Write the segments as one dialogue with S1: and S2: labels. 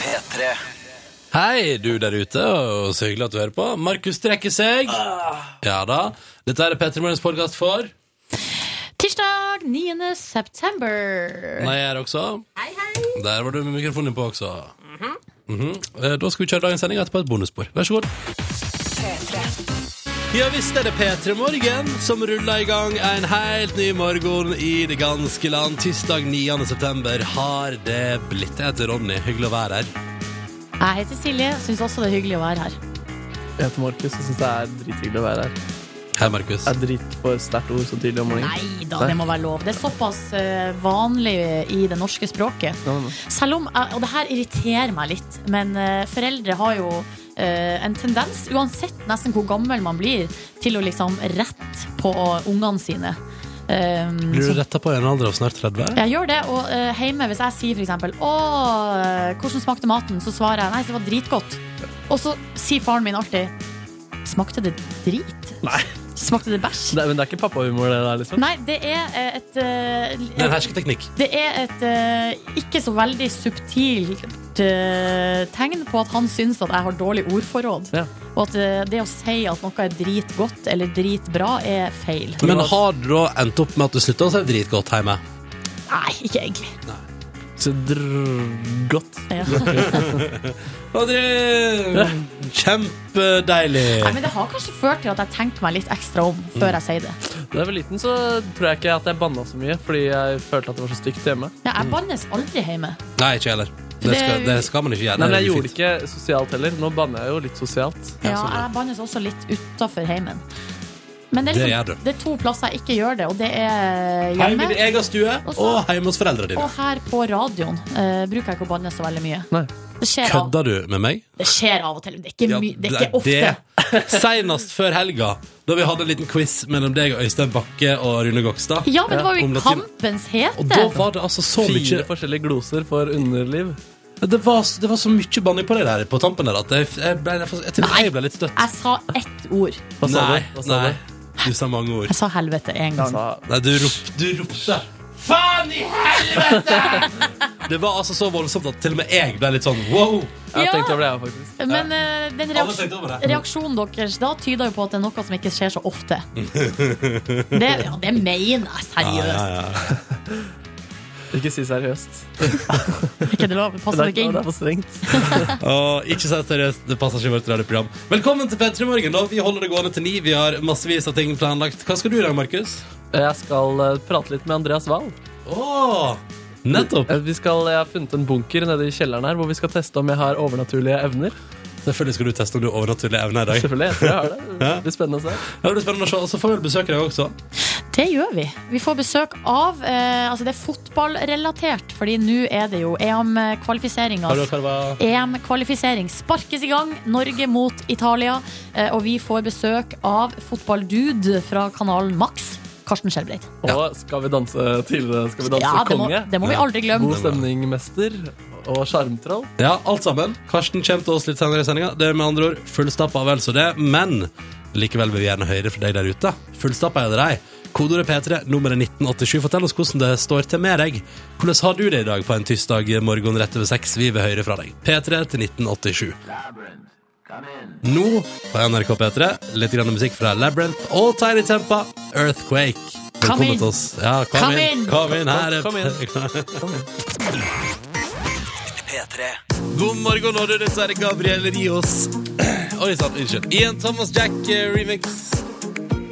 S1: P3.
S2: Hei, du der ute, og så hyggelig at du hører på. Markus strekker seg. Ja da. Dette er Petter Morgens podkast for
S3: Tirsdag 9. september.
S2: Nei, jeg er også. Hei, hei. Der var du med mikrofonen din på også. Mhm. Eh, Da skal vi kjøre dagens sending etterpå et bonusspor. Vær så god. Ja visst er det P3 Morgen som ruller i gang en helt ny morgen i det ganske land. Tirsdag 9. september har det blitt. Jeg heter Ronny. Hyggelig å være her.
S3: Jeg heter Silje. Syns også det er hyggelig å være her.
S4: Jeg heter Markus og syns det er drithyggelig å være her.
S2: Hei, Markus.
S4: Det er dritt for sterkt ord så tidlig om morgenen.
S3: Nei da, det må være lov. Det er såpass eh, vanlig i det norske språket.
S4: Ja, men-
S3: Selv om, jeg- Og det her irriterer meg litt, men eh, foreldre har jo eh, en tendens, uansett nesten hvor gammel man blir, til å liksom rette på ungene sine. Um,
S2: Blir du retta på i en alder av snart 30?
S3: Jeg gjør det, og eh, hjemme hvis jeg sier for eksempel Å, eh, hvordan smakte maten? Så svarer jeg, nei, det var dritgodt Og så sier faren min alltid Smakte det drit?
S4: Nei.
S3: Smakte det bæsj?
S4: Det er, men det er ikke pappahumor, det der, liksom?
S3: Nei, det er eh, et eh,
S2: Det er en hersketeknikk.
S3: Det er et eh, ikke så veldig subtilt eh, tegn på at han syns at jeg har dårlig ordforråd
S4: Ja.
S3: Og at eh, det å si at noe er dritgodt eller dritbra er feil
S2: Men har du da endt opp med at du slutta å si dritgodt hjemme?
S3: Nei, ikke egentlig
S4: Så drrr, godt.
S3: ja.
S2: Adrian!
S3: Nei,
S2: Kjempedeilig!
S3: men det har kanskje ført til at jeg tenkte meg litt ekstra om før jeg sier det.
S4: Da jeg var liten, så tror jeg ikke at jeg banna så mye, fordi jeg følte at det var så stygt hjemme.
S3: Ja, jeg bannes aldri hjemme.
S2: Nei, ikke heller. Det skal, det skal man ikke gjøre.
S4: Nei, men
S2: Det er
S4: jeg gjorde
S2: ufint.
S4: det ikke sosialt heller. Nå banner jeg jo litt sosialt.
S3: Ja,
S2: sånn, ja.
S3: jeg bannes også litt utafor heimen. Men det er,
S2: Det
S3: liksom,
S2: gjør du.
S3: det er to plasser jeg ikke gjør det, og det er
S2: Hjemme i
S3: hjemme.
S2: din egen stue
S3: Og så-
S2: og hjemme hos foreldrene dine.
S3: Og her på radioen eh, bruker jeg ikke å banne så veldig mye.
S4: Nei.
S3: Det skjer, av,
S2: Kødder du med meg?
S3: det skjer av og til. Det er ikke,
S2: Ja,
S3: my, det er ikke ofte.
S2: det. Senest før helga, da vi hadde en liten quiz mellom deg og Øystein Bakke og Rune Gokstad.
S3: Ja, men det var jo
S2: Om
S3: i
S2: latin.
S3: kampens
S2: Og da
S3: hete.
S2: var det altså så mye
S4: Fire forskjellige gloser for underliv.
S2: Det var, det var så mye banning på deg der på tampen der at jeg, jeg, ble, jeg, tror jeg ble litt støtt.
S3: Jeg sa ett ord.
S4: Hva sa
S2: Nei,
S4: du? Hva sa
S2: nei.
S4: du?
S2: Du sa mange ord.
S3: Jeg sa helvete én gang.
S4: Sa,
S2: Nei, du, rop, du ropte Faen i helvete! det var altså så voldsomt at til og med jeg ble litt sånn wow.
S4: jeg
S3: Ja.
S4: tenkte over det, jeg, faktisk.
S3: Men eh, den
S2: Alle
S3: reaks-
S2: tenkte over det.
S3: reaksjonen deres da tyder jo på at det er noe som ikke skjer så ofte. Det, ja, det mener jeg seriøst.
S4: Ikke si seriøst.
S3: Ikke det lov?
S4: Det
S3: Passer det
S4: er,
S3: ikke
S4: det er
S3: inn?
S4: for strengt.
S2: Og ikke sant seriøst, det passer ikke i vårt radioprogram. Velkommen til P3 Morgen. da. Vi holder det gående til ni. Vi har massevis av ting planlagt. Hva skal du i dag, Markus?
S4: Jeg skal eh, prate litt med Andreas Wahl.
S2: Åh, nettopp.
S4: Eh, Vi skal, jeg har funnet en bunker nede i kjelleren her hvor vi skal teste om jeg har overnaturlige evner.
S2: Selvfølgelig skal du teste om du har overnaturlige evner i dag.
S4: Selvfølgelig, jeg tror jeg har det. Det blir spennende å se.
S2: Ja, Det blir spennende å se. Og så får vi besøke deg også.
S3: Det gjør vi. Vi får besøk av eh, Altså, det er fotballrelatert, fordi nå er det jo EM-kvalifiseringa.
S2: Har du hva det var?
S3: EM-kvalifisering sparkes i gang. Norge mot Italia. Eh, og vi får besøk av fotballdude fra kanalen Max. Karsten Skjelbreid.
S4: Og skal vi danse til Skal vi danse
S3: Ja, det må,
S4: konge?
S3: det må vi aldri glemme.
S4: God stemning, mester og sjarmtroll.
S2: Ja, alt sammen. Karsten kommer til oss litt senere i sendinga. Det er med andre ord fullstappa vel så det, men likevel vil vi gjerne høre fra deg der ute. Fullstappa er det deg. Kodeordet P3, nummeret 1987. Fortell oss hvordan det står til med deg. Hvordan har du det i dag på en tirsdag morgen rett over seks? Vi vil høre fra deg. P3 til 1987. Nå på NRK P3, litt grann musikk fra Labyrinth og Tiny Tempa, Earthquake.
S3: Kom
S2: Velkommen
S3: inn.
S2: til oss. Ja, kom,
S3: Kom
S2: inn.
S3: inn.
S2: Kom inn her. er-
S4: Kom inn.
S1: P3.
S2: God morgen, og du dessverre Gabriel Rios. Oi sann, unnskyld. I en Thomas eh, Jack-remix.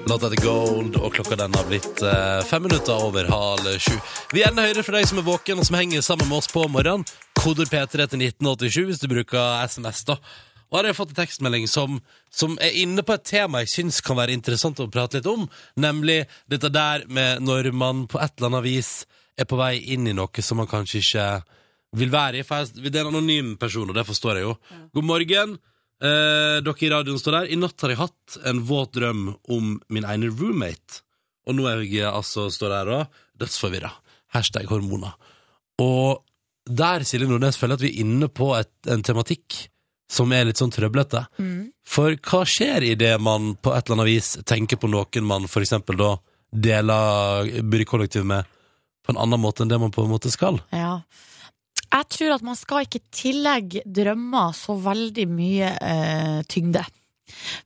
S2: Låta heter Gold, og klokka den har blitt eh, fem minutter over halv sju. Vi er gjerne høyre for deg som er våken og som henger sammen med oss på morgenen. Koder P3 til 1987 hvis du bruker SMS, da. Og her har jeg fått en tekstmelding som, som er inne på et tema jeg syns kan være interessant å prate litt om, nemlig dette der med når man på et eller annet vis er på vei inn i noe som man kanskje ikke vil være i. For jeg, det er en anonym person, og det forstår jeg jo. God morgen. Eh, dere i radioen står der. I natt har jeg hatt en våt drøm om min ene roommate. Og nå er jeg altså står der og dødsforvirra. Hashtag hormoner. Og der, Silje Nordnes, føler jeg at vi er inne på et, en tematikk som er litt sånn trøblete.
S5: Mm.
S3: Mm.
S2: For hva skjer idet man på et eller annet vis tenker på noen man for eksempel da deler bor i kollektiv med, på en annen måte enn det man på en måte skal?
S3: Ja. Jeg tror at man skal ikke tillegge drømmer så veldig mye eh, tyngde.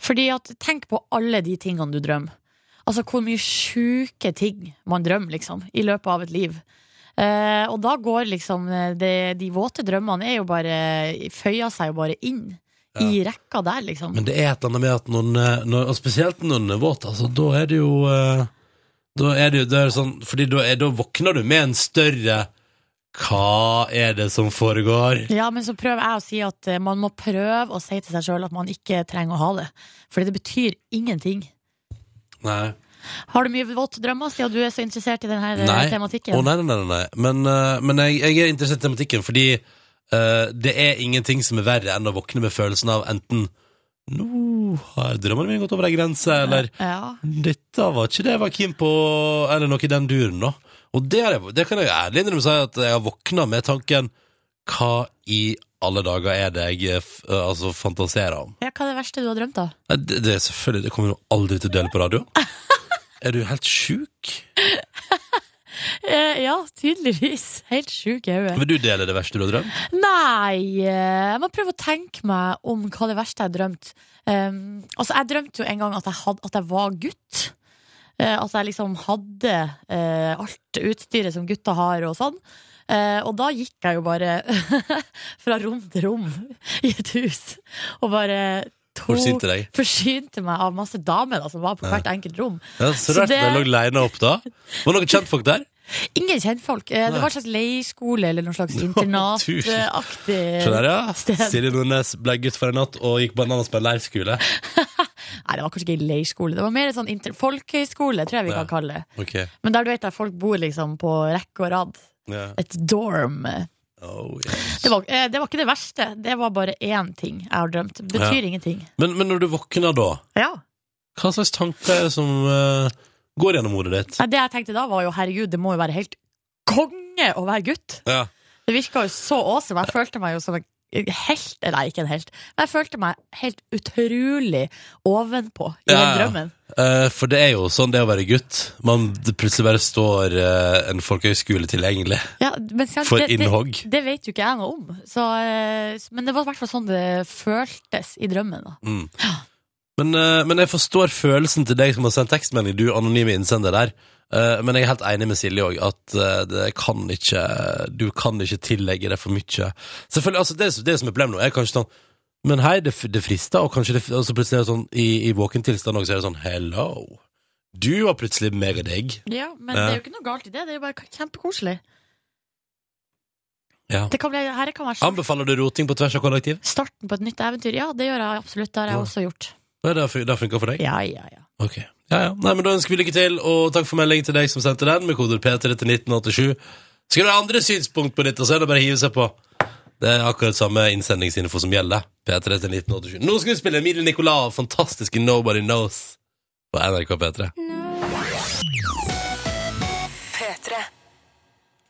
S3: Fordi at tenk på alle de tingene du drømmer. Altså hvor mye sjuke ting man drømmer, liksom, i løpet av et liv. Eh, og da går liksom eh, det, De våte drømmene er jo bare føyer seg jo bare inn i rekka der, liksom.
S2: Men det er et eller annet med at noen, eh, når, og spesielt når den er våt, altså, da er det jo eh, Da er det jo det er sånn Fordi da, er, da våkner du med en større Hva er det som foregår?
S3: Ja, men så prøver jeg å si at eh, man må prøve å si til seg sjøl at man ikke trenger å ha det. Fordi det betyr ingenting.
S2: Nei.
S3: Har du mye våte drømmer, siden du er så interessert i denne
S2: Nei.
S3: tematikken?
S2: Å, nei, nei, nei, nei. Men, eh, men jeg, jeg er interessert i tematikken, fordi eh, det er ingenting som er verre enn å våkne med følelsen av enten
S4: Uh.
S2: Nå har drømmene mine gått over ei grense, eller
S3: Ja.
S2: Dette var ikke det jeg var keen på, eller noe i den duren, da. Og det, har jeg, det kan jeg ærlig innrømme si, at jeg har våkna med tanken Hva i alle dager er det jeg eh, f- eh, altså, fantaserer om?
S3: ja, hva er det verste du har drømt, da?
S2: Nei, Det, det, er selvfølgelig, det kommer jeg jo aldri til å dele på radio. Er du helt sjuk?
S3: Eh, ja, tydeligvis. Helt sjuk i hodet.
S2: Vil du dele det verste du har drømt?
S3: Nei, eh, jeg må prøve å tenke meg om hva det verste jeg har drømt. Um, altså, jeg drømte jo en gang at jeg, had, at jeg var gutt. Eh, at jeg liksom hadde eh, alt utstyret som gutta har og sånn. Eh, og da gikk jeg jo bare fra rom til rom i et hus og bare tok
S2: Forsynte deg.
S3: Forsynte meg av masse damer da, som var på hvert enkelt rom.
S2: Ja, så
S3: Så
S2: rart
S3: det-
S2: det... lå leina opp da. Var det noen kjentfolk der?
S3: Ingen kjentfolk. Eh,
S2: Nei.
S3: Det var en slags leirskole eller noen slags
S2: tusen.
S3: internataktig
S2: Se der, ja.
S3: Sted.
S2: Silje Nordnes ble gutt for en natt og gikk bananas på en leirskole.
S3: Nei, det var kanskje ikke en leirskole. Det var mer en sånn inter folkehøyskole, tror jeg vi
S2: Ja.
S3: kan kalle det.
S2: Ok.
S3: Men der du vet at folk bor liksom på rekke og rad.
S2: Ja.
S3: Et dorm. Det
S2: Oh, yes.
S3: var, eh, det var ikke det verste. Det var bare én ting jeg har drømt. Det betyr ingenting.
S2: men, men når du våkner da,
S3: Ja.
S2: hva slags tanker er det som eh, går gjennom hodet ditt?
S3: Nei, det jeg tenkte da, var jo herregud, det må jo være helt konge å være gutt.
S2: Ja.
S3: Det virka jo så awesome. Jeg følte meg jo som en helt. Nei, ikke en helt. Men jeg følte meg helt utrolig ovenpå i
S2: Ja,
S3: den
S2: ja.
S3: drømmen.
S2: Eh, for det er jo sånn det å være gutt. Man det plutselig bare står eh, en folkehøyskole tilgjengelig
S3: Ja, men sant,
S2: for
S3: det- det-
S2: innhogg.
S3: Det vet jo ikke jeg noe om. Så, eh, men det var i hvert fall sånn det føltes i drømmen. Da.
S2: Mm. Men, eh, men jeg forstår følelsen til deg som har sendt tekstmelding, du anonyme innsender der. Eh, men jeg er helt enig med Silje òg, at eh, det kan ikke, du kan ikke tillegge det for mye. Selvfølgelig, altså Det, det som er problemet nå, er kanskje sånn Men hei, det, f- det frister, og kanskje det, f- og så plutselig er det sånn i, i våken tilstand òg, så er det sånn Hello. Du var plutselig megadigg.
S3: Ja, Men
S2: Ja.
S3: det er jo ikke noe galt i det. Det er jo bare kjempekoselig.
S2: Ja.
S3: Det kan bli, her kan være start,
S2: Anbefaler du roting på tvers av kollektiv?
S3: starten på et nytt eventyr. Ja, det gjør jeg absolutt. Det har jeg
S2: Ja.
S3: også gjort.
S2: Ja, Det har fun- det har funka for deg?
S3: Ja, ja, ja.
S2: Ok. Ja, ja. Nei, men da ønsker vi lykke til, og takk for meldingen til deg som sendte den, med koder P3 til 1987. Skal du ha andre synspunkt på dette, så er det bare å hive seg på. Det er akkurat samme innsendingsinfo som gjelder. P3 til 1987. Nå skal vi spille Emilie Nicolas, fantastiske Nobody Knows, på NRK P3.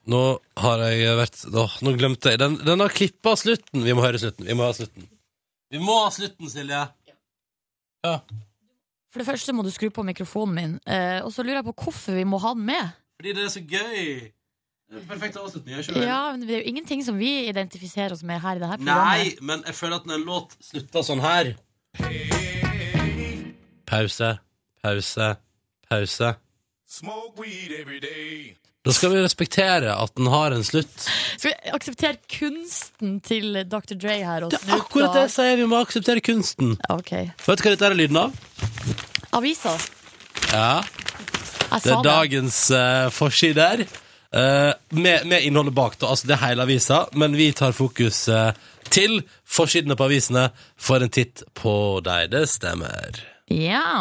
S2: Nå har jeg vært Åh, nå glemte jeg. Den, den har klippa slutten. Vi må høre slutten. Vi må ha slutten. Vi må ha slutten, Silje. Ja.
S3: For det første må du skru på mikrofonen min, eh, og så lurer jeg på hvorfor vi må ha den med.
S2: Fordi det er så gøy. Det er en Perfekt avslutning. Jeg kjører.
S3: Ja, men Det er jo ingenting som vi identifiserer oss med her i det her programmet.
S2: Nei, men jeg føler at når en låt slutter sånn her Pause, pause, pause.
S1: Smoke weed every day.
S2: Da skal vi respektere at den har en slutt.
S3: Skal vi akseptere kunsten til Dr. Dre her? Og
S2: Det er
S3: Snoop
S2: akkurat det jeg
S3: Dogg?
S2: sier, vi må akseptere kunsten.
S3: Ok.
S2: Vet du hva dette er lyden av?
S3: Avisa.
S2: Ja,
S3: Jeg
S2: Det
S3: sa
S2: er dagens uh, forsider. eh, med, med innholdet bak, da. Altså, det er hele avisa, men vi tar fokus eh, til forsidene på avisene for en titt på deg. Det stemmer.
S3: Ja.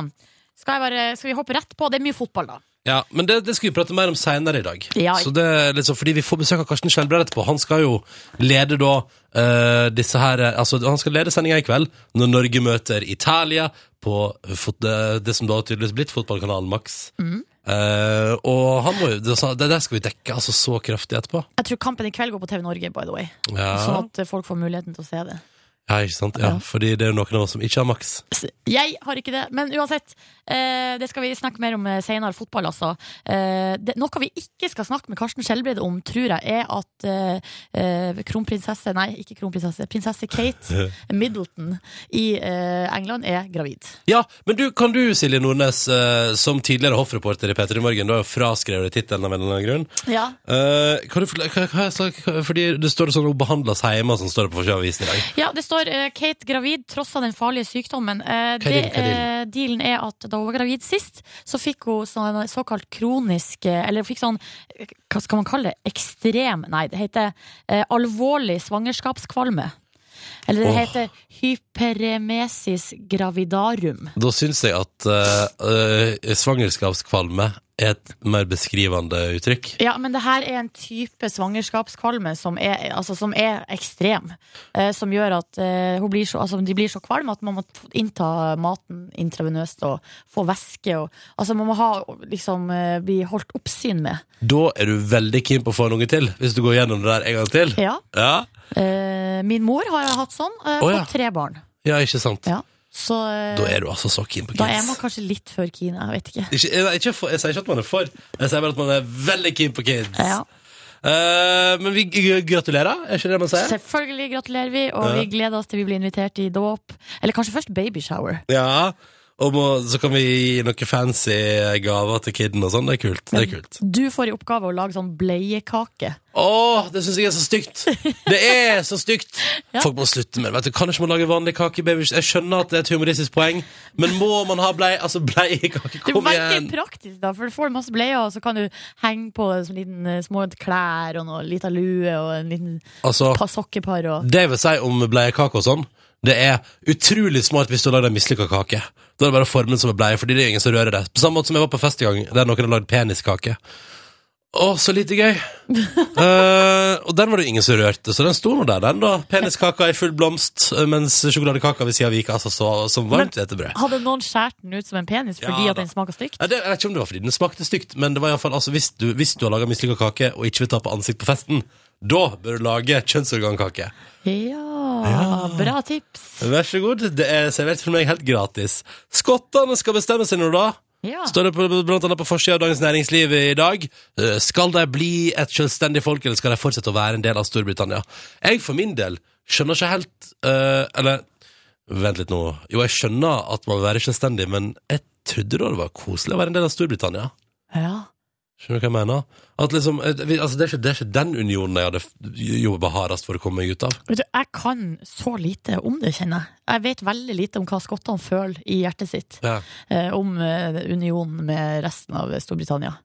S3: Skal, jeg bare, skal vi hoppe rett på? Det er mye fotball, da.
S2: Ja, men det, det skal vi prate mer om seinere i dag.
S3: Ja.
S2: Så det er litt sånn, fordi vi får besøk av Karsten Skjelbred etterpå. Han skal jo lede da eh, disse her eh, Altså, han skal lede sendinga i kveld når Norge møter Italia på fot, det, det som da tydeligvis blitt fotballkanalen Max.
S3: Mm.
S2: Eh, og han må jo det, det der skal vi dekke altså så kraftig etterpå.
S3: Jeg tror kampen i kveld går på TV Norge, by the way.
S2: Ja.
S3: Sånn at folk får muligheten til å se det.
S2: Ja, ikke sant? Ja,
S3: Ja.
S2: Fordi det er jo noen av oss som ikke har maks.
S3: S- Jeg har ikke det, men uansett. Eh, det skal vi snakke mer om eh, senere. Fotball, altså. Eh, det, noe vi ikke skal snakke med Karsten Skjelbred om, tror jeg, er at eh, eh, kronprinsesse Nei, ikke kronprinsesse. Prinsesse Kate Middleton i eh, England er gravid.
S2: Ja, men du, kan du, Silje Nordnes, eh, som tidligere hoffreporter i P3 Morgen, du har jo fraskrevet deg tittelen av en eller annen grunn.
S3: Ja.
S2: Eh, kan du forklare, hva, hva, hva- hva, fordi det står sånn hun behandles hjemme, og sånn står det på forsiden i dag.
S3: Ja, det står eh, Kate gravid tross av den farlige sykdommen. Eh,
S2: Hva er
S3: det,
S2: dealen, hva er
S3: eh, dealen er at da hun var gravid sist, så fikk hun sånn såkalt kronisk eh, Eller hun fikk sånn eh, Hva skal man kalle det? Ekstrem Nei, det heter eh, alvorlig svangerskapskvalme. Eller det
S2: Åh.
S3: heter hyperemesis gravidarum.
S2: Da syns jeg at eh, eh, svangerskapskvalme er et mer beskrivende uttrykk.
S3: Ja, men det her er en type svangerskapskvalme som er, altså, som er ekstrem. Eh, som gjør at eh, hun blir så, altså, de blir så kvalme at man må t- innta maten intravenøst og få væske. Og, altså man må ha, liksom, eh, bli holdt oppsyn med.
S2: Da er du veldig keen på å få en unge til, hvis du går gjennom det der en gang til.
S3: Ja.
S2: Ja,
S3: Eh, min mor har hatt sånn. Eh,
S2: Å, ja.
S3: Fått tre barn.
S2: ja ikke sant?
S3: Ja. Så eh,
S2: Da er du altså så keen på
S3: da er man
S2: kids.
S3: kanskje litt før Kine, jeg vet ikke.
S2: Ikke, jeg, ikke for, jeg sier ikke at man er for, jeg sier bare at man er veldig keen på kids.
S3: Ja.
S2: Eh, men vi g- gratulerer, er ikke det man sier?
S3: Selvfølgelig gratulerer vi, og
S2: Ja.
S3: vi gleder oss til vi blir invitert i dåp. Eller kanskje først babyshower.
S2: Ja. Og må, så kan vi gi noen fancy gaver til kiden og sånn. Det er kult. Det er kult.
S3: Du får i oppgave å lage sånn bleiekake.
S2: Åh, det syns jeg er så stygt! Det er så stygt!
S3: Ja.
S2: Folk må slutte med det. Vet du, kan ikke man lage vanlig kake? Baby? Jeg skjønner at det er et humoristisk poeng, men må man ha blei, altså bleiekake?
S3: Det
S2: Kom
S3: verker
S2: igjen!
S3: praktisk, da, for du får masse bleier, og så kan du henge på som liten, eh, små klær og noe lita lue og en liten
S2: Altså,
S3: pa sokkepar og
S2: det jeg vil si om bleiekake og sånn, det er utrolig smart hvis du har lagd en mislykka kake. Da er det bare formen som er bleie, fordi det er ingen som rører det. På samme måte som jeg var på fest i gang, der noen har lagd peniskake. Å, så lite gøy! Eh, og den var det jo ingen som rørte, så den sto nå der, den, da. Peniskaka i full blomst, eh, mens sjokoladekaka ved sida gikk altså så som varmt hvetebrød.
S3: Hadde noen skåret den ut som en penis
S2: Ja,
S3: fordi at
S2: da.
S3: den smaker stygt?
S2: Ja, det, jeg vet ikke om det var fordi den smakte stygt, men det var i alle fall, altså, hvis, du, hvis du har laga mislykka kake og ikke vil ta på ansikt på festen, da bør du lage kjønnsorgankake.
S3: Ja, bra tips.
S2: Vær så god. Det er servert for meg helt gratis. Skottene skal bestemme seg nå, da.
S3: Ja.
S2: Står det på, blant annet på forsida av Dagens Næringsliv i dag. Eh, Skal de bli et selvstendig folk, eller skal de fortsette å være en del av Storbritannia? Jeg for min del skjønner ikke helt eh, Eller vent litt nå. Jo, jeg skjønner at man vil være selvstendig, men jeg trodde da det var koselig å være en del av Storbritannia.
S3: Ja.
S2: Skjønner du hva jeg mener? At liksom, eh, vi- altså, det, er ikke, det er ikke den unionen jeg hadde f- jobba hardest for å komme meg ut av.
S3: Vet du, jeg kan så lite om det, kjenner jeg. Jeg vet veldig lite om hva skottene føler i hjertet sitt
S2: Ja.
S3: eh, om eh, unionen med resten av Storbritannia.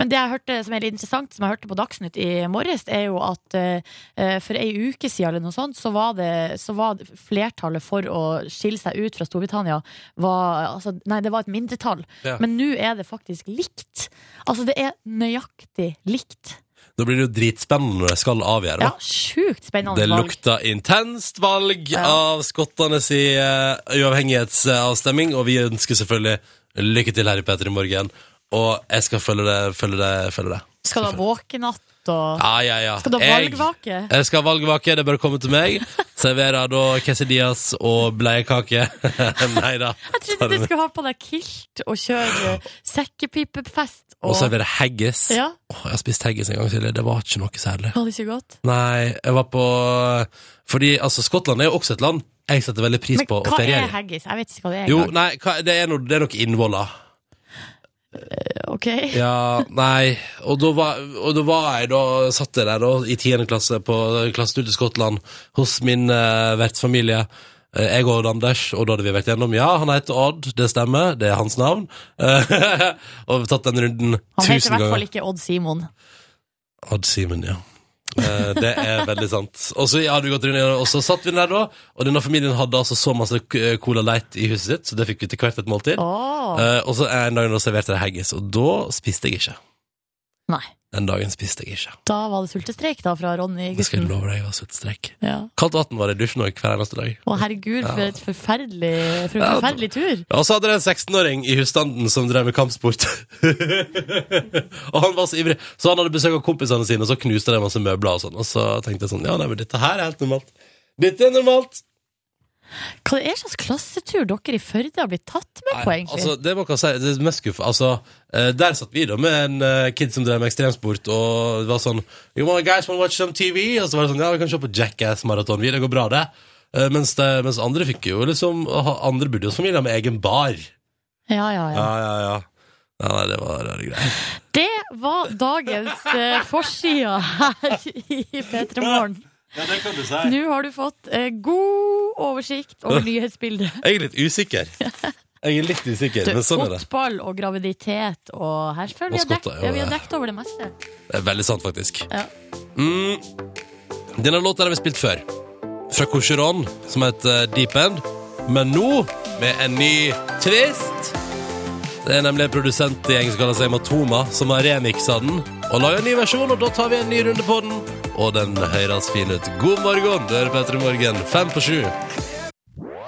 S3: Men det jeg hørte som er litt interessant, som jeg hørte på Dagsnytt i morges, er jo at eh, eh, for ei uke siden eller noe sånt, så var, det, så var det flertallet for å skille seg ut fra Storbritannia var, altså, Nei, det var et mindretall.
S2: Ja.
S3: Men nå er det faktisk likt. Altså, det er nøyaktig likt.
S2: Da blir det jo dritspennende når jeg skal avgjøre. da.
S3: Ja, sjukt spennende
S2: Det
S3: valg.
S2: lukta intenst valg
S3: Ja.
S2: av skottene si eh, uavhengighetsavstemning, og vi ønsker selvfølgelig lykke til her i Petter i morgen. Og jeg skal følge det, følge det, følge det.
S3: Skal du ha våkenatt og
S2: Ja, ja, ja.
S3: Skal du ha
S2: Jeg-
S3: valgvake?
S2: Jeg skal ha valgvake, det bør komme til meg. Serverer da quesadillas og bleiekake. Nei da.
S3: Jeg trodde du skulle ha på deg kilt og kjøre eh, sekkepipefest. Og,
S2: Og serverer haggis.
S3: Ja,
S2: Åh, jeg har spist haggis en gang tidligere, det var ikke noe særlig.
S3: var det ikke godt?
S2: Nei, jeg var på Fordi altså, Skottland er jo også et land jeg setter veldig pris
S3: Men
S2: på å
S3: hva
S2: feriere i.
S3: er haggis? Jeg vet ikke hva det er.
S2: Jo,
S3: engang.
S2: nei, hva, det, er noe, det er nok innvoller.
S3: Eh, Ok.
S2: Ja, nei. Og da var, og da var jeg da, satt jeg der da, i 10. klasse på klassetur til Skottland hos min eh, vertsfamilie. Eh, Jeg og Odd Anders, og da hadde vi vært gjennom Ja, han heter Odd, det stemmer, det er hans navn. Eh, og vi har tatt den runden
S3: Han heter i
S2: tusen
S3: hvert
S2: ganger.
S3: fall ikke Odd Simon.
S2: Odd Simen, ja. Eh, Det er veldig sant. Og så hadde vi gått rundt, og så satt vi der da, og denne familien hadde altså så masse k- Cola Light i huset sitt, så det fikk vi til hvert et måltid.
S3: Åh,
S2: Eh, og så en dag da serverte jeg haggis, og da spiste jeg ikke.
S3: Nei.
S2: Den dagen spiste jeg ikke.
S3: Da var det sultestreik da fra Ronny
S2: Det skal jeg
S3: gutten.
S2: love deg, jeg var sultstrekk.
S3: Ja.
S2: Kaldt vann var det i dusjen også, hver eneste dag.
S3: Å herregud, for, et forferdelig, for en
S2: Ja, det-
S3: forferdelig tur.
S2: Og så hadde det en 16-åring i husstanden som drev med kampsport. og han var så ivrig. Så han hadde besøk av kompisene sine, og så knuste de masse møbler og sånn. Og så tenkte jeg sånn, ja, nei, men dette her er helt normalt. Dette er normalt.
S3: Hva er slags klassetur dere i Førde har blitt tatt med på,
S2: Nei,
S3: egentlig?
S2: altså, det må jeg si, det er mest skuffende. Altså, eh, der satt vi da med en eh, kid som drev med ekstremsport, og det var sånn You wanna guys wanna watch some TV? Og så var det sånn, ja, vi kan se på Jackass-maraton, vi. Det går bra, det. Eh, mens, det. Mens andre fikk jo liksom ha- Andre bodde hos familier med egen bar.
S3: ja, ja, ja.
S2: Ja, ja, ja. ja nei, det var rare greier.
S3: Det var dagens uh, forsida her i P3 Morgen.
S2: Ja, det kan du si.
S3: Nå har du fått eh, god oversikt over nyhetsbildet.
S2: Jeg er litt usikker. Jeg er litt usikker, men sånn er det.
S3: Fotball og graviditet og her føler vi har
S2: Maskotter,
S3: dekt,
S2: ja,
S3: ja, vi har
S2: det.
S3: dekt over det meste.
S2: Det er veldig sant, faktisk.
S3: Ja.
S2: Mm. Denne låta har vi spilt før. Fra Cocheron, som heter eh, Deep End. Men nå med en ny twist. Det er nemlig en produsentgjeng som kaller seg Matoma, som har remiksa den og laga en ny versjon. Og da tar vi en ny runde på den, og den høres fin ut. God morgen, du hører Petter i morgen, fem på sju.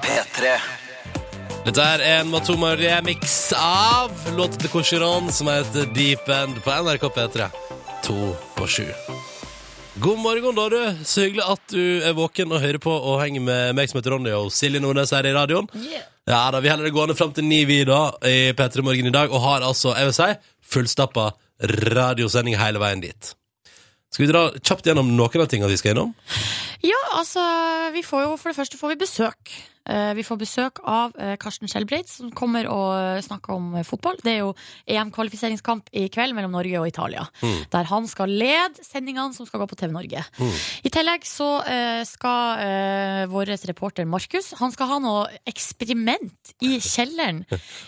S6: P3
S2: Dette her er en Matoma-remix av låta til Cocheron som heter Deep End på NRK P3. To på sju. God morgen, da, du. Så hyggelig at du er våken og hører på og henger med meg som heter Ronny og Silje Nordnes her i radioen. Ja da, Vi holder det gående fram til ni, vi, da, i P3 Morgen i dag, og har altså, jeg vil si, fullstappa radiosending hele veien dit. Skal vi dra kjapt gjennom noen av tingene vi skal innom?
S3: Ja, altså, vi får jo for det første får vi besøk. Eh, Vi får besøk av eh, Karsten Skjelbreit, som kommer og eh, snakker om eh, fotball. Det er jo EM-kvalifiseringskamp i kveld mellom Norge og Italia. Der han skal lede sendingene som skal gå på TV Norge.
S7: Mm.
S2: Mm.
S3: I tillegg så eh, skal eh, vår reporter Markus Han skal ha noe eksperiment i kjelleren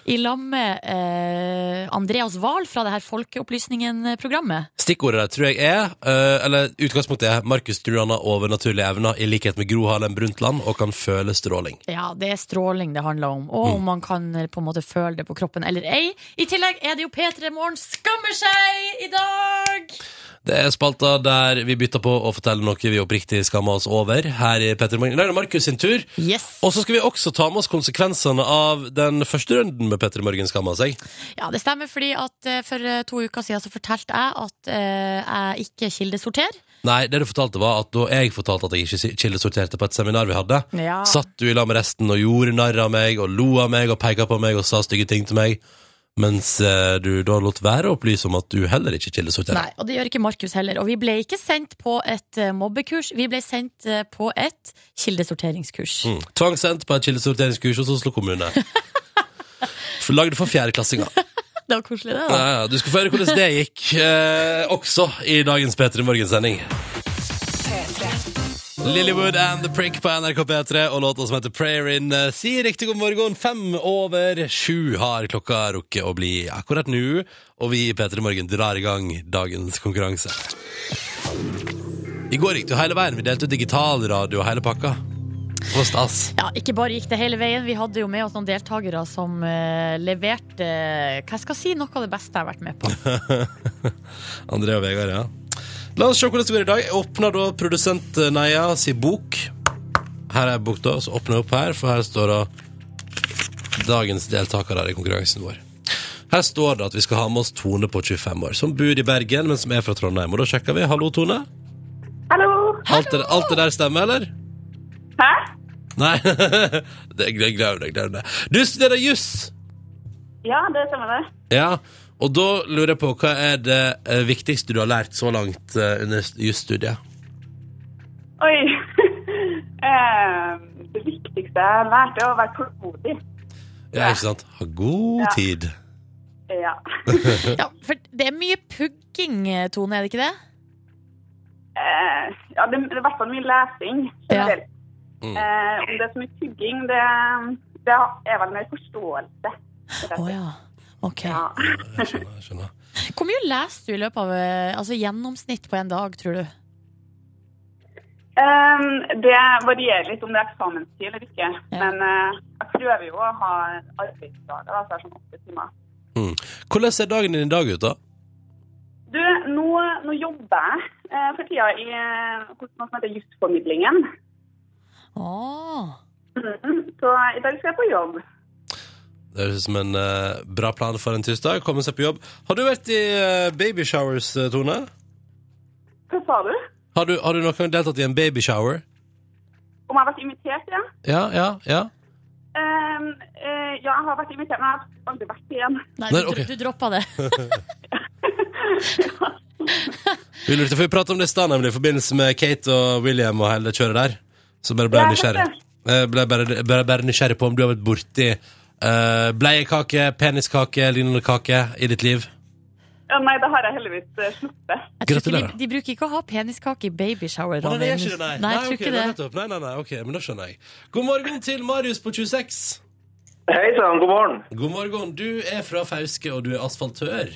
S3: i lag med eh, Andreas Wahl fra det her Folkeopplysningen-programmet.
S2: Stikkordet der tror jeg er, eh, eller utgangspunktet er, Markus tror han har overnaturlige evner i likhet med Gro Harlem Brundtland og kan føle stråling.
S3: Ja, det er stråling det handler om, og om man kan eh, på en måte føle det på kroppen eller ei. I tillegg er det jo P3 Morgen skammer seg i dag!
S2: Det er spalta der vi bytter på å fortelle noe vi oppriktig skammer oss over her i Petter Morgen. I dag er det Markus sin tur.
S3: Yes.
S2: Og så skal vi også ta med oss konsekvensene av den første runden med Petter Morgen skammer seg.
S3: Ja, det stemmer, fordi at eh, for eh, to uker siden så fortalte jeg at eh, jeg ikke kildesorterer.
S2: Nei, det du fortalte var at da jeg fortalte at jeg ikke kildesorterte på et seminar vi hadde,
S3: Ja.
S2: satt du i lag med resten og gjorde narr av meg og lo av meg og peka på meg og sa stygge ting til meg, mens eh, du da lot være å opplyse om at du heller ikke kildesorterer.
S3: Nei, og det gjør ikke Markus heller. Og vi ble ikke sendt på et eh, mobbekurs, vi ble sendt eh, på et kildesorteringskurs.
S2: Mm. Tvangssendt på et kildesorteringskurs hos Oslo kommune. For- Lagd for fjerdeklassinger.
S3: Det var koselig, det. da.
S2: Ja, ja, du skal få høre hvordan det gikk eh, også i dagens P3 Morgen-sending. Lillywood and The Prick på NRK P3 og låta som heter Prayer In. eh, Si riktig god morgen. Fem over sju har klokka rukket å bli akkurat nå, og vi i P3 Morgen drar i gang dagens konkurranse. I går gikk det jo hele veien. Vi delte ut digitalradio og hele pakka. Det var stas.
S3: Ja, ikke bare gikk det hele veien. Vi hadde jo med oss noen deltakere som eh, leverte eh, hva skal jeg si, noe av det beste jeg har vært med på.
S2: André og Vegard, ja. La oss se hvordan det går i dag. Jeg åpner da produsent Neia si bok. Her er bok, da. Så åpner jeg opp her, for her står det dagens deltakere i konkurransen vår. Her står det at vi skal ha med oss Tone på 25 år, som bor i Bergen, men som er fra Trondheim. Og da sjekker vi. Hallo, Tone.
S8: Hallo!
S2: Alt det, alt det der stemmer, eller?
S8: Hæ?
S2: Nei. det, jeg glem det, glem det. Du studerer juss!
S8: Ja, det stemmer det.
S2: Ja. Og da lurer jeg på, hva er det eh, viktigste du har lært så langt eh, under jusstudiet?
S8: Oi. Eh, det viktigste jeg lærte, er å være tålmodig.
S2: Ja, ikke sant? Ha god
S8: Ja.
S2: tid.
S8: Ja.
S3: Ja, for det er mye pugging, eh, Tone, er det ikke det?
S8: Eh, ja, det det er i hvert fall mye lesing.
S3: Ja.
S8: generelt.
S2: Mm.
S8: Eh, om det er så mye tygging, det, det er vel mer forståelse.
S3: Å ja. Ok.
S8: Ja.
S2: Jeg skjønner, jeg skjønner.
S3: Hvor mye leser du i løpet av eh, altså, gjennomsnitt på en dag, tror du?
S8: Eh, det varierer litt om det er eksamenstid eller ikke.
S3: Ja.
S8: Men eh, jeg prøver jo å ha arbeidsdager, da, så jeg har sånn åtte timer.
S2: Mm. Hvordan ser dagen din i dag ut, da?
S8: Du, nå, nå jobber jeg eh, for tida i eh, hos noe som heter Jussformidlingen.
S3: Åh.
S8: Mhm. Så i dag skal jeg på jobb.
S2: Det høres ut som en eh, bra plan for en tirsdag. Komme seg på jobb. Har du vært i eh, babyshowers, eh, Tone?
S8: Hva sa du?
S2: Har du, har du noen gang deltatt i en babyshower?
S8: Om Om jeg har vært invitert, ja.
S2: Ja, ja, ja.
S8: Ehm, eh, ja, jeg har vært invitert, men jeg har aldri vært igjen.
S3: Nei,
S2: Nei,
S3: du,
S2: ok.
S3: du droppa det.
S2: Vi lurte, for vi pratet om det i stad, nemlig, i forbindelse med Kate og William og hele det kjøret der. Så bare ble jeg
S8: Ja, jeg
S2: nysgjerrig. Jeg ble bare, bare, bare nysgjerrig på om du har vært borti uh, bleiekake, peniskake, lignende kake i ditt liv.
S8: Ja, nei, det har jeg heldigvis eh, sluppet.
S3: Jeg tror ikke de,
S2: Gratulerer.
S3: de bruker ikke å ha peniskake i babyshower.
S2: Å, nei, det er
S3: Ronny.
S2: ikke det, nei.
S3: Nei, jeg tror
S2: ok,
S3: ikke
S2: nei,
S3: det.
S2: nettopp. Nei, nei, nei, ok, men da skjønner jeg. God morgen til Marius på 26.
S9: Hei sann, god morgen.
S2: God morgen. Du er fra Fauske, og du er asfaltør.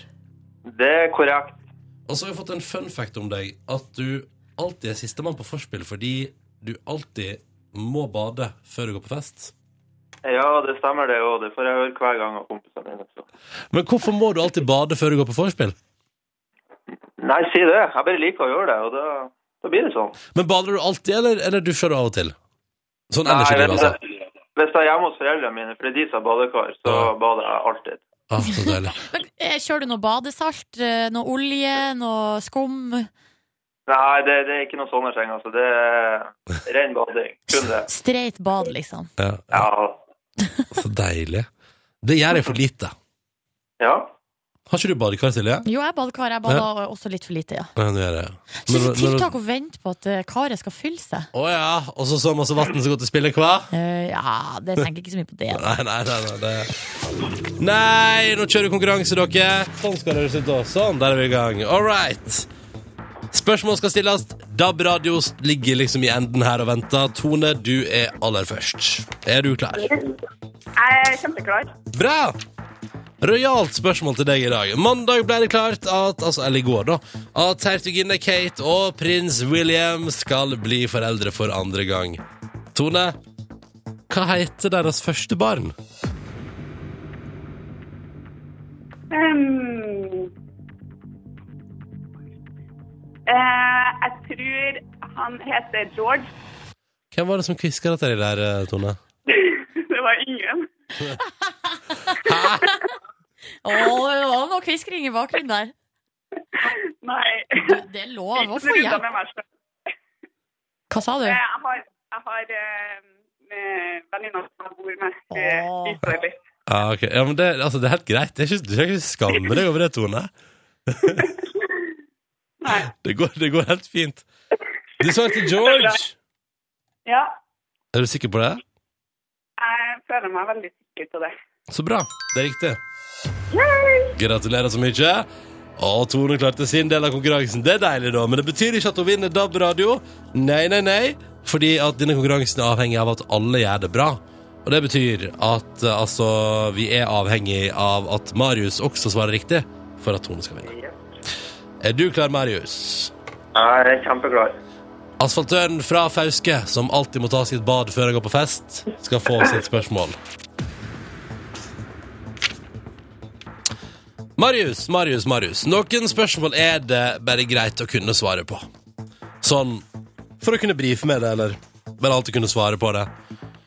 S9: Det er korrekt.
S2: Og så har vi fått en fun fact om deg, at du alltid er sistemann på forspill fordi du alltid må bade før du går på fest.
S9: Ja, det stemmer det òg. Det får jeg høre hver gang av kompisene mine. Så.
S2: Men hvorfor må du alltid bade før du går på forspill?
S9: Nei, si det. Jeg bare liker å gjøre det, og da, da blir det sånn.
S2: Men bader du alltid, eller, eller dusjer du av og til? Sånn
S9: Nei,
S2: ellers i livet,
S9: hvis
S2: altså.
S9: jeg, hvis jeg er hjemme hos foreldrene mine, for det er de som har badekar, så
S2: Ja.
S9: bader jeg alltid.
S2: Ah, så deilig.
S3: Men, eh, Kjører du noe badesalt, eh, noe olje, noe skum?
S9: Nei, det, det er ikke noen sånne ting, altså. Det er ren bading. Kun det.
S3: Streit bad, liksom.
S2: Ja, ja,
S9: Ja.
S2: så deilig. Det gjør jeg for lite.
S9: ja.
S2: Har ikke du badekar, Silje?
S3: Jo, jeg badekar. Jeg bada også litt for lite, ja.
S2: Ja, det gjør jeg.
S3: Så det
S2: Men-
S3: er tiltak å vente på at eh, karet skal fylle seg.
S2: Å ja, og så så masse vann som går til spille, hva?
S3: Eh, ja, det tenker jeg ikke så mye på det.
S2: Nei, nei, nei, nei, det... nei nå kjører vi konkurranse, dere. Sånn skal det høres ut også. Sånn, der er vi i gang. All right. Spørsmål skal stilles. DAB-radio ligger liksom i enden her og venter. Tone, du er aller først. Er du klar?
S8: Jeg er kjempeklar.
S2: Bra! Rojalt spørsmål til deg i dag. Mandag ble det klart at altså, eller i går da, at hertuginne Kate og prins William skal bli foreldre for andre gang. Tone, hva heter deres første barn?
S8: Ehm, eh, jeg tror han heter George.
S2: Hvem var det som kviska dette der, eh, Tone?
S8: Det var ingen.
S3: Å, det var noe kviskring i bakgrunnen der.
S8: Nei.
S3: Det er lov å
S8: Ikke
S3: få
S8: noe
S3: hjelp.
S8: med meg selv.
S3: Hva sa du?
S8: Eh, Jeg har, jeg har eh, med venninna som jeg bor med. eh,
S3: Åh.
S8: i Israel.
S2: Ja, ok. ja, men det, altså, det er helt greit. Det er ikke, du skal ikke skamme deg over det, Tone.
S8: Nei.
S2: Det går, det går helt fint. Du svarte George.
S8: Ja,
S2: Er du sikker på det?
S8: jeg føler meg veldig sikker på det.
S2: Så bra. Det er riktig. Gratulerer så mye. Og Tone klarte sin del av konkurransen. Det er deilig, da. Men det betyr ikke at hun vinner DAB-radio. Nei, nei, nei. Fordi at denne konkurransen er avhengig av at alle gjør det bra. Og det betyr at eh, altså, vi er avhengig av at Marius også svarer riktig for at Tone skal vinne. Er du klar, Marius?
S9: Jeg er kjempeklar.
S2: Asfaltøren fra Fauske, som alltid må ta sitt bad før han går på fest, skal få sitt spørsmål. Marius, Marius, Marius. Noen spørsmål er det bare greit å kunne svare på. Sånn for å kunne brife med det, eller bare alltid kunne svare på det.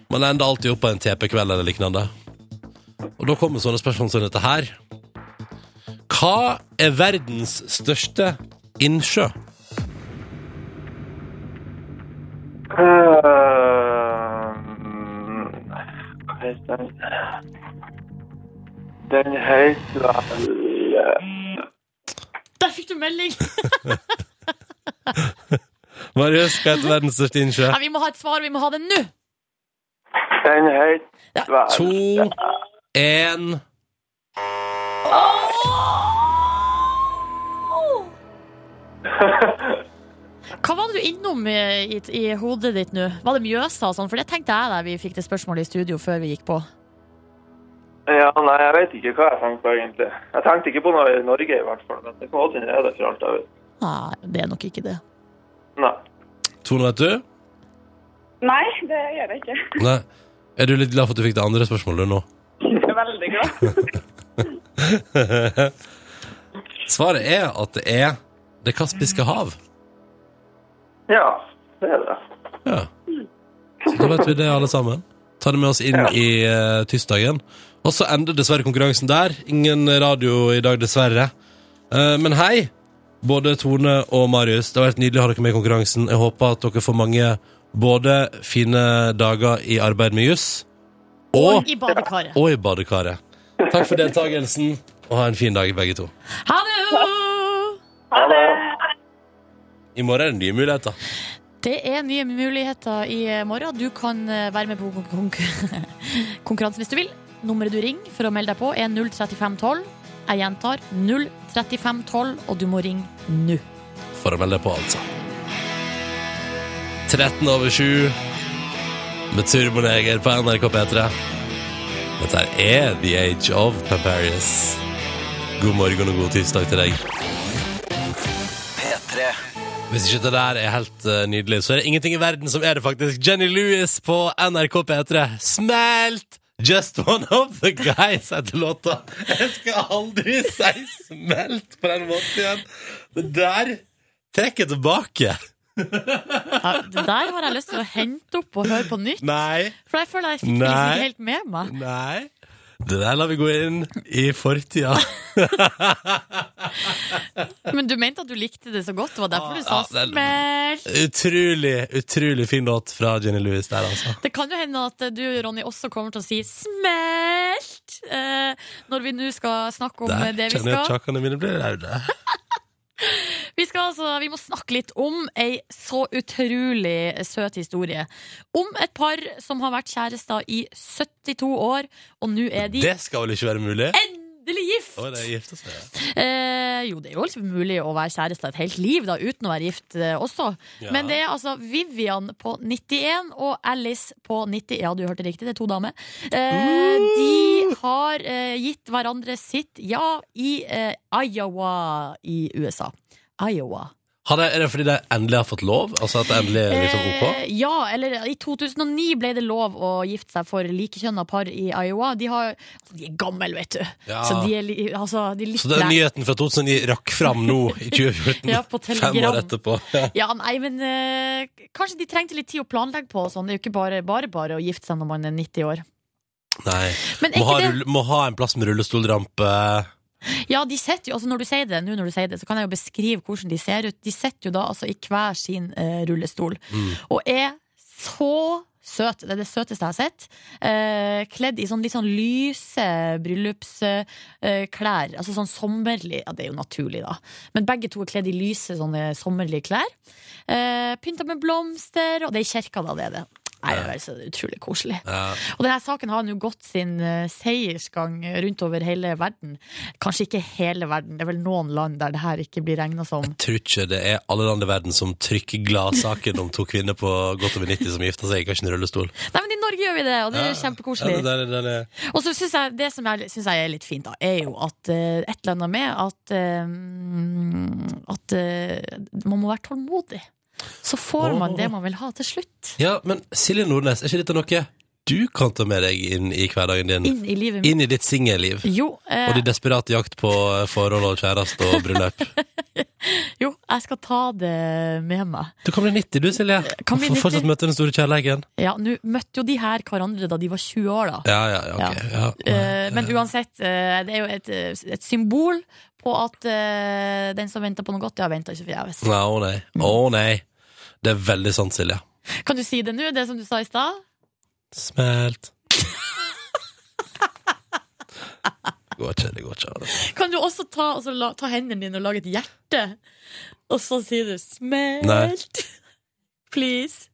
S2: Man ender alltid opp på en TP-kveld eller lignende. Og da kommer sånne spørsmål som dette her. Hva er verdens største innsjø?
S9: Eh, Hva heter den? Den heter vel eh,
S3: Der fikk du melding!
S2: Marius, hva heter verdens største innsjø?
S3: Nei, vi må ha et svar, vi må ha det nå!
S9: Den heter vel
S2: To, én
S3: Hva var det du innom i, i, i hodet ditt nå? Var det Mjøsa og sånn? For det tenkte jeg da vi fikk det spørsmålet i studio før vi gikk på.
S9: Ja, nei, jeg vet ikke hva jeg tenkte på egentlig. Jeg tenkte ikke på noe i Norge i hvert fall, men det kan godt hende det er det for alt jeg vet.
S3: Nei, det er nok ikke det.
S9: Nei.
S2: Tone, vet du?
S8: Nei, det gjør jeg ikke.
S2: Nei. Er du litt glad for at du fikk det andre spørsmålet nå?
S8: Jeg er veldig glad.
S2: Svaret er at det er Det kaspiske hav.
S9: Ja, det er det.
S2: Ja. Så da vet vi det, alle sammen. Ta det med oss inn i eh, tirsdagen. Og så ender dessverre konkurransen der. Ingen radio i dag, dessverre. Eh, men hei, både Tone og Marius. Det har vært nydelig å ha dere med i konkurransen. Jeg håper at dere får mange både fine dager i arbeid med juss og,
S3: I badekaret.
S2: og i badekaret. Takk for deltakelsen, og ha en fin dag, begge to.
S3: Ha det!
S8: Ha det!
S2: I morgen er det nye muligheter.
S3: Det er nye muligheter i morgen. Du kan eh, være med på kon- kon- konkurransen hvis du vil. Nummeret du ringer for å melde deg på, er 03512. Jeg gjentar 03512, og du må ringe nå.
S2: for å melde deg på, altså. 13 over 7 med Turboneger på NRK P3. Dette her er The Age of Paparius. God morgen og god tirsdag til deg.
S6: P3.
S2: Hvis ikke det der er helt eh, nydelig, så er det ingenting i verden som er det, faktisk. Jenny Lewis på NRK P3. Smelt! Just one of the guys heter låta. Jeg skal aldri si smelt på den måten igjen. Det der trekker jeg tilbake.
S3: Ja, det der har jeg lyst til å hente opp og høre på nytt.
S2: Nei.
S3: For jeg føler jeg fikk liksom
S2: Nei.
S3: ikke helt med meg.
S2: Nei. Det der lar vi gå inn i fortida.
S3: Men du mente at du likte det så godt. Det var derfor du sa
S2: Ja, Ah, det er-
S3: smelt.
S2: Utrolig, utrolig fin låt fra Jenny Lewis der, altså.
S3: Det kan jo hende at du, Ronny, også kommer til å si smelt eh, når vi nå skal snakke om
S2: Der
S3: det vi
S2: kjenner jeg at
S3: skal.
S2: kjakkene mine blir raude.
S3: Vi, skal altså, vi må snakke litt om ei så utrolig søt historie. Om et par som har vært kjærester i 72 år, og nå er de
S2: Det skal vel ikke være mulig?
S3: endelig gift!
S2: Å, det er altså, gifte seg.
S3: Eh, jo, det er jo liksom mulig å være kjæreste et helt liv da, uten å være gift eh, også.
S2: Ja.
S3: Men det er altså Vivian på 91 og Alice på 90. Ja, du hørte riktig, det er to damer. Eh,
S2: Mm.
S3: de har eh, gitt hverandre sitt ja i eh, Iowa i USA. Iowa.
S2: Har det, er det fordi de endelig har fått lov? Altså at det endelig er liksom OK?
S3: Eh, ja, eller i 2009 ble det lov å gifte seg for likekjønna par i Iowa. De, har, altså, de er gamle, vet du.
S2: Ja.
S3: Så de er, li- altså, de er litt
S2: Så den
S3: lei-
S2: nyheten fra 2009 rakk fram nå, i 2014.
S3: Ja, på
S2: Fem år
S3: telegram.
S2: etterpå. Ja.
S3: Ja, nei, men eh, kanskje de trengte litt tid å planlegge på og sånn. Det er jo ikke bare bare, bare å gifte seg når man er 90 år.
S2: Nei.
S3: Men er
S2: Må ha,
S3: ikke det
S2: rull, må ha en plass med rullestolrampe.
S3: Ja, de sitter jo, altså når du sier det, nå når du sier det, så kan jeg jo beskrive hvordan de ser ut. De sitter jo da altså i hver sin eh, rullestol
S2: Mm.
S3: og er så søte. Det er det søteste jeg har sett. Eh, kledd i sånn litt sånn lyse bryllupsklær. Eh, klær. altså sånn sommerlig Ja, det er jo naturlig, da. Men begge to er kledd i lyse sånne sommerlige klær. Eh, Pynta med blomster, og det er i kirka, da, det er det. Nei, det er så utrolig koselig.
S2: Ja.
S3: Og denne saken har nå gått sin eh, seiersgang rundt over hele verden. Kanskje ikke hele verden, det er vel noen land der det her ikke blir regna som.
S2: tror ikke det er alle land i verden som trykker gladsaken om to kvinner på godt over 90 som gifter seg i kanskje en rullestol.
S3: Nei, men i Norge gjør vi det, og det er kjempekoselig.
S2: Ja, det der- det der er-
S3: Og så synes jeg det som jeg synes jeg er litt fint, da, er jo at eh, et eller annet med at eh, At eh, man må være tålmodig. Så får man det man vil ha til slutt.
S2: ja, men Silje Nordnes, er ikke dette noe du kan ta med deg inn i hverdagen din?
S3: Inn i livet mitt.
S2: Inn i ditt singelliv?
S3: Jo, eh,
S2: Og din desperate jakt på forhold og kjæreste og bryllup.
S3: jo, jeg skal ta det med meg.
S2: Du kan bli 90 du, Silje.
S3: Kan bli
S2: Og får
S3: 90.
S2: fortsatt møte den store kærleiken.
S3: Ja, Nå møtte jo de her hverandre da de var 20 år, da.
S2: Ja, ja, ja, ok. Ja.
S3: Eh, men uansett, eh, det er jo et, eh, et symbol på at eh, den som venter på noe godt, ja, venter ikke forgjeves.
S2: Nei, å nei. Å nei. Det er veldig sant, Silje.
S3: Kan du si det nå, det som du sa i stad?
S2: Smelt. Det går ikke, det går ikke. altså.
S3: Kan du også ta, altså, la, ta hendene dine og lage et hjerte? Og så sier du 'smelt'.
S2: Nei.
S3: Please.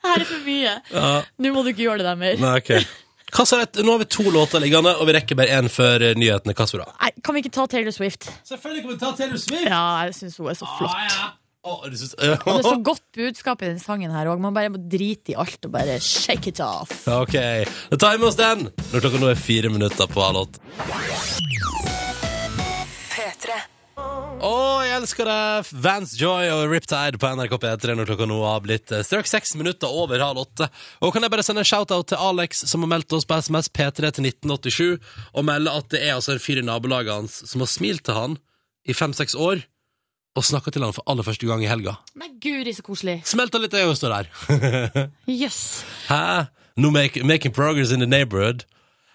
S3: Her er for mye.
S2: Ja.
S3: Nå må du ikke gjøre det der mer.
S2: Nei, ok Hva sa jeg? Nå har vi to låter liggende, og vi rekker bare én før eh, nyhetene. Hva sa du da?
S3: Nei, kan vi ikke ta Taylor Swift?
S2: Selvfølgelig kan vi ta Taylor Swift! Ah,
S3: Ja, jeg syns hun er så flott.
S2: du synes,
S3: Og det er så godt budskap i den sangen her òg. Man bare må drite i alt og bare shake it off.
S2: Ok, da tar vi med oss den når klokka nå er fire minutter på halv åtte. Å, jeg elsker det! Vans Joy og Riptide på NRK P3 når klokka nå har blitt eh, straks seks minutter over halv åtte. Og kan jeg bare sende en shout-out til Alex, som har meldt oss på SMS P3 til 1987, og melde at det er altså en fyr i nabolaget hans som har smilt til han i fem-seks år, og snakka til han for aller første gang i helga.
S3: Nei, guri, så koselig.
S2: Smelta litt, jeg òg, står der.
S3: Jøss. Yes.
S2: Hæ? No make, making progress in the neighborhood.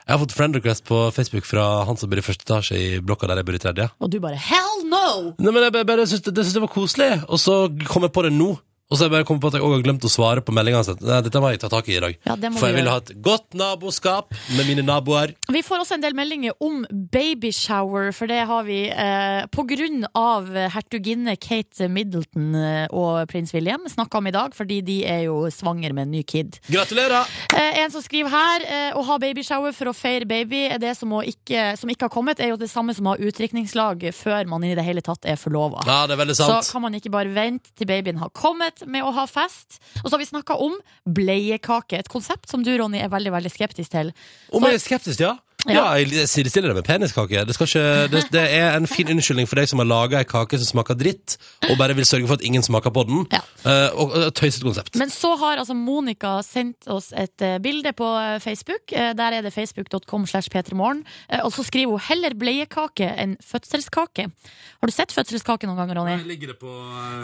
S2: Jeg har fått friend request på Facebook fra han som bor i første etasje i blokka der jeg bor i tredje.
S3: Og du bare 'hell no'! go!
S2: Nei, men jeg bare- bare synes det, det synes jeg var koselig, og så kom jeg på det nå. Og så har jeg bare kommet på at jeg også har glemt å svare på meldinga. Nei, dette må jeg ta tak i i dag.
S3: Ja, det må
S2: For
S3: vi
S2: jeg vil
S3: gjøre.
S2: ha et godt naboskap med mine naboer.
S3: Vi får også en del meldinger om babyshower, for det har vi eh, på grunn av hertuginne Kate Middleton eh, og prins William snakka om i dag, fordi de er jo svanger med en ny kid.
S2: Gratulerer!
S3: Eh, en som skriver her eh, Å ha babyshower for å feire baby er det som, må ikke, som ikke har kommet, er jo det samme som å ha utdrikningslag før man i det hele tatt er forlova.
S2: Ja, det er veldig sant.
S3: Så kan man ikke bare vente til babyen har kommet med å ha fest. Og så har vi snakka om bleiekake, et konsept som du, Ronny, er veldig veldig skeptisk til.
S2: Om jeg er skeptisk, ja? Ja,
S3: Ja.
S2: jeg sidestiller det med peniskake. Det, skal ikke, det, det er en fin unnskyldning for deg som har laga ei kake som smaker dritt, og bare vil sørge for at ingen smaker på den.
S3: Ja.
S2: Eh, og, og tøyset konsept.
S3: Men så har altså Monica sendt oss et eh, bilde på eh, Facebook. Eh, Der er det facebook.com slash p3morgen. Eh, Og så skriver hun heller bleiekake enn fødselskake. Har du sett fødselskake noen gang, Ronny?
S2: ligger det på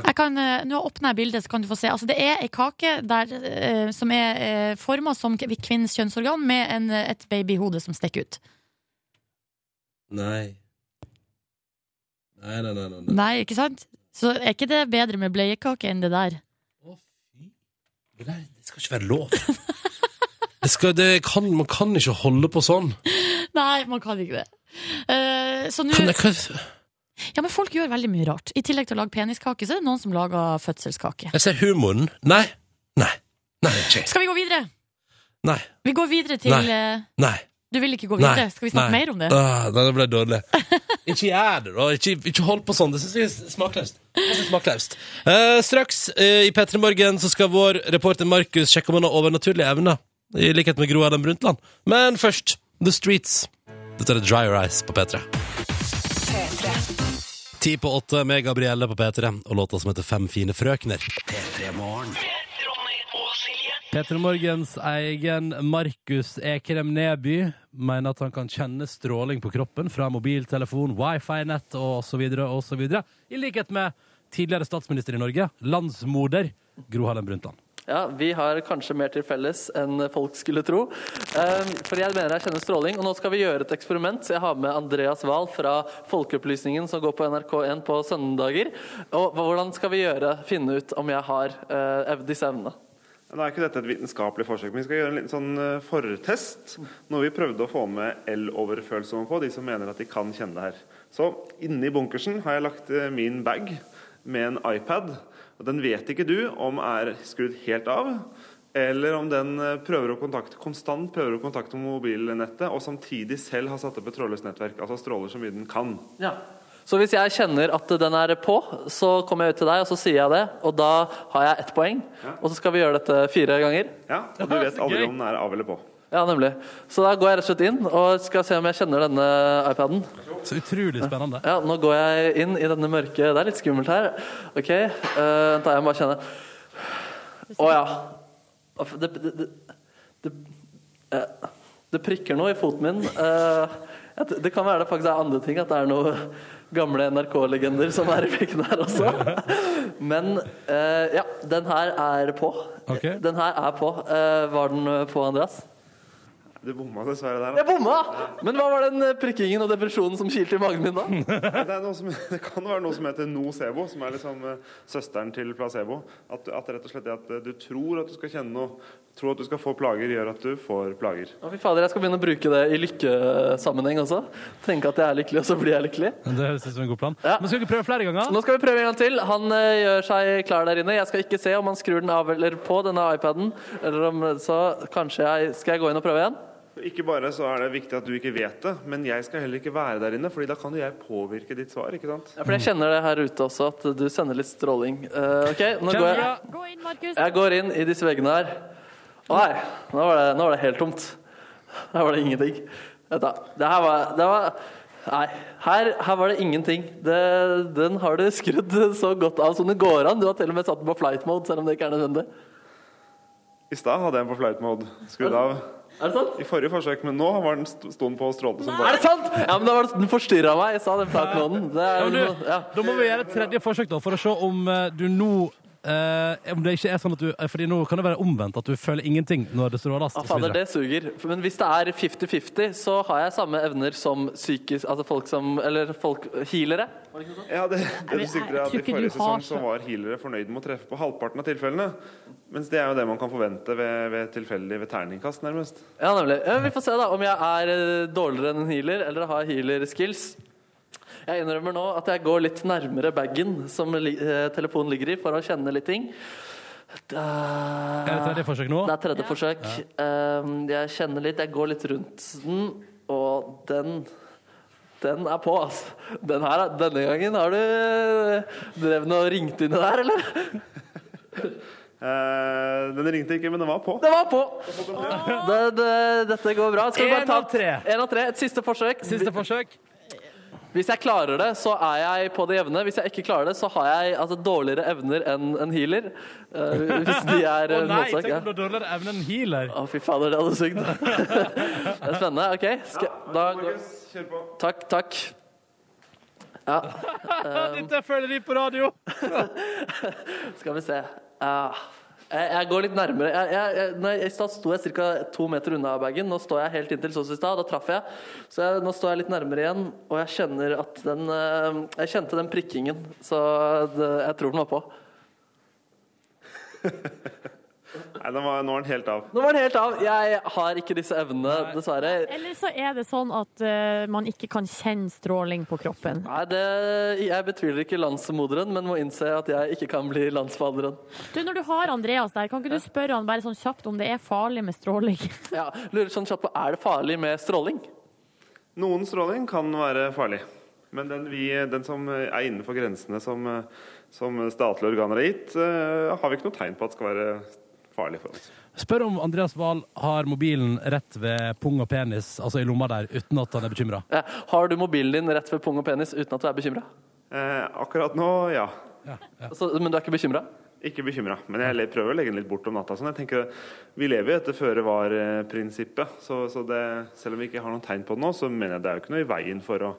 S3: Jeg kan, eh, nå åpner jeg bildet, så kan du få se. Altså, det er ei kake der, eh, som er eh, forma som kvinnens kjønnsorgan, med en, eh, et babyhode som stikker ut.
S2: Nei. Nei, nei, nei. nei, nei.
S3: Nei, ikke sant? Så er ikke det bedre med bleiekake enn det der?
S2: Å, fy. Det, der, det skal ikke være lov. Det skal, det kan, man kan ikke holde på sånn.
S3: Nei, man kan ikke det. Eh, så nå
S2: Kan jeg, kan,
S3: Ja, men folk gjør veldig mye rart. I tillegg til å lage peniskake, så er det noen som lager fødselskake.
S2: jeg ser humoren. Nei. Nei. Nei. Nei.
S3: Skal vi gå videre?
S2: Nei.
S3: Vi går videre til
S2: Nei.
S3: eh,
S2: nei.
S3: Du vil ikke gå videre? Skal vi snakke
S2: nei.
S3: mer om det?
S2: Ah, nei, det ble dårlig. ikke gjør det, da. Ikke, ikke hold på sånn. Det syns jeg er smakløst. Det synes jeg er smakløst. Eh, straks eh, i P3 Morgen så skal vår reporter Markus sjekke om han har overnaturlige evner, i likhet med Gro Adam Brundtland. Men først The Streets. Dette er Dry Rice på P3. Ti på åtte med Gabrielle på P3 og låta som heter Fem fine frøkner. Petter Morgens egen Markus Ekrem Neby mener at han kan kjenne stråling på kroppen fra mobiltelefon, wifi-nett og så videre og så videre. I likhet med tidligere statsminister i Norge, landsmoder Gro Harlem Brundtland.
S5: Ja, Vi har kanskje mer til felles enn folk skulle tro. Eh, For jeg mener jeg kjenner stråling. Og nå skal vi gjøre et eksperiment. Så jeg har med Andreas Wahl fra Folkeopplysningen som går på NRK1 på søndager. Og hva- hvordan skal vi gjøre, finne ut om jeg har eh, ev- disse evnene?
S10: Nå er ikke dette et vitenskapelig forsøk, men vi skal gjøre en liten sånn eh, fortest. Noe vi prøvde å få med el-overfølsomme på, de som mener at de kan kjenne det her. Så inni bunkersen har jeg lagt eh, min bag med en iPad. Og den vet ikke du om er skrudd helt av, eller om den eh, prøver å kontakte, konstant prøver å kontakte mobilnettet, og samtidig selv har satt opp et trådløst nettverk. Altså stråler så mye den kan.
S5: Ja. Så hvis jeg kjenner at den er på, så kommer jeg ut til deg og så sier jeg det. Og da har jeg ett poeng. Og så skal vi gjøre dette fire ganger.
S10: Ja, Og du vet aldri om den er av eller på.
S5: Ja, nemlig. Så da går jeg rett og slett inn og skal se om jeg kjenner denne iPaden.
S2: Så utrolig spennende.
S5: Ja, nå går jeg inn i denne mørke Det er litt skummelt her. OK, eh, vent da, jeg må bare kjenne. Å ja. Aff, Det, det, det, det, eh, det prikker noe i foten min. Eh, jeg t- det kan være det faktisk er andre ting, at det er noen gamle NRK-legender som er i pikken her også. Men eh, ja, den her er på.
S2: Ok.
S5: Den her er på. Eh, var den eh, på, Andreas?
S10: Du bomma dessverre der. da.
S5: Jeg bomma! Men hva var den eh, prikkingen og depresjonen som kilte i magen min da?
S10: Det, er noe som, det kan være noe som heter nocebo, som er liksom eh, søsteren til placebo. At, du- at det rett og slett er at eh, du tror at du skal kjenne noe, tror at du skal få plager, gjør at du får plager.
S5: Å, fy fader, jeg skal begynne å bruke det i lykkesammenheng også. Tenke at jeg er lykkelig, og så blir jeg lykkelig.
S2: Det høres ut som en god plan.
S5: Ja.
S2: Men skal vi ikke prøve flere ganger?
S5: Nå skal vi prøve en gang til. Han eh, gjør seg klar der inne. Jeg skal ikke se om han skrur den av eller på denne iPaden. Eller om, så kanskje jeg Skal jeg gå inn og prøve igjen?
S10: Ikke bare så er det viktig at du ikke vet det, men jeg skal heller ikke være der inne, Fordi da kan jo jeg påvirke ditt svar, ikke sant?
S5: Ja, for jeg kjenner det her ute også, at du sender litt stråling. Eh, OK, nå går jeg
S3: Gå inn, Markus.
S5: Jeg går inn i disse veggene her. Å nei, nå var det, nå var det helt tomt. Her var det ingenting. Vet du, det her var, det var Nei, her, her var det ingenting. Det, den har du skrudd så godt av som det går an. Du har til og med satt den på flight mode, selv om det ikke er nødvendig.
S10: I stad hadde jeg en på flight mode skrudd av
S5: Er det sant?
S10: i forrige forsøk, men nå var den st- sto den på og strålte som
S5: Er
S10: bare
S5: det sant? Ja, men da var det, Den forstyrra meg, sa den flight moden. Det
S2: Ja,
S5: er,
S2: men du,
S5: ja.
S2: Da må vi gjøre et tredje forsøk da, for å se om eh, du nå eh, om det ikke er sånn at du eh, Fordi nå kan det være omvendt, at du føler ingenting når det stråles.
S5: Ja,
S2: og så
S5: fader,
S2: videre.
S5: det suger. Men hvis det er 50-50, så har jeg samme evner som psykisk Altså folk som Eller folk healere.
S10: Ja, det, det du
S3: men
S10: sikter
S3: jeg
S10: er at
S3: tror
S10: I
S3: ikke
S10: forrige
S3: du har
S10: sesong så
S3: så-
S10: var healere fornøyd med å treffe på halvparten av tilfellene. Mens det er jo det man kan forvente ved, ved tilfeldig ved terningkast, nærmest.
S5: Ja, nemlig. Ja, vi får se da om jeg er eh, dårligere enn en healer, eller har healer skills. Jeg innrømmer nå at jeg går litt nærmere bagen som li eh, telefonen ligger i, for å kjenne litt ting. Da-
S2: Er det tredje forsøk nå?
S5: Det er tredje forsøk. Ehm, jeg kjenner litt, jeg går litt rundt den, og den den er på, altså. Den her, er- denne gangen har du drevet og ringt inni der, eller?
S10: Eh, den ringte ikke, men den var på.
S5: Den var på! Det, det, dette går bra. Skal vi bare
S2: En
S5: ta
S2: av tre.
S5: En av tre. Et siste forsøk.
S2: Siste forsøk.
S5: Hvis jeg klarer det, så er jeg på det jevne. Hvis jeg ikke klarer det, så har jeg altså, dårligere evner enn en healer. Eh, hvis de er
S2: Å
S5: eh,
S2: nei,
S5: motsatt,
S2: tenk
S5: ja.
S2: om du har dårligere evne enn healer.
S5: Å, fy fader, det hadde sugd. det er spennende. OK. Skal, da, går-
S10: Markus, kjør på.
S5: takk, takk. Um,
S2: Dette føler de på radio.
S5: Skal vi se. Ja. jeg, jeg går litt nærmere. Jeg, jeg, jeg, når jeg, I stad sto jeg ca. to meter unna bagen. Nå står jeg helt inntil sånn som i stad. Da traff jeg. Så jeg, nå står jeg litt nærmere igjen, og jeg kjenner at den eh, Jeg kjente den prikkingen, så det, jeg tror den var på.
S10: Nei, den var, nå er den helt av.
S5: Nå var den helt av. Jeg har ikke disse evnene, dessverre.
S11: Eller så er det sånn at eh, man ikke kan kjenne stråling på kroppen.
S5: Nei, det, Jeg betviler ikke landsmoderen, men må innse at jeg ikke kan bli landsfaderen.
S11: Du, når du har Andreas der, kan ikke du spørre han bare sånn kjapt om det er farlig med stråling?
S5: Ja, lurer sånn kjapt på, Er det farlig med stråling?
S10: Noen stråling kan være farlig. Men den, vi, den som er innenfor grensene som, som statlige organer har gitt, eh, har vi ikke noe tegn på at skal være farlig for oss.
S2: Spør om Andreas Wahl har mobilen rett ved pung og penis, altså i lomma der, uten at han er bekymra.
S5: Ja, har du mobilen din rett ved pung og penis uten at du er bekymra?
S10: Eh, akkurat nå, ja.
S5: Men du er ikke bekymra?
S10: Ikke bekymra. Men jeg le- prøver å legge den litt bort om natta. Sånn. Jeg tenker, Vi lever jo etter føre-var-prinsippet. Så, så det, selv om vi ikke har noen tegn på det nå, så mener jeg det er jo ikke noe i veien for å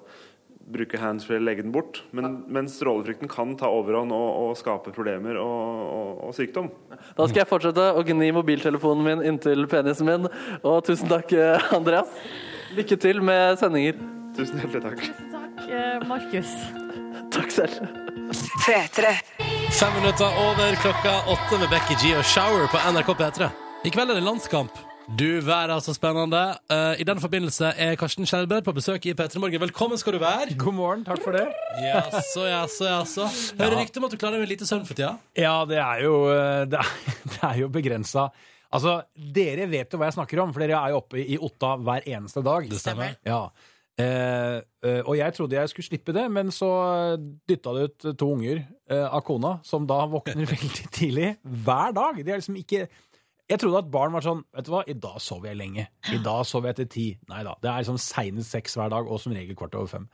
S10: bruke handsfree eller legge den bort. Men, men strålefrykten kan ta overhånd og, og skape problemer og, og, og sykdom.
S5: Da skal jeg fortsette å gni mobiltelefonen min inntil penisen min. Og tusen takk, eh, Andreas. Lykke til med sendinger.
S10: Tusen hjertelig takk.
S11: Takk, Eh, Markus.
S5: Takk selv.
S12: P3.
S2: Fem minutter over klokka åtte med Becky G og Shower på NRK P3. I kveld er det landskamp. Du verden, så spennende. Eh, I den forbindelse er Karsten Skjelbred på besøk i P3 Morgen. Velkommen skal du være.
S13: God morgen, takk for det.
S2: Jaså, jaså, jaså. Hører rykte om at du klarer deg med lite søvn for tida.
S13: Ja, det er jo, eh, det er, det er jo begrensa. Altså, dere vet jo hva jeg snakker om, for dere er jo oppe i Otta hver eneste dag.
S2: Det stemmer.
S13: Ja. Eh, eh, og jeg trodde jeg skulle slippe det, men så dytta det ut to unger eh, av kona, som da våkner veldig tidlig hver dag. De er liksom ikke Jeg trodde at barn var sånn Vet du hva, i dag sover jeg lenge. I dag sover jeg til ti. Nei da. Det er liksom seinest seks hver dag, og som regel kvart over fem.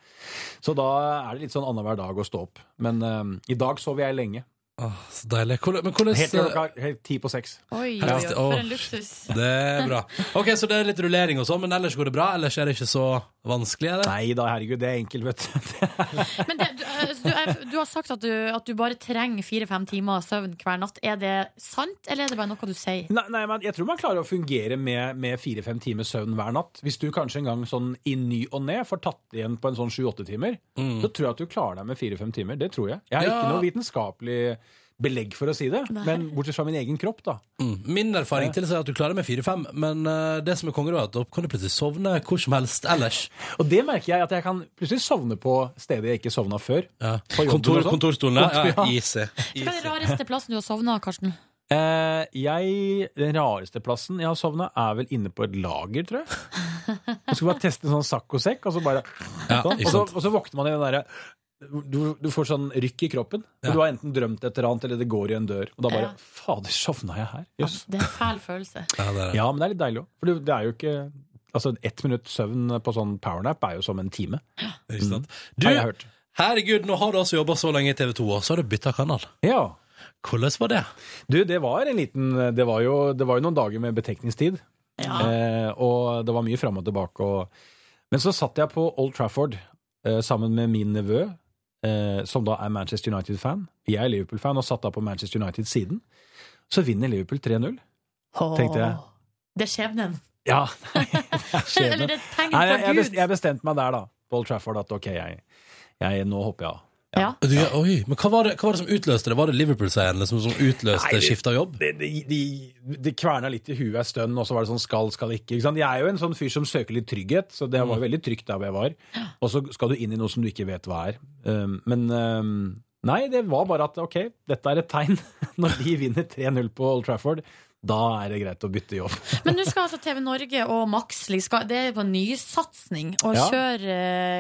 S13: Så da er det litt sånn annenhver dag å stå opp. Men eh, i dag sover jeg lenge.
S2: Åh, så deilig. Hvordan- Men hvordan
S13: Helt til klokka helt ti på seks.
S3: Oi, oi,
S2: Ja.
S3: oi, for en luksus.
S2: Det er bra. Ok, Så det er litt rullering og sånn, men ellers går det bra? Ellers er det ikke så vanskelig? Er det?
S13: Nei da, herregud, det er enkelt, vet du.
S3: Men det, du, altså, du, er- du har sagt at du, at du bare trenger fire-fem timer søvn hver natt. Er det sant, eller er det bare noe du sier?
S13: Nei, nei, men jeg tror man klarer å fungere med, med fire-fem timers søvn hver natt. Hvis du kanskje en gang sånn i ny og ne får tatt igjen på en sånn sju-åtte timer, så tror jeg at du klarer deg med fire-fem timer. Det tror jeg. Jeg har
S2: Mm. Ja.
S13: ikke noe vitenskapelig belegg for å si det, men bortsett fra min egen kropp, da.
S2: Mm. Min erfaring tilsier at du klarer med fire-fem, men eh, det som er kongen, er at da kan du plutselig sovne hvor som helst ellers.
S13: Og det merker jeg at jeg kan plutselig sovne på steder jeg ikke sovna før. På jobben
S2: Kontor,
S13: og sånn.
S2: kontorstolene. Ja,
S13: Kontor- ja.
S2: easy.
S3: Hva er den rareste plassen du har sovna, Karsten?
S13: Eh, jeg, den rareste plassen jeg har sovna, er vel inne på et lager, tror jeg. Jeg skulle bare teste en sånn saccosekk, og så bare
S2: Ja,
S13: sånn.
S2: ikke
S13: og, så,
S2: sant.
S13: og så våkner man i den derre du, du får sånn rykk i kroppen. For Du har enten drømt et eller annet, eller det går i en dør. Og da bare
S3: Ja.
S13: Fader, sovna jeg her? Jøss.
S3: Det er en fæl følelse.
S2: Ja, det er det.
S13: Ja, men det er litt deilig òg. For det- det er jo ikke Altså, ett minutt søvn på sånn powernap er jo som en time.
S2: Ikke sant?
S13: Har jeg hørt.
S2: Du, herregud, nå har du altså jobba så lenge i TV 2, og så har du bytta kanal.
S13: Ja.
S2: Hvordan var det?
S13: Du, det var en liten Det var jo, det var jo noen dager med betekningstid. Eh, og det var mye fram og tilbake. Og... Men så satt jeg på Old Trafford eh, sammen med min nevø eh, som da er Manchester United-fan, jeg er Liverpool-fan og satt da på Manchester United-siden, så vinner Liverpool 3-0. Tenkte jeg.
S3: Det er skjebnen.
S13: Ja, nei, det er skjebne.
S3: Eller det er et tegn
S13: Nei,
S3: fra
S13: jeg, jeg,
S3: Gud.
S13: best, jeg bestemte meg der, da, på Old Trafford, at ok, jeg, jeg, nå hopper jeg av.
S3: Ja.
S2: Du, ja, oi, men hva var, det, hva var det som utløste det? Var det Liverpool-seieren liksom, som utløste
S13: Nei, det-
S2: skiftet av jobb?
S13: Det, det, de, det kverna litt i huet en stund, og så var det sånn skal, skal ikke. ikke sant? Jeg er jo en sånn fyr som søker litt trygghet, så det var veldig trygt der hvor jeg var. Og så skal du inn i noe som du ikke vet hva er. Um, men um, nei, det var bare at ok, dette er et tegn. Når de vinner 3-0 på Old Trafford, da er det greit å bytte jobb.
S3: Men nå skal altså TV Norge og Max liksom skal- Det er på nysatsing å
S13: Ja.
S3: kjøre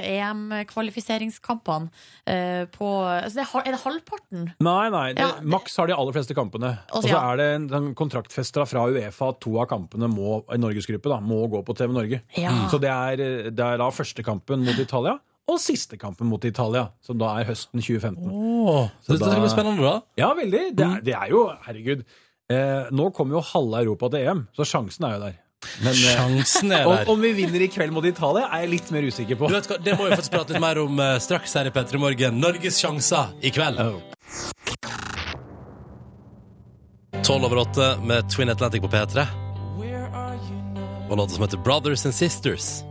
S3: eh, EM-kvalifiseringskampene eh, på altså det er, hal- Er det halvparten?
S13: Nei, nei. Det,
S3: Ja, det-
S13: Max har de aller fleste kampene.
S3: Og
S13: Og
S3: så
S13: så
S3: ja.
S13: er det en, en kontraktfesta fra Uefa at to av kampene må, i norgesgruppe da, må gå på TV Norge.
S3: Ja.
S13: Mm. Så det er, det er da første kampen mot Italia, og siste kampen mot Italia, som da er høsten 2015.
S2: Åh,
S13: Så
S2: det, det
S13: da-
S2: blir spennende, da. Mm.
S13: Ja, veldig. Det er, det er jo Herregud. Eh, nå kommer jo halve Europa til EM, så sjansen er jo der. Men, eh,
S2: Sjansen er
S13: om,
S2: der.
S13: om vi vinner i kveld mot Italia, er jeg litt mer usikker på.
S2: Du vet hva, Det må vi faktisk prate litt mer om eh, straks her i P3 Morgen. Norges sjanser i kveld.
S13: Oh.
S2: Tolv over åtte med Twin Atlantic på P3. Og låta som heter Brothers and Sisters.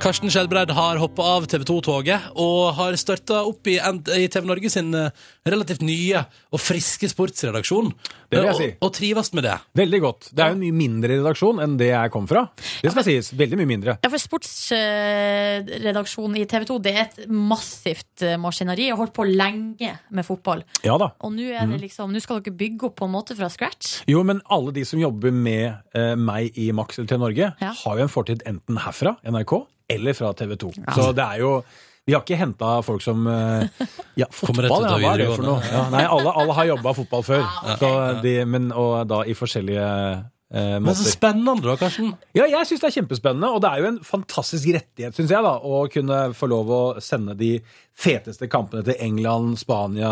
S2: Karsten Skjelbreid har hoppa av TV 2-toget og har starta opp i, en- i TV Norge sin eh, relativt nye og friske sportsredaksjon.
S13: Det vil jeg
S2: Eh,
S13: si.
S2: Og, og trives med det.
S13: Veldig godt. Det er jo en mye mindre redaksjon enn det jeg kom fra. Det skal sies. Veldig mye mindre.
S3: Ja, for sportsredaksjonen i TV 2 Det er et massivt eh, maskineri. Jeg har holdt på lenge med fotball.
S13: Ja da. Mhm.
S3: Og nå er det liksom Nå skal dere bygge opp på en måte fra scratch.
S13: Jo, men alle de som jobber med eh, meg i Max eller TV Norge,
S3: Ja.
S13: har jo en fortid enten herfra, NRK, eller fra TV 2. Så det er jo Vi har ikke henta folk som eh, Ja,
S2: rett
S13: fotball,
S2: ut
S13: ja,
S2: av
S13: hva er det for
S2: videregående.
S13: noe? Ja, nei, alle, alle har jobba fotball før, så de, men, og da i forskjellige eh,
S2: Men så
S13: måter.
S2: spennende, da, Karsten.
S13: Ja, jeg syns det er kjempespennende, og det er jo en fantastisk rettighet, syns jeg, da, å kunne få lov å sende de feteste kampene til England, Spania,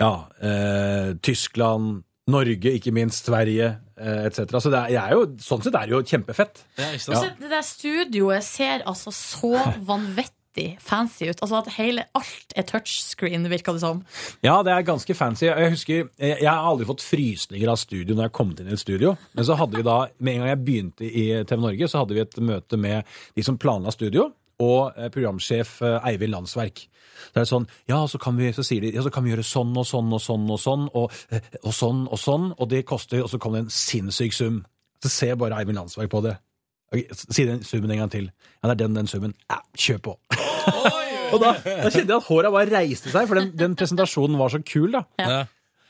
S13: ja, eh, Tyskland, Norge, ikke minst, Sverige eh, etc. Så det er, jeg er jo, sånn sett er det jo kjempefett.
S2: Ja, ikke
S3: Og så det der studioet ser altså så vanvittig fancy ut. Altså at hele, alt er touchscreen, virker det som.
S13: Ja, det er ganske fancy. Jeg husker, jeg, jeg har aldri fått frysninger av studio når jeg kom inn i et studio. Men så hadde vi da, med en gang jeg begynte i TV Norge, så hadde vi et møte med de som planla studio, og eh, programsjef eh, Eivind Landsverk. Så er det sånn, ja, så kan vi, så sier de, ja, så kan vi gjøre sånn og sånn og sånn og sånn, og, eh, og sånn og sånn, og det koster, og så kom det en sinnssyk sum. Så ser bare Eivind Landsverk på det. Ok, Si den summen en gang til. Ja, det er den, den summen. Ja, kjør på. Og da, da kjente jeg at håra bare reiste seg, for den, den presentasjonen var så kul, da.
S2: Ja.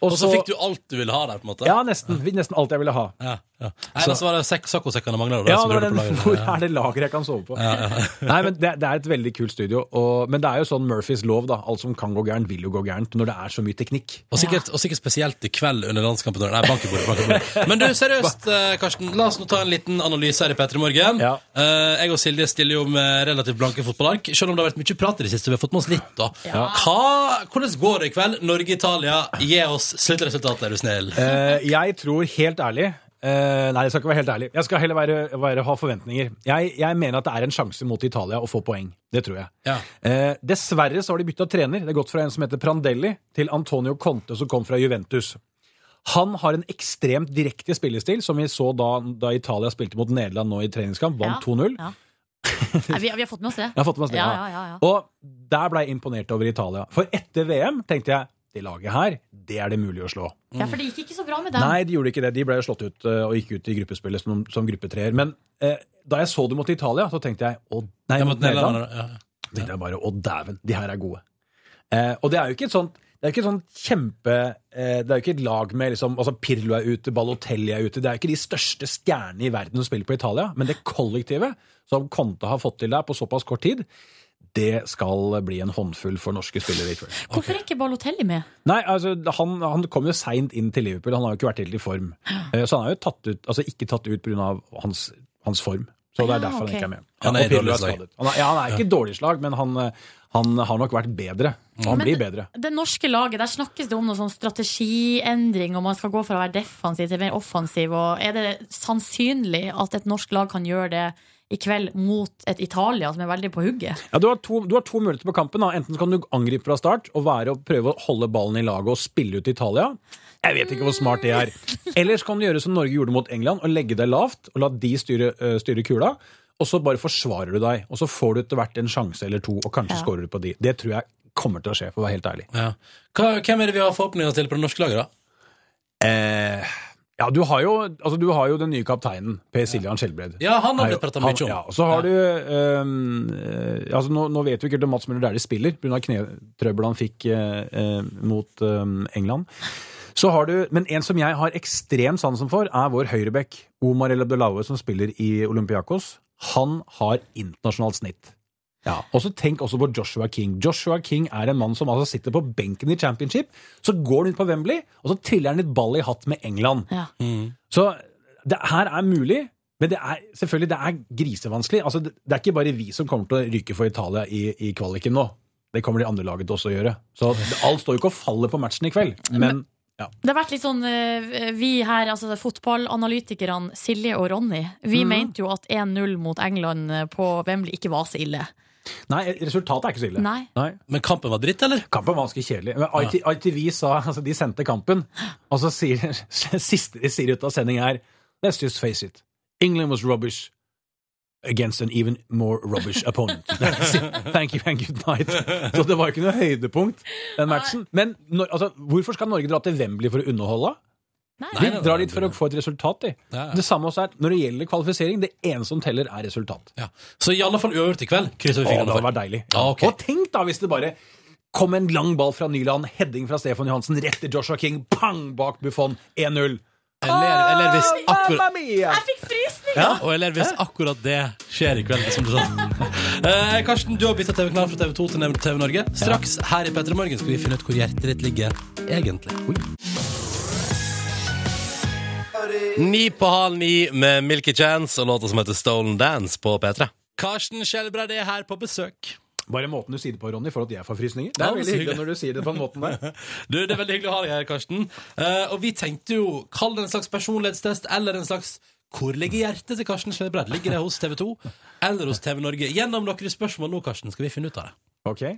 S2: Og så fikk du alt du ville ha der, på en måte.
S13: Ja, nesten. Nesten alt jeg ville ha.
S2: Ja, ja. Nei, så, var det sek saccosekkene mangler.
S13: Ja, det var den, hvor
S2: ja.
S13: er det lageret jeg kan sove på? Nei, men det, det er et veldig kult studio. Og, men det er jo sånn Murphys lov, da. Alt som kan gå gærent, vil jo gå gærent når det er så mye teknikk.
S2: Og, sikkert, og sikkert spesielt i kveld under landskampen. Nei, bank i bordet, bank i bordet. Men du, seriøst, eh, Karsten. La oss nå ta en liten analyse her i P3 Morgen.
S13: Ja.
S2: Eh, Jeg og Silje stiller jo med relativt blanke fotballark. Selv om det har vært mye prat i det siste, vi har fått med oss litt, da. Hva, hvordan går det i kveld? Norge-Italia, gi oss sluttresultatet, er du snill.
S13: Eh, jeg tror helt ærlig eh, Nei, jeg skal ikke være helt ærlig. Jeg skal heller være, være, ha forventninger. Jeg, jeg mener at det er en sjanse mot Italia å få poeng. Det tror jeg.
S2: Ja.
S13: Eh, dessverre så har de bytta trener. Det er gått fra en som heter Prandelli, til Antonio Conte, som kom fra Juventus. Han har en ekstremt direkte spillestil, som vi så da, da Italia spilte mot Nederland nå i treningskamp, vant
S3: Ja,
S13: 2-0.
S3: ja. Nei, vi, vi har fått med oss det.
S13: Jeg har fått med oss det,
S3: Ja,
S13: ja.
S3: ja, ja, ja.
S13: Og der ble jeg imponert over Italia. For etter VM tenkte jeg det laget her, det er det mulig å slå. Mm.
S3: Ja, for det gikk ikke så bra med dem.
S13: Nei, de gjorde ikke det. De ble jo slått ut eh, og gikk ut i gruppespillet som, som gruppetreer. Men eh, da jeg så dem mot Italia, så tenkte jeg å, nei,
S2: Ja,
S13: mot
S2: mot
S13: Nederland,
S2: Nederland, ja.
S13: tenkte jeg bare å dæven, de her er gode. Eh, og det er jo ikke et sånt det er jo ikke et sånt kjempe eh, Det er jo ikke et lag med liksom, altså Pirlo er ute, Balotelli er ute Det er jo ikke de største stjernene i verden som spiller på Italia, men det kollektivet som Conte har fått til der på såpass kort tid, det skal bli en håndfull for norske spillere i kveld.
S3: Hvorfor er ikke Balotelli med?
S13: Nei, altså, han, han kom jo seint inn til Liverpool. Han har jo ikke vært helt i form. Eh, Så han er jo tatt ut, altså ikke tatt ut pga. Hans, hans form. Så det er
S3: Ja,
S13: derfor
S3: ok.
S13: han ikke er med.
S2: Han
S13: og
S2: er i
S13: Pirlo
S2: dårlig slag.
S13: skadet. Han er, ja, han er ikke i dårlig slag, men han, eh, han har nok vært bedre. Og han
S3: Men-
S13: blir bedre.
S3: Det norske laget, der snakkes det om noe sånn strategiendring, og man skal gå fra å være defensiv til mer offensiv. Og er det sannsynlig at et norsk lag kan gjøre det i kveld mot et Italia som er veldig på hugget.
S13: Ja, du, har to, du har to muligheter på kampen. Da. Enten så kan du angripe fra start og være og prøve å holde ballen i laget og spille ut Italia. Jeg vet ikke hvor smart det er. Ellers kan du gjøre som Norge gjorde mot England, og legge deg lavt og la de styre, øh, styre kula. Og så bare forsvarer du deg, og så får du etter hvert en sjanse eller to, og kanskje
S3: Ja.
S13: scorer du på de. Det tror jeg kommer til å skje, for å være helt ærlig.
S2: Ja. Hva, hvem er det vi har forhåpninger til på det norske laget, da?
S13: Eh, ja, du har, jo, altså, du har jo den nye kapteinen, Per Siljan Skjelbred.
S2: Ja, han har
S13: Er jo-
S2: blitt pratet mye om.
S13: Ja, og så har du øhm, eh, altså, nå, nå vet vi ikke helt om Mats Møller Dæhlie spiller pga. knetrøbbel han fikk eh, eh, mot øhm, England. Så har du, Men en som jeg har ekstrem sansen for, er vår høyrebekk Omar El Abdelaue, som spiller i Olympiakos. Han har internasjonalt snitt. Ja, og så Tenk også på Joshua King. Joshua King er en mann som altså sitter på benken i championship. Så går han ut på Wembley, og så triller han litt ball i hatt med England.
S2: Mm.
S13: Så det her er mulig, men det er selvfølgelig det er grisevanskelig. Altså, det det er ikke bare vi som kommer til å ryke for Italia i, i kvaliken nå. Det kommer de andre laget også å gjøre. Så det- alt står jo ikke og faller på matchen i kveld. Men ja.
S3: Det har vært litt sånn eh, Vi her, altså fotballanalytikerne Silje og Ronny, vi
S13: Mhm.
S3: mente jo at 1-0 mot England eh, på Wembley ikke var så ille.
S13: Nei, resultatet er ikke så ille.
S3: Nei.
S2: Men kampen var dritt, eller?
S13: Kampen var ganske kjedelig. Men IT, ITV sa, altså De sendte kampen, og så sier siste de sier ut av sending er Let's just face it. England was rubbish against an even more rubbish opponent. Thank you and good night. Så det var jo ikke noe høydepunkt, den matchen. Men når, altså, hvorfor skal Norge dra til Wembley for å underholde?
S2: Nei,
S13: De
S2: nei,
S13: drar
S2: nei,
S13: dit for å få et resultat, de.
S2: Ja, ja.
S13: Det samme også er at når det gjelder kvalifisering, det eneste som teller, er resultat.
S2: Ja. Så i alle fall uavgjort i kveld. Krysser vi
S13: Å,
S2: fingrene
S13: det hadde
S2: for.
S13: vært deilig.
S2: Ja, ok.
S13: Og tenk da hvis det bare kom en lang ball fra Nyland, heading fra Stefan Johansen, rett til Joshua King, pang bak Buffon, 1-0.
S2: Eller, eller hvis akkurat
S13: Jeg
S3: fikk frysninger!
S2: ja, og eller hvis akkurat det skjer i kveld. Som du sa. Eh, Karsten, du har bytta TV-kanal fra TV2 til TV Norge. Straks her i P3 Morgen skal vi finne ut hvor hjertet ditt ligger egentlig. Ni på halv ni med Milky Chance og låta som heter Stolen Dance på P3. Karsten Skjelbred er her på besøk.
S13: Bare måten du sier det på, Ronny, for at jeg får frysninger. Det
S2: Ja,
S13: er
S2: men
S13: veldig
S2: så
S13: hyggelig
S2: hyggelig.
S13: når du sier det på den måten der.
S2: Du, Det er veldig hyggelig å ha deg her, Karsten. Eh, og vi tenkte jo, kall det en slags personlighetstest eller en slags hvor ligger hjertet til Karsten Skjelbred? Ligger det hos TV 2 eller hos TV Norge? Gjennom noen spørsmål nå, Karsten, skal vi finne ut av det.
S13: Ok. Nå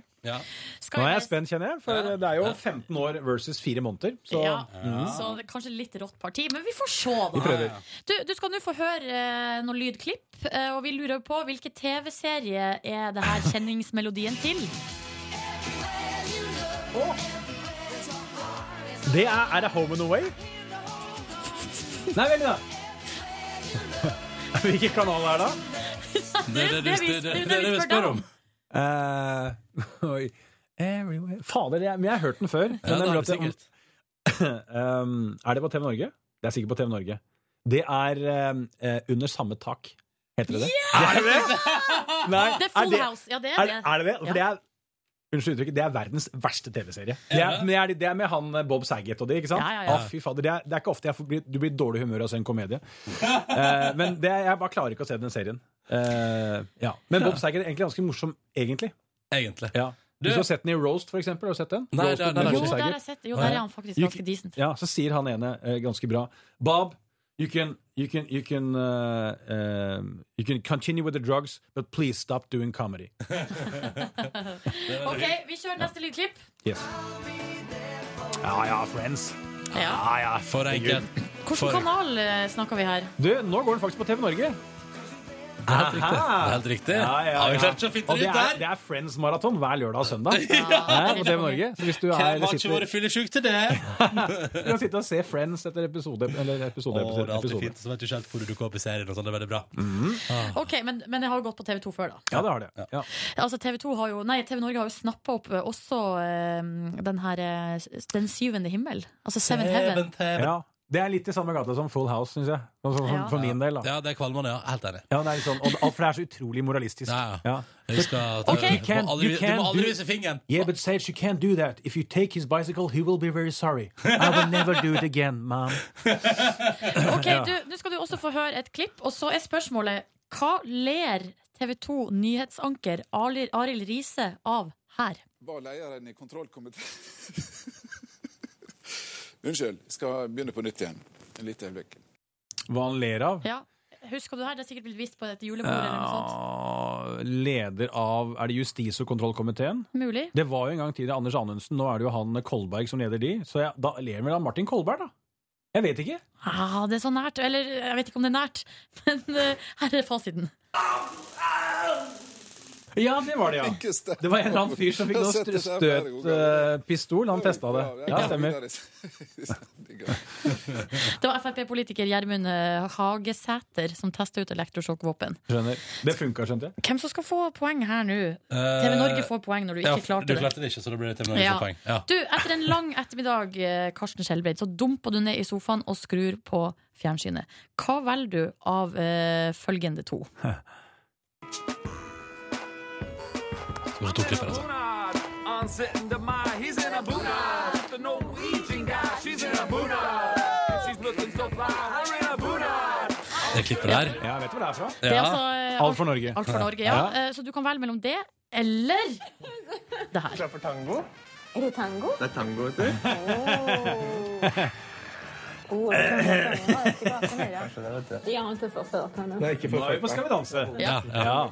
S13: er jeg spent, kjenner jeg, for eh, det er jo 15 år versus 4 måneder. Så
S3: Ja.
S13: Mm.
S3: Så det er kanskje litt rått parti, men vi får se,
S13: Vi
S3: da.
S13: prøver.
S3: Du, du skal nå få høre eh, noen lydklipp, eh, og vi lurer på hvilken TV-serie er det her kjenningsmelodien til?
S13: Det er, er det Home and Away? Nei, veldig da. Hvilken kanal er det da?
S2: Det er det du- det- det- det er det vi spør om.
S13: Eh, oi. Everywhere. Fader, det er, men jeg har hørt den før.
S2: Ja,
S13: Men
S2: det
S13: jeg
S2: har
S13: burde
S2: du
S13: at
S2: sikkert.
S13: jeg- um, er det på TV Norge? Det er sikkert på TV Norge. Det er um, eh, Under samme tak, heter det det? Er det det? Nei,
S3: Det er Full
S13: det-
S3: House. Ja, det
S13: Er,
S3: er det.
S13: det- er det det? For det er Unnskyld uttrykket, det er verdens verste TV-serie. Det, er- men det, er- det er med han eh, Bob Saget og de, ikke sant?
S3: Ja, ja, ja.
S13: Ah, fy fader, det er, det er ikke ofte jeg får bli, du blir i dårlig humør av å se en komedie. Eh, men det, jeg bare klarer ikke å se den serien. Eh, ja. Men Bob Saget er egentlig ganske morsom, egentlig.
S2: Egentlig.
S13: Ja. Du
S2: Du-
S13: har sett den i Roast, for eksempel? Har du sett den?
S2: Nei,
S13: Roast
S2: det er-
S13: med
S2: det er
S3: Jo,
S13: Bob
S3: der
S13: Saget.
S3: har jeg sett det. Jo, der er han faktisk
S13: You
S3: ganske
S13: can-
S3: decent.
S13: Ja, så sier han ene eh, ganske bra. Bob, you can, you can, you can, eh, eh, you can continue with the drugs, but please stop doing comedy.
S3: OK, vi kjører neste lydklipp.
S13: Yes. Ja ja, Friends.
S3: Ja.
S13: Ja ja,
S2: For enkelt.
S3: Hvilken kanal eh, snakker vi her?
S13: Du, nå går den faktisk på TV Norge.
S2: Det er helt riktig. Det er helt riktig. Har vi klart å finne
S13: Og det
S2: det ut
S13: er,
S2: der?
S13: det er Friends-maraton hver lørdag og søndag. Her på TV Norge. Så hvis du
S2: Hvem
S13: er,
S2: har ikke
S13: sitter,
S2: vært fyllesyk til det?
S13: du kan sitte og se Friends etter episode eller episode.
S2: Å, det er
S13: episode,
S2: alltid
S13: episode.
S2: fint, så vet du ikke helt hvor du dukker opp i serien. og sånn, det er veldig bra. Ah.
S3: Ok, Men, men jeg har jo gått på TV2 før, da.
S13: Mhm. Ja, det har det. Ja.
S3: Altså TV, 2 har jo, nei, TV Norge har jo snappa opp eh, også eh, den her eh, s- Den syvende himmel. Altså Seventh Heaven.
S13: Ja. Det er litt i samme gata som Full House, syns jeg. Sånn som-
S3: Ja.
S13: for min del, da.
S2: Ja, det er kvalmende, ja. Helt enig.
S13: Ja, det er litt sånn, og, alt- for det er så utrolig moralistisk.
S2: Ja, ja.
S13: Ja.
S2: Jeg husker at
S13: Ok, you
S2: du,
S13: can-
S2: må aldri,
S13: you
S2: du
S13: can
S2: må aldri
S13: do-
S2: vise fingeren.
S13: Yeah, but Sage, you can't do that. If you take his bicycle, he will be very sorry. I will never do it again, mom.
S3: Ok, du, Nå skal du også få høre et klipp, og så er spørsmålet Hva ler TV 2 nyhetsanker Ali- Arild Riise av her?
S14: var lederen i kontrollkomiteen Unnskyld, jeg skal begynne på nytt igjen. En liten øyeblikk.
S13: Hva han ler av?
S3: Ja. Husker du det her? Det er sikkert blitt vist på et julebord eller noe sånt.
S13: Ja, Leder av Er det Justis- og kontrollkomiteen?
S3: Mulig.
S13: Det var jo en gang tidligere Anders Anundsen. Nå er det jo han Kolberg som leder de. Så jeg, da ler vel av Martin Kolberg, da. Jeg vet ikke.
S3: Ah, det er så nært. Eller jeg vet ikke om det er nært, men eh, her er fasiten.
S13: Ja, det var det, ja. Det var en eller annen fyr som fikk noe
S14: Jeg setter det flere
S13: støtpistol. Han testa det. Ja, stemmer.
S3: Det var Frp-politiker Gjermund eh, Hagesæter som testa ut elektrosjokkvåpen.
S13: Skjønner. Det funka, skjønte jeg.
S3: Hvem som skal få poeng her nå? TV Norge får poeng når du ikke klarte
S2: Eh, Du
S3: det.
S2: klarte det ikke, så da blir det TV Norge
S3: Ja.
S2: får poeng. Ja.
S3: Du, etter en lang ettermiddag, eh, Karsten Skjelbreid, så dumper du ned i sofaen og skrur på fjernsynet. Hva velger du av eh, følgende to?
S2: Du får to klipper, altså. Det klippet der.
S13: Ja, jeg vet hvor det er fra.
S3: Det er altså, eh,
S13: Alt for Norge.
S3: Alt for Norge, ja. Eh, Så du kan velge mellom det eller det her.
S10: Klar for tango?
S15: Er det tango?
S10: Det er tango, vet du.
S15: Det har inte förfört
S13: Nå
S15: henne.
S13: er vi på Skal vi danse.
S2: Ja.
S13: Ja.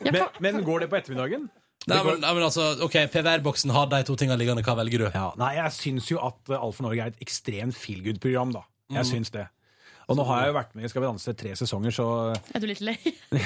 S13: Men, men går det på ettermiddagen?
S2: Nei, men, nei, men altså, ok, PVR-boksen har de to tingene liggende. Hva velger du?
S13: Nei, jeg syns jo at eh, Alt for Norge er et ekstremt feelgood-program, da.
S2: Mm.
S13: Jeg syns det. Og nå har jeg jo vært med i Skal vi danse tre sesonger, så
S3: Er du litt lei?
S13: jeg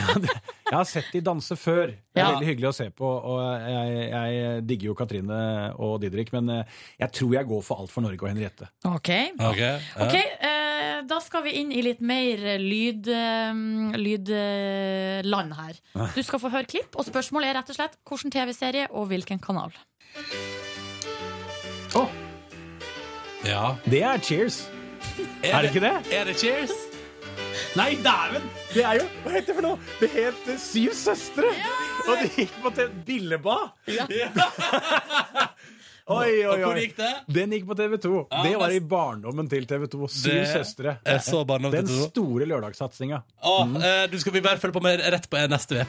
S13: har sett de danse før. Det er
S3: Ja.
S13: veldig hyggelig å se på, og jeg, jeg digger jo Katrine og Didrik, men eh, jeg tror jeg går for Alt for Norge og Henriette.
S3: Ok. Ok, eh, da skal vi inn i litt mer eh, lydland lyd, eh, land her. Du skal få høre klipp, og spørsmålet er rett og slett hvilken TV-serie og hvilken kanal.
S2: Ja.
S13: Det er Cheers. Er, det ikke det?
S2: Er det Cheers?
S13: Nei, dæven! Det er jo Hva heter det for noe? Det het eh, Syv søstre! Og det gikk på TV Billeba. Oi, oi, oi.
S2: Og hvor gikk det?
S13: Den gikk på TV2.
S2: Ja,
S13: det var
S2: det-
S13: i barndommen til TV2. Syv
S2: Det-
S13: søstre.
S2: jeg så barndommen til
S13: Den
S2: TV2.
S13: store lørdagssatsinga.
S2: Å, eh, du skal vi bare følge på med rett på eh, neste uke.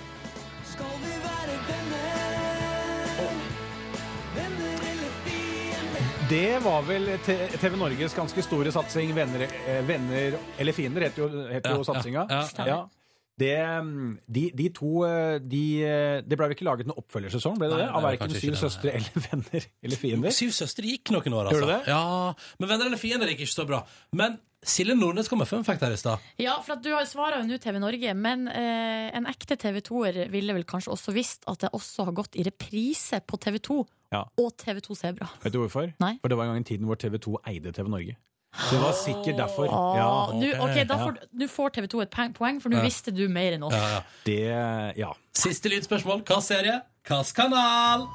S13: Det var vel T- TV Norges ganske store satsing. Venner, eh, venner eller fiender heter jo, heter
S2: Ja,
S13: jo satsinga.
S2: ja, ja, ja.
S13: Det, mm, de, de to eh, de, eh, Det ble vel ikke laget noen oppfølgersesong, ble det
S2: Nei,
S13: det?
S2: det
S13: Av
S2: ble
S13: verken
S2: kanskje
S13: Syv
S2: ikke det,
S13: søstre eller venner eller fiender.
S2: Syv søstre gikk noen år, altså.
S13: Gjorde det?
S2: Ja, Men venner eller fiender gikk ikke så bra. Men Silje Nordnes kom med fun fact her i stad.
S3: Ja, for at du har svara jo nå TV Norge, men eh, en ekte TV2-er ville vel kanskje også visst at det også har gått i reprise på TV2
S13: Ja.
S3: og TV2 Sebra.
S13: Vet du hvorfor? For det var en gang i tiden hvor TV2 eide TV Norge. Så det var sikkert derfor.
S3: Åh, nu, ok, da
S13: Ja.
S3: får, nå får TV2 et poeng- poeng, for nå
S13: Ja.
S3: visste du mer enn oss.
S13: Ja, ja. Det Ja.
S2: Siste lydspørsmål. Hva serie? Hvilken kanal?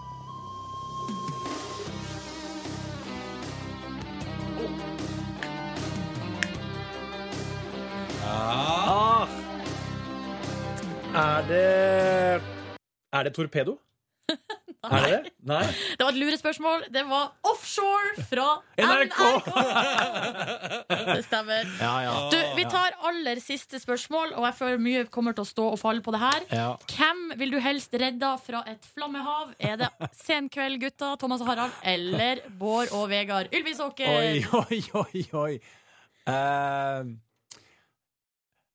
S13: Ah. Er det Er det torpedo? Er det det? Nei?
S3: Det var et lurespørsmål. Det var offshore fra
S13: NRK!
S3: Det stemmer.
S13: Ja, ja.
S3: Du, vi tar aller siste spørsmål, og jeg føler mye kommer til å stå og falle på det her.
S13: Ja.
S3: Hvem vil du helst redde fra et flammehav? Er det Senkveld-gutta, Thomas og Harald, eller Bård og Vegard
S13: Oi,
S3: Ylvisåker?
S13: oi, oi, oi. Eh,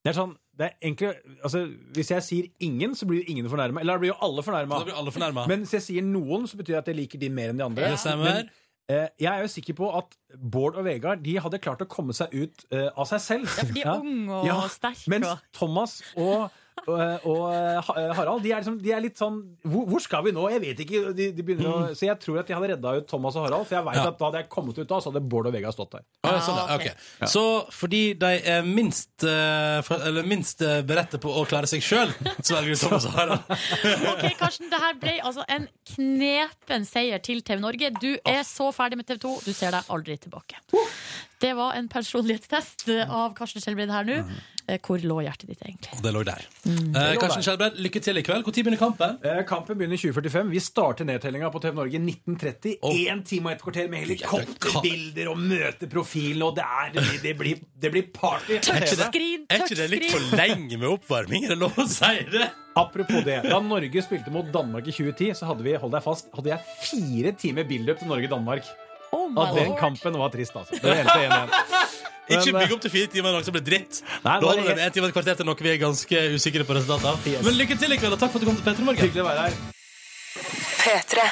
S13: det er sånn det er egentlig, altså, Hvis jeg sier ingen, så blir jo ingen fornærma. Eller da blir jo alle fornærma.
S2: Da blir alle fornærmet.
S13: Men hvis jeg sier noen, så betyr det at jeg liker de mer enn de andre.
S2: Det stemmer.
S13: Men, eh, jeg er jo sikker på at Bård og Vegard De hadde klart å komme seg ut eh, av seg selv.
S3: Ja, for de er ung og sterk,
S13: Mens
S3: og-
S13: Thomas og, og, og Ha- Harald de er, liksom, de er litt sånn hvor, hvor skal vi nå? Jeg vet ikke. De, de begynner å, så jeg tror at de hadde redda ut Thomas og Harald. For jeg vet at da hadde jeg kommet ut da, så hadde Bård og Vegard stått der.
S2: Å, ja, sånn,
S13: Ah,
S3: Ah,
S2: ja. ok. Så fordi de er minst, eh, fra- eller minst eh, beredte på å klare seg sjøl, så velger du Thomas og Harald.
S3: Ok, Karsten, det her ble altså en knepen seier til TV Norge. Du er
S13: Ah.
S3: så ferdig med TV 2, du ser deg aldri tilbake. Det var en personlighetstest av Karsten Skjelbred her nå.
S13: Mhm.
S3: Eh, Hvor lå hjertet ditt egentlig?
S2: Og det lå der.
S13: Mm.
S2: Eh, Karsten Skjelbred, lykke til i kveld. Når begynner kampen?
S13: Eh, kampen begynner 2045. Vi starter nedtellinga på TV Norge 1930. Én time og et kvarter med helikopterbilder og møteprofilen, og det, er, det, blir, det blir party. på
S2: Er ikke det,
S13: TV.
S2: er ikke det litt for lenge med oppvarming? Er det lov å si det?
S13: Apropos det. Da Norge spilte mot Danmark i 2010, så hadde vi hold deg fast, hadde jeg fire timer build-up til Norge-Danmark.
S3: Oh
S13: At den kampen var trist, altså. Det endte 1-1. Men,
S2: Ikke
S13: eh,
S2: bygg opp til fire timer en dag som blir dritt.
S13: Nei,
S2: da
S13: bare-
S2: holder det med en time og et kvarter til noe vi er ganske usikre på resultatet av. Men lykke til i kveld, og takk for at du kom til Petter i morgen.
S13: Hyggelig å være her.
S6: P3.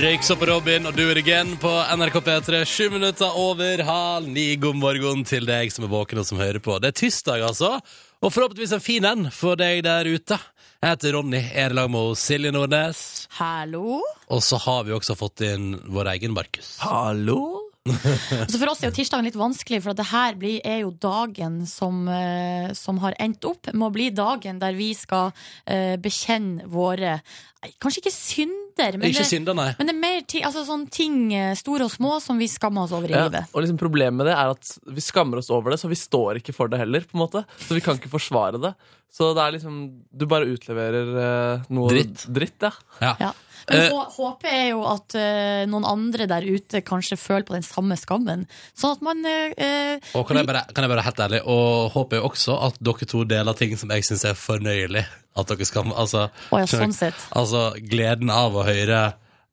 S2: Røyksopp og Robin, og du er igjen på NRK P3, sju minutter over halv ni. God morgen til deg som er våken og som hører på. Det er tirsdag, altså, og forhåpentligvis en fin en for deg der ute. Jeg heter Ronny, er i lag med Silje Nordnes,
S3: Hallo?
S2: og så har vi også fått inn vår egen Markus.
S13: Hallo?
S3: Så for oss er jo tirsdagen litt vanskelig, for at det her blir, er jo dagen som, eh, som har endt opp med å bli dagen der vi skal eh, bekjenne våre nei, Kanskje ikke synder, men,
S2: Ikke
S3: det,
S2: synder, nei.
S3: men det er mer ting, altså sånne ting, eh, store og små, som vi skammer oss over i
S4: Ja,
S3: livet.
S4: og liksom Problemet med det er at vi skammer oss over det, så vi står ikke for det heller. på en måte Så vi kan ikke forsvare det. Så det er liksom Du bare utleverer eh, noe dritt. ja. Eh,
S2: ja.
S3: Men
S2: Eh.
S3: hå- håpet er jo at eh, noen andre der ute kanskje føler på den samme skammen. Sånn at man eh, eh,
S2: Og kan jeg bare, kan jeg bare helt ærlig, og håper jo også at dere to deler ting som jeg syns er fornøyelig. At dere skal Altså,
S3: Å ja,
S2: skjønner
S3: sånn
S2: dere?
S3: sett.
S2: altså gleden av å høre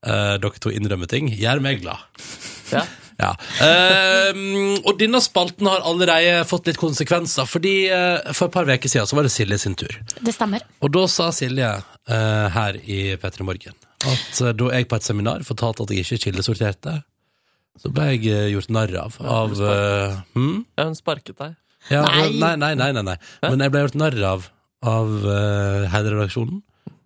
S2: eh, dere to innrømme ting gjør meg glad.
S4: Ja.
S2: Ehm, og denne spalten har allerede fått litt konsekvenser, fordi eh, for et par uker siden så var det Silje sin tur.
S3: Det stemmer.
S2: Og da sa Silje eh, her i P3 Morgen at eh, da jeg på et seminar fortalte at jeg ikke kildesorterte, så ble jeg eh, gjort narr av. av eh, hm?
S4: Ja, hun sparket deg.
S2: Ja, altså,
S4: Nei.
S2: nei. Nei, nei, nei, nei. Men jeg ble gjort narr av av eh, hele redaksjonen.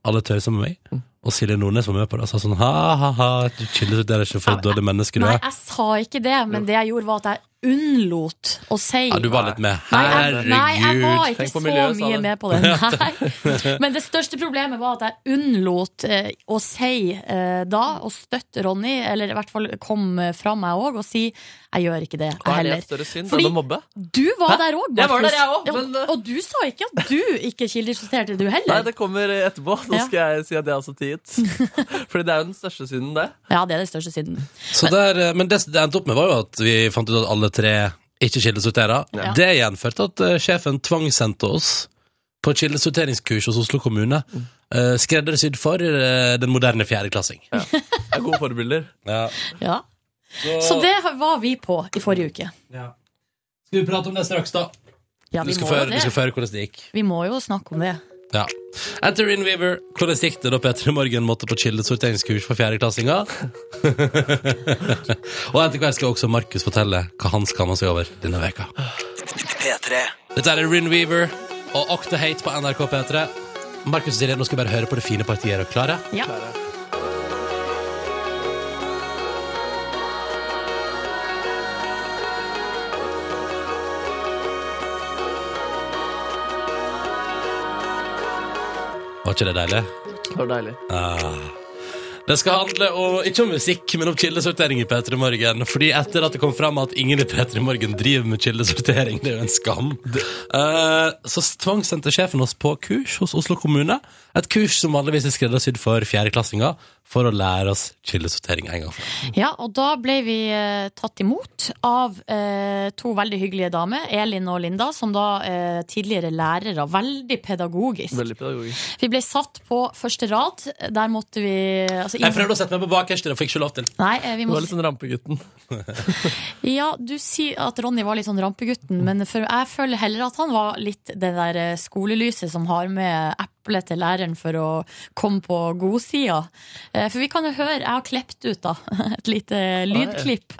S2: Alle tøysa med meg.
S3: Mm.
S2: Og Silje Nordnes var med på det og sa sånn ha-ha-ha, du chiller ut, dere er ikke for et dårlig menneske, du
S3: Nei,
S2: er.
S3: jeg sa ikke det, men det jeg gjorde, var at jeg unnlot å si
S2: Ja, du var litt med.
S3: Nei, jeg, nei, jeg var
S2: Herregud.
S3: ikke
S2: Tenk
S3: så
S2: på miljøet, sa
S3: mye
S2: du.
S3: med på det. Nei. Men det største problemet var at jeg unnlot eh, å si eh, da, og støtte Ronny, eller i hvert fall kom eh, fra meg òg, og si jeg gjør ikke det, jeg
S4: Hva er det
S3: heller.
S4: større synd
S3: Fordi
S4: enn å mobbe?
S3: Du var der òg,
S4: Jeg var der, jeg også,
S3: Ja, og, og du sa ikke at du ikke kildesorterte, du
S4: Nei,
S3: heller.
S4: det kommer etterpå. Nå
S3: Ja.
S4: skal jeg si at jeg også tiet. Fordi det er jo den største synden, det.
S3: Ja, det er det største synden.
S2: Så der, eh, men det det endte opp med, var jo at vi fant ut at alle tre ikke kildesorterer.
S3: Ja.
S2: Det gjenførte at eh, sjefen tvangssendte oss på kildesorteringskurs hos Oslo kommune. eh, Skreddersydd for eh, den moderne fjerdeklassing.
S4: Det er gode forbilder.
S2: Ja.
S3: Ja. Så det var vi på i forrige uke.
S2: Skal vi prate om det straks, da?
S3: Ja,
S2: Du
S3: vi
S2: skal
S3: må
S2: få
S3: jo
S2: høre- du skal få
S3: det.
S2: høre hvordan det gikk.
S3: Vi må jo snakke om det.
S2: Ja. Enter in Weaver. Hvordan gikk det da Petter Morgen måtte på kildesorteringskurs for fjerdeklassinger? og etter hvert skal også Markus fortelle hva han skammer seg over denne veka
S6: P3.
S2: Dette er Rin Weaver og Act the Hate på NRK P3. Markus og Silje, nå skal vi bare høre på det fine partiet. Er dere klare?
S3: Ja.
S2: Var ikke det deilig?
S4: Det var deilig.
S2: Ah. Det skal handle om, ikke om musikk, men om kildesortering i P3 Morgen. Fordi etter at det kom fram at ingen i P3 Morgen driver med kildesortering, det er jo en skam, Eh, så tvangssendte sjefen oss på kurs hos Oslo kommune. Et kurs som vanligvis er skreddersydd for fjerdeklassinger, for å lære oss kildesortering en gang for alle.
S3: Ja, og da ble vi eh, tatt imot av eh, to veldig hyggelige damer, Elin og Linda, som da eh, tidligere lærere. Veldig pedagogisk.
S4: Veldig pedagogisk.
S3: Vi ble satt på første rad. Der måtte vi altså, i-
S2: Jeg prøvde å sette meg på bakerste, det fikk ikke lov til.
S3: Nei, eh, vi
S4: Du
S3: må
S4: var litt sånn rampegutten.
S3: Ja, du sier at Ronny var litt sånn rampegutten, men for jeg føler heller at han var litt det der eh, skolelyset som har med eplet til læreren for å komme på godsida. Eh, For vi kan jo høre, jeg har klept ut da, et lite lydklipp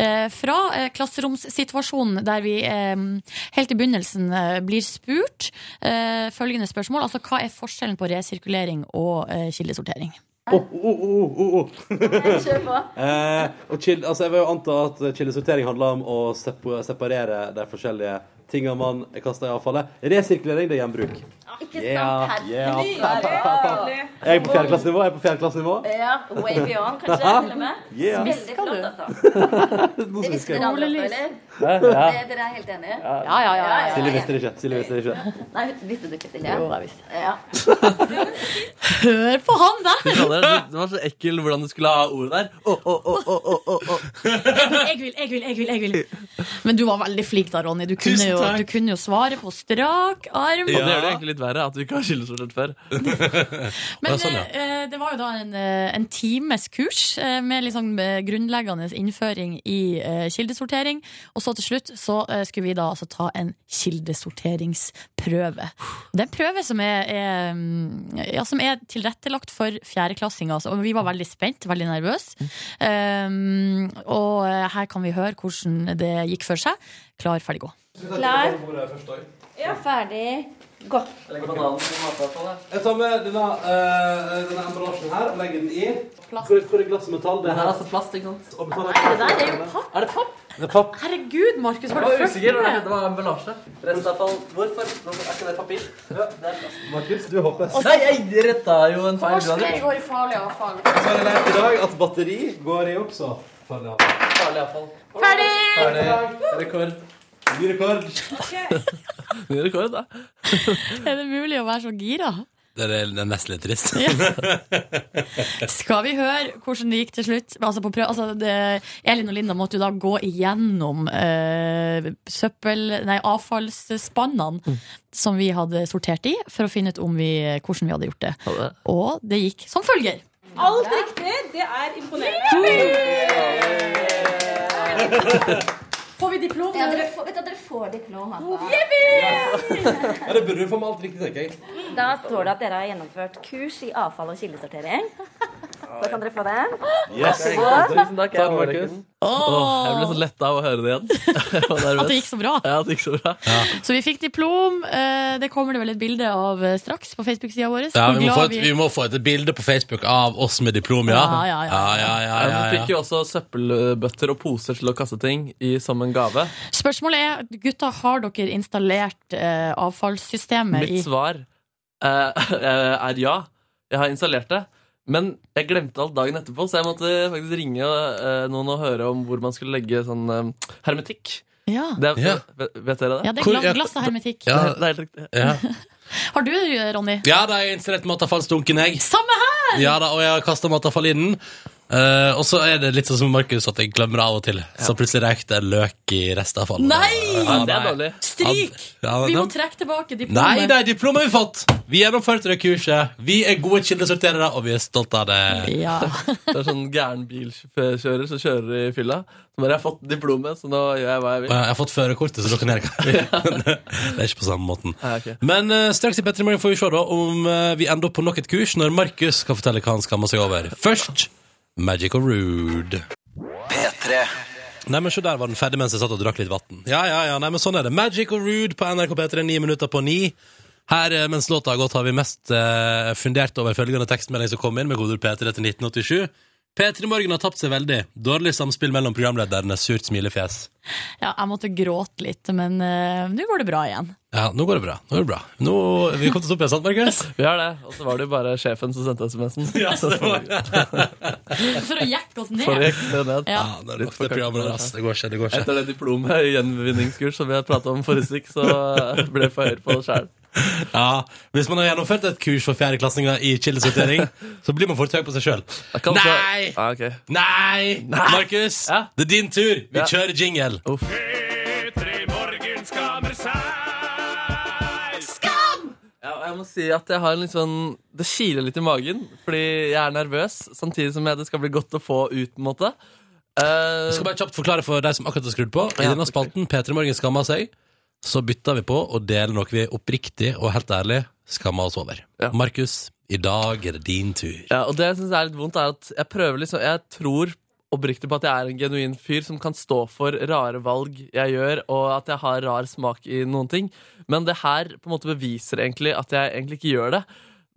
S3: eh, fra eh, klasseromssituasjonen der vi eh, helt i begynnelsen eh, blir spurt eh, følgende spørsmål, altså hva er forskjellen på resirkulering og eh, kildesortering?
S2: Kjør på. altså jeg vil jo anta at kildesortering handler om å sepo- separere de forskjellige tingene man kaster i avfallet. Resirkulering, det er gjenbruk.
S7: Ikke sant?
S2: Yeah, yeah.
S7: Herlig!
S2: Jeg er på fjerdeklassenivå. Jeg er på fjerdeklassenivå.
S7: Ja, way beyond, kanskje, til og med.
S2: Yeah.
S7: Veldig flott, altså. Det visste dere alle, også, eller?
S2: Ja, ja.
S7: Det- Dere er helt enige?
S2: Ja,
S7: ja,
S2: Silje visste det ikke. Silje visste det ikke.
S7: Nei, visste du ikke, Silje?
S2: Jo,
S7: jeg visste ja.
S3: Hør på han der!
S4: Fy fader, Det det var så ekkel hvordan du skulle ha ordet der. Å, å, å, å, å, å, å.
S3: Jeg vil, jeg vil, jeg vil, jeg vil. Men du var veldig flink da, Ronny. Du kunne
S2: Tusen
S3: jo jo at du kunne jo svare på strak arm.
S5: Og det er det egentlig litt verre, at vi ikke har kildesortert før.
S3: Men
S5: sånn,
S3: eh, det var jo da en, eh, en times kurs eh, med liksom eh, grunnleggende innføring i eh, kildesortering. Og så til slutt så eh, skulle vi da altså ta en kildesorteringsprøve. Det er en prøve som er, er, mm, ja, som er tilrettelagt for fjerdeklassinger. altså. Og vi var veldig spent, veldig nervøse. Um, og eh, her kan vi høre hvordan det gikk for seg. Klar, ferdig, gå.
S7: Klar? Ja, ferdig. Gå.
S16: Jeg tar med denne, eh, denne emballasjen her og legger den i.
S3: Plast.
S16: Hvor, hvor er glasset metall?
S4: Det her er altså plast, ikke sant?
S16: Og metall
S3: Nei, det der er jo papp.
S4: Er det papp?
S16: Det er papp.
S3: Herregud, Markus, har du fulgt
S4: usikker, det
S3: med?
S4: det var emballasje. Restavfall. Hvorfor? Hvorfor er ikke det papir? Ja, det er plast.
S16: Markus, du håper.
S4: Nei, jeg retta jo en feil. du hadde gjort.
S3: går i farlig avfall.
S16: Så har jeg lært i dag at batteri går i også. Farlig avfall.
S4: Farlig avfall.
S3: Ferdig!
S4: Ferdig. Rekord.
S16: Ny rekord.
S5: Ny rekord, da.
S3: Er det mulig å være så gira?
S2: Det er, det er nesten litt trist.
S3: Skal vi høre hvordan det gikk til slutt? Men Altså på prøv, altså det, Elin og Linda måtte jo da gå igjennom eh, søppel, nei, avfallsspannene
S2: Mm.
S3: som vi hadde sortert i, for å finne ut om vi, hvordan vi hadde gjort det. Og det gikk som følger.
S7: Alt riktig. Det er
S3: imponerende.
S7: Får vi diplom? Ja, dere får, vet du, at dere får diplom.
S3: Oh,
S7: Altså.
S16: Ja, det burde du få med alt riktig, tenker jeg.
S15: Da står det at dere har gjennomført kurs i avfall og kildesortering. Så kan dere få det.
S5: Yes.
S15: Og-
S4: Tusen takk, jeg, Markus.
S5: Åh, jeg ble så letta av å høre det igjen. Jeg var nervøs.
S3: At det gikk så bra.
S5: Ja, at det gikk så bra.
S3: Så vi fikk diplom. eh, Det kommer det vel et bilde av eh, straks på Facebook-sida vår.
S2: Ja,
S3: Hvor
S2: vi, må
S3: glad
S2: få et, vi må få et bilde på Facebook av oss med diplom, ja.
S3: Ja, ja, ja.
S2: ja, ja, ja,
S5: Vi
S2: ja.
S5: fikk jo også søppelbøtter og poser til å kaste ting i som en gave.
S3: Spørsmålet er, gutta, har dere installert eh, avfallssystemet
S5: Mitt svar eh, er ja. Jeg har installert det. Men jeg glemte alt dagen etterpå, så jeg måtte faktisk ringe eh, noen og høre om hvor man skulle legge sånn eh, hermetikk.
S3: i Ja,
S5: Det er, vet, vet dere det?
S3: ja det er gla- glass av hermetikk.
S5: Ja, det er helt riktig.
S2: Ja.
S3: Har du, Ronny?
S2: ja da, jeg har installert matavfallsdunken, jeg.
S3: Samme her!
S2: Ja da, Og jeg har kasta matavfall i den. Eh, og så er det litt sånn som Markus, at jeg glemmer det av og til. Så plutselig røyk det løk i restavfallet.
S3: Nei!
S2: Ja,
S5: Det er dårlig.
S3: Stryk!
S2: Ja,
S3: Vi må
S2: dem-
S3: trekke tilbake diplomet.
S2: Nei, nei, diplomet har vi fått! Vi gjennomførte det kurset. Vi er gode kildesorterere, og vi er stolte av det.
S3: Ja.
S5: Det er sånn gæren bilkjører som kjører i fylla. Så bare jeg har fått diplomet, så nå gjør jeg hva jeg
S2: Og
S5: vil.
S2: Jeg har fått førerkortet, så da kan jeg Det er ikke på samme måten.
S5: Ja, ok.
S2: Men eh, straks i Petter i morgen får vi se da om eh, vi ender opp på nok et kurs når Markus skal fortelle hva han skammer seg over. Først Magic og Rude.
S6: P3.
S2: Nei, men så der var den ferdig mens jeg satt og drakk litt vann. Ja, ja, ja, nei, men sånn er det. Magic og Rude på NRK P3, ni minutter på ni. Her eh, mens låta har gått, har vi mest eh, fundert over følgende tekstmelding som kom inn med kodeord P3 til 1987. P3 Morgen har tapt seg veldig. Dårlig samspill mellom programlederne. Surt smilefjes.
S3: ja, jeg måtte gråte litt, men eh, nå går det bra igjen.
S2: Ja, nå går det bra. Nå går det bra. Nå, vi kom til å opp igjen, sant, Markus?
S5: Vi har det. Og så var det jo bare sjefen som sendte SMS-en.
S2: Ja,
S5: så det var
S3: For å jekke oss ned.
S5: For jeg ned. ned.
S3: Ja.
S2: Ah, det er det programmet der, ass. Det går ikke, det går ikke.
S5: Etter det diplomet i gjenvinningskurs som vi har pratet om forrige stikk, så eh, ble jeg for høyere på det sjøl.
S2: Ja, Hvis man har gjennomført et kurs for fjerdeklassinger i kildesortering, så blir man for høy på seg sjøl. Nei!
S5: Ah, ok.
S2: Nei! Markus, det er din tur. Vi kjører jingle.
S1: Morgen skammer seg.
S3: Skam!
S5: Ja, og jeg må si at jeg har en litt sånn Det kiler litt i magen, fordi jeg er nervøs, samtidig som jeg, det skal bli godt å få ut, på en måte. Eh,
S2: Jeg skal bare kjapt forklare for deg som akkurat har skrudd på. I
S5: Ja,
S2: denne spalten P3 Morgen skammer seg, så bytter vi på å dele noe vi oppriktig og helt ærlig skammer oss over. Markus, i dag er det din tur.
S5: Ja, og det jeg synes er litt vondt er at jeg prøver liksom Jeg tror oppriktig på at jeg er en genuin fyr som kan stå for rare valg jeg gjør, og at jeg har rar smak i noen ting. Men det her på en måte beviser egentlig at jeg egentlig ikke gjør det.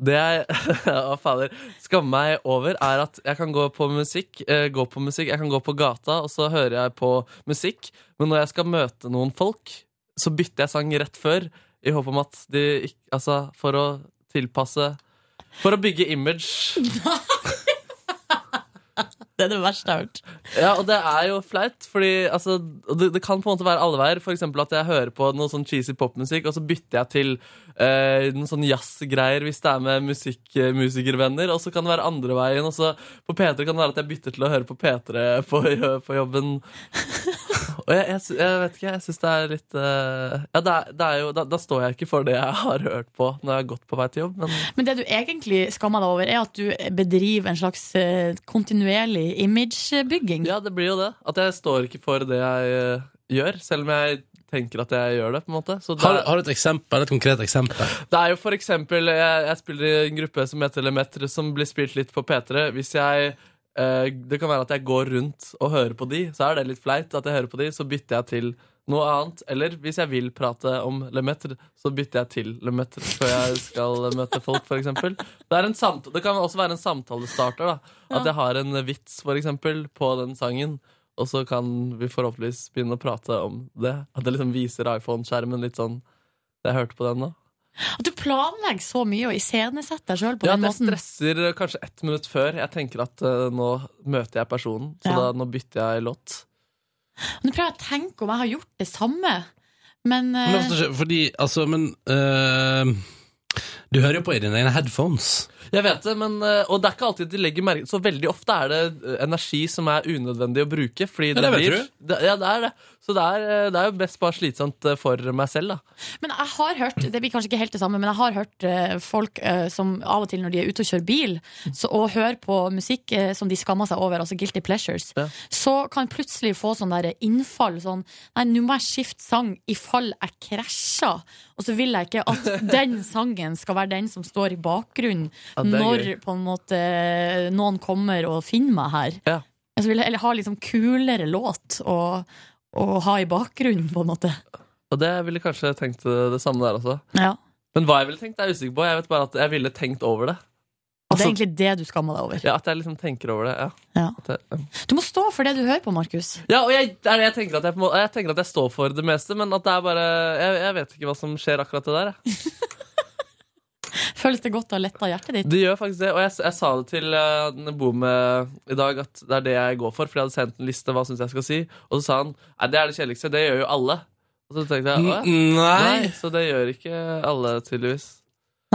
S5: Det jeg å, fader, skammer meg over, er at jeg kan gå på musikk, eh, gå på musikk, jeg kan gå på gata, og så hører jeg på musikk. Men når jeg skal møte noen folk, så bytter jeg sang rett før, i håp om at de ikke Altså, for å tilpasse For å bygge image.
S3: Det er det verste jeg har hørt.
S5: Ja, og det er jo flaut, fordi altså, og det, det kan på en måte være alle veier. For eksempel at jeg hører på noe sånn cheesy popmusikk, og så bytter jeg til eh, noen sånn jazzgreier hvis det er med musikk, eh, musikervenner. Og så kan det være andre veien. Og så på P3 kan det være at jeg bytter til å høre på P3 på, jo- på jobben. Og jeg, jeg, sy- jeg vet ikke, jeg syns det er litt eh, Ja, det er, det er jo, da, da står jeg ikke for det jeg har hørt på når jeg har gått på vei til jobb, men
S3: Men det du egentlig skammer deg over, er at du bedriver en slags eh, kontinuerlig imagebygging.
S5: Ja, det blir jo det. At jeg står ikke for det jeg eh, gjør, selv om jeg tenker at jeg gjør det. på en måte Så det,
S2: Har, har du et eksempel, et konkret eksempel?
S5: det er jo for eksempel jeg, jeg spiller i en gruppe som heter Lemetre, som blir spilt litt på P3. Hvis jeg eh, Det kan være at jeg går rundt og hører på de, så er det litt flaut at jeg hører på de, så bytter jeg til noe annet. Eller hvis jeg vil prate om Lemetre, så bytter jeg til Lemetre før jeg skal møte folk, for eksempel. Det, er en samt det kan også være en samtalestarter, da. At jeg har en vits, for eksempel, på den sangen. Og så kan vi forhåpentligvis begynne å prate om det. At det liksom viser iPhone-skjermen litt sånn Jeg hørte på den nå.
S3: At du planlegger så mye og iscenesetter deg sjøl på
S5: Ja,
S3: den
S5: det
S3: måten.
S5: stresser eh, kanskje ett minutt før. Jeg tenker at eh, nå møter jeg personen, så
S3: Ja.
S5: da, nå bytter jeg låt.
S3: Nå prøver jeg å tenke om jeg har gjort det samme, men, eh,
S2: Men, jeg forstår ikke, fordi, altså, men eh, Du hører jo på i dine egne headphones.
S5: Jeg vet det, men, eh, og det er ikke alltid de legger merke Så veldig ofte er det eh, energi som er unødvendig å bruke. Fordi
S2: Ja,
S5: det,
S2: det vet
S5: blir, det, ja, det er det. Så det er, eh, det er jo best bare slitsomt eh, for meg selv, da.
S3: men jeg har hørt Det blir kanskje ikke helt det samme, men jeg har hørt eh, folk eh, som av og til når de er ute og kjører bil, så, og hører på musikk eh, som de skammer seg over, altså guilty pleasures, så kan plutselig få sånn der innfall sånn Nei, nå må jeg skifte sang i fall jeg krasjer. Og så vil jeg ikke at den sangen skal være den som står i bakgrunnen
S5: Ja, det er
S3: når
S5: gøy.
S3: på en måte noen kommer og finner meg her.
S5: Ja.
S3: Jeg vil, eller ha liksom kulere låt å, å ha i bakgrunnen, på en måte.
S5: Og det ville kanskje tenkt eh, det samme der også.
S3: Ja.
S5: Men hva jeg ville tenkt, er jeg usikker på. Jeg vet bare at jeg ville tenkt over det.
S3: Og det er egentlig det du skammer deg over.
S5: Altså- Ja, At jeg liksom tenker over det. ja.
S3: Ja.
S5: At jeg, ja.
S3: Du må stå for det du hører på, Markus.
S5: Ja, og jeg, det er det jeg tenker at jeg, på en måte- jeg tenker at jeg står for det meste, men at det er bare Jeg, jeg vet ikke hva som skjer akkurat det der. Jeg.
S3: Føles det godt å ha letta hjertet ditt?
S5: Det gjør faktisk det, og jeg, s- jeg sa det til eh, den jeg bor med i dag, at det er det jeg går for, for jeg hadde sendt en liste, hva syns jeg skal si, og så sa han nei, det er det kjedeligste, det gjør jo alle. Og så tenkte jeg «Å, ja».
S2: N- Mm, nei.
S5: Så det gjør ikke alle, tydeligvis.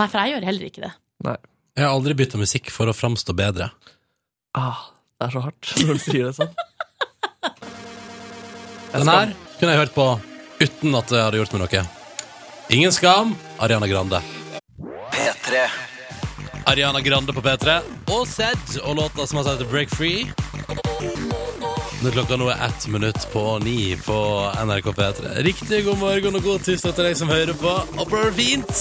S3: Nei, for jeg gjør heller ikke det.
S2: Jeg har aldri bytta musikk for å framstå bedre.
S5: Ah, det er så hardt når du sier det sånn.
S2: Den her kunne jeg hørt på uten at det hadde gjort meg noe. Ingen skam, Ariana Grande.
S6: P3.
S2: Ariana Grande på P3 og Sed og låta som altså heter Break Free. Når klokka nå er ett minutt på ni på NRK P3. Riktig god morgen og god tirsdag til deg som hører på. Håper det er fint!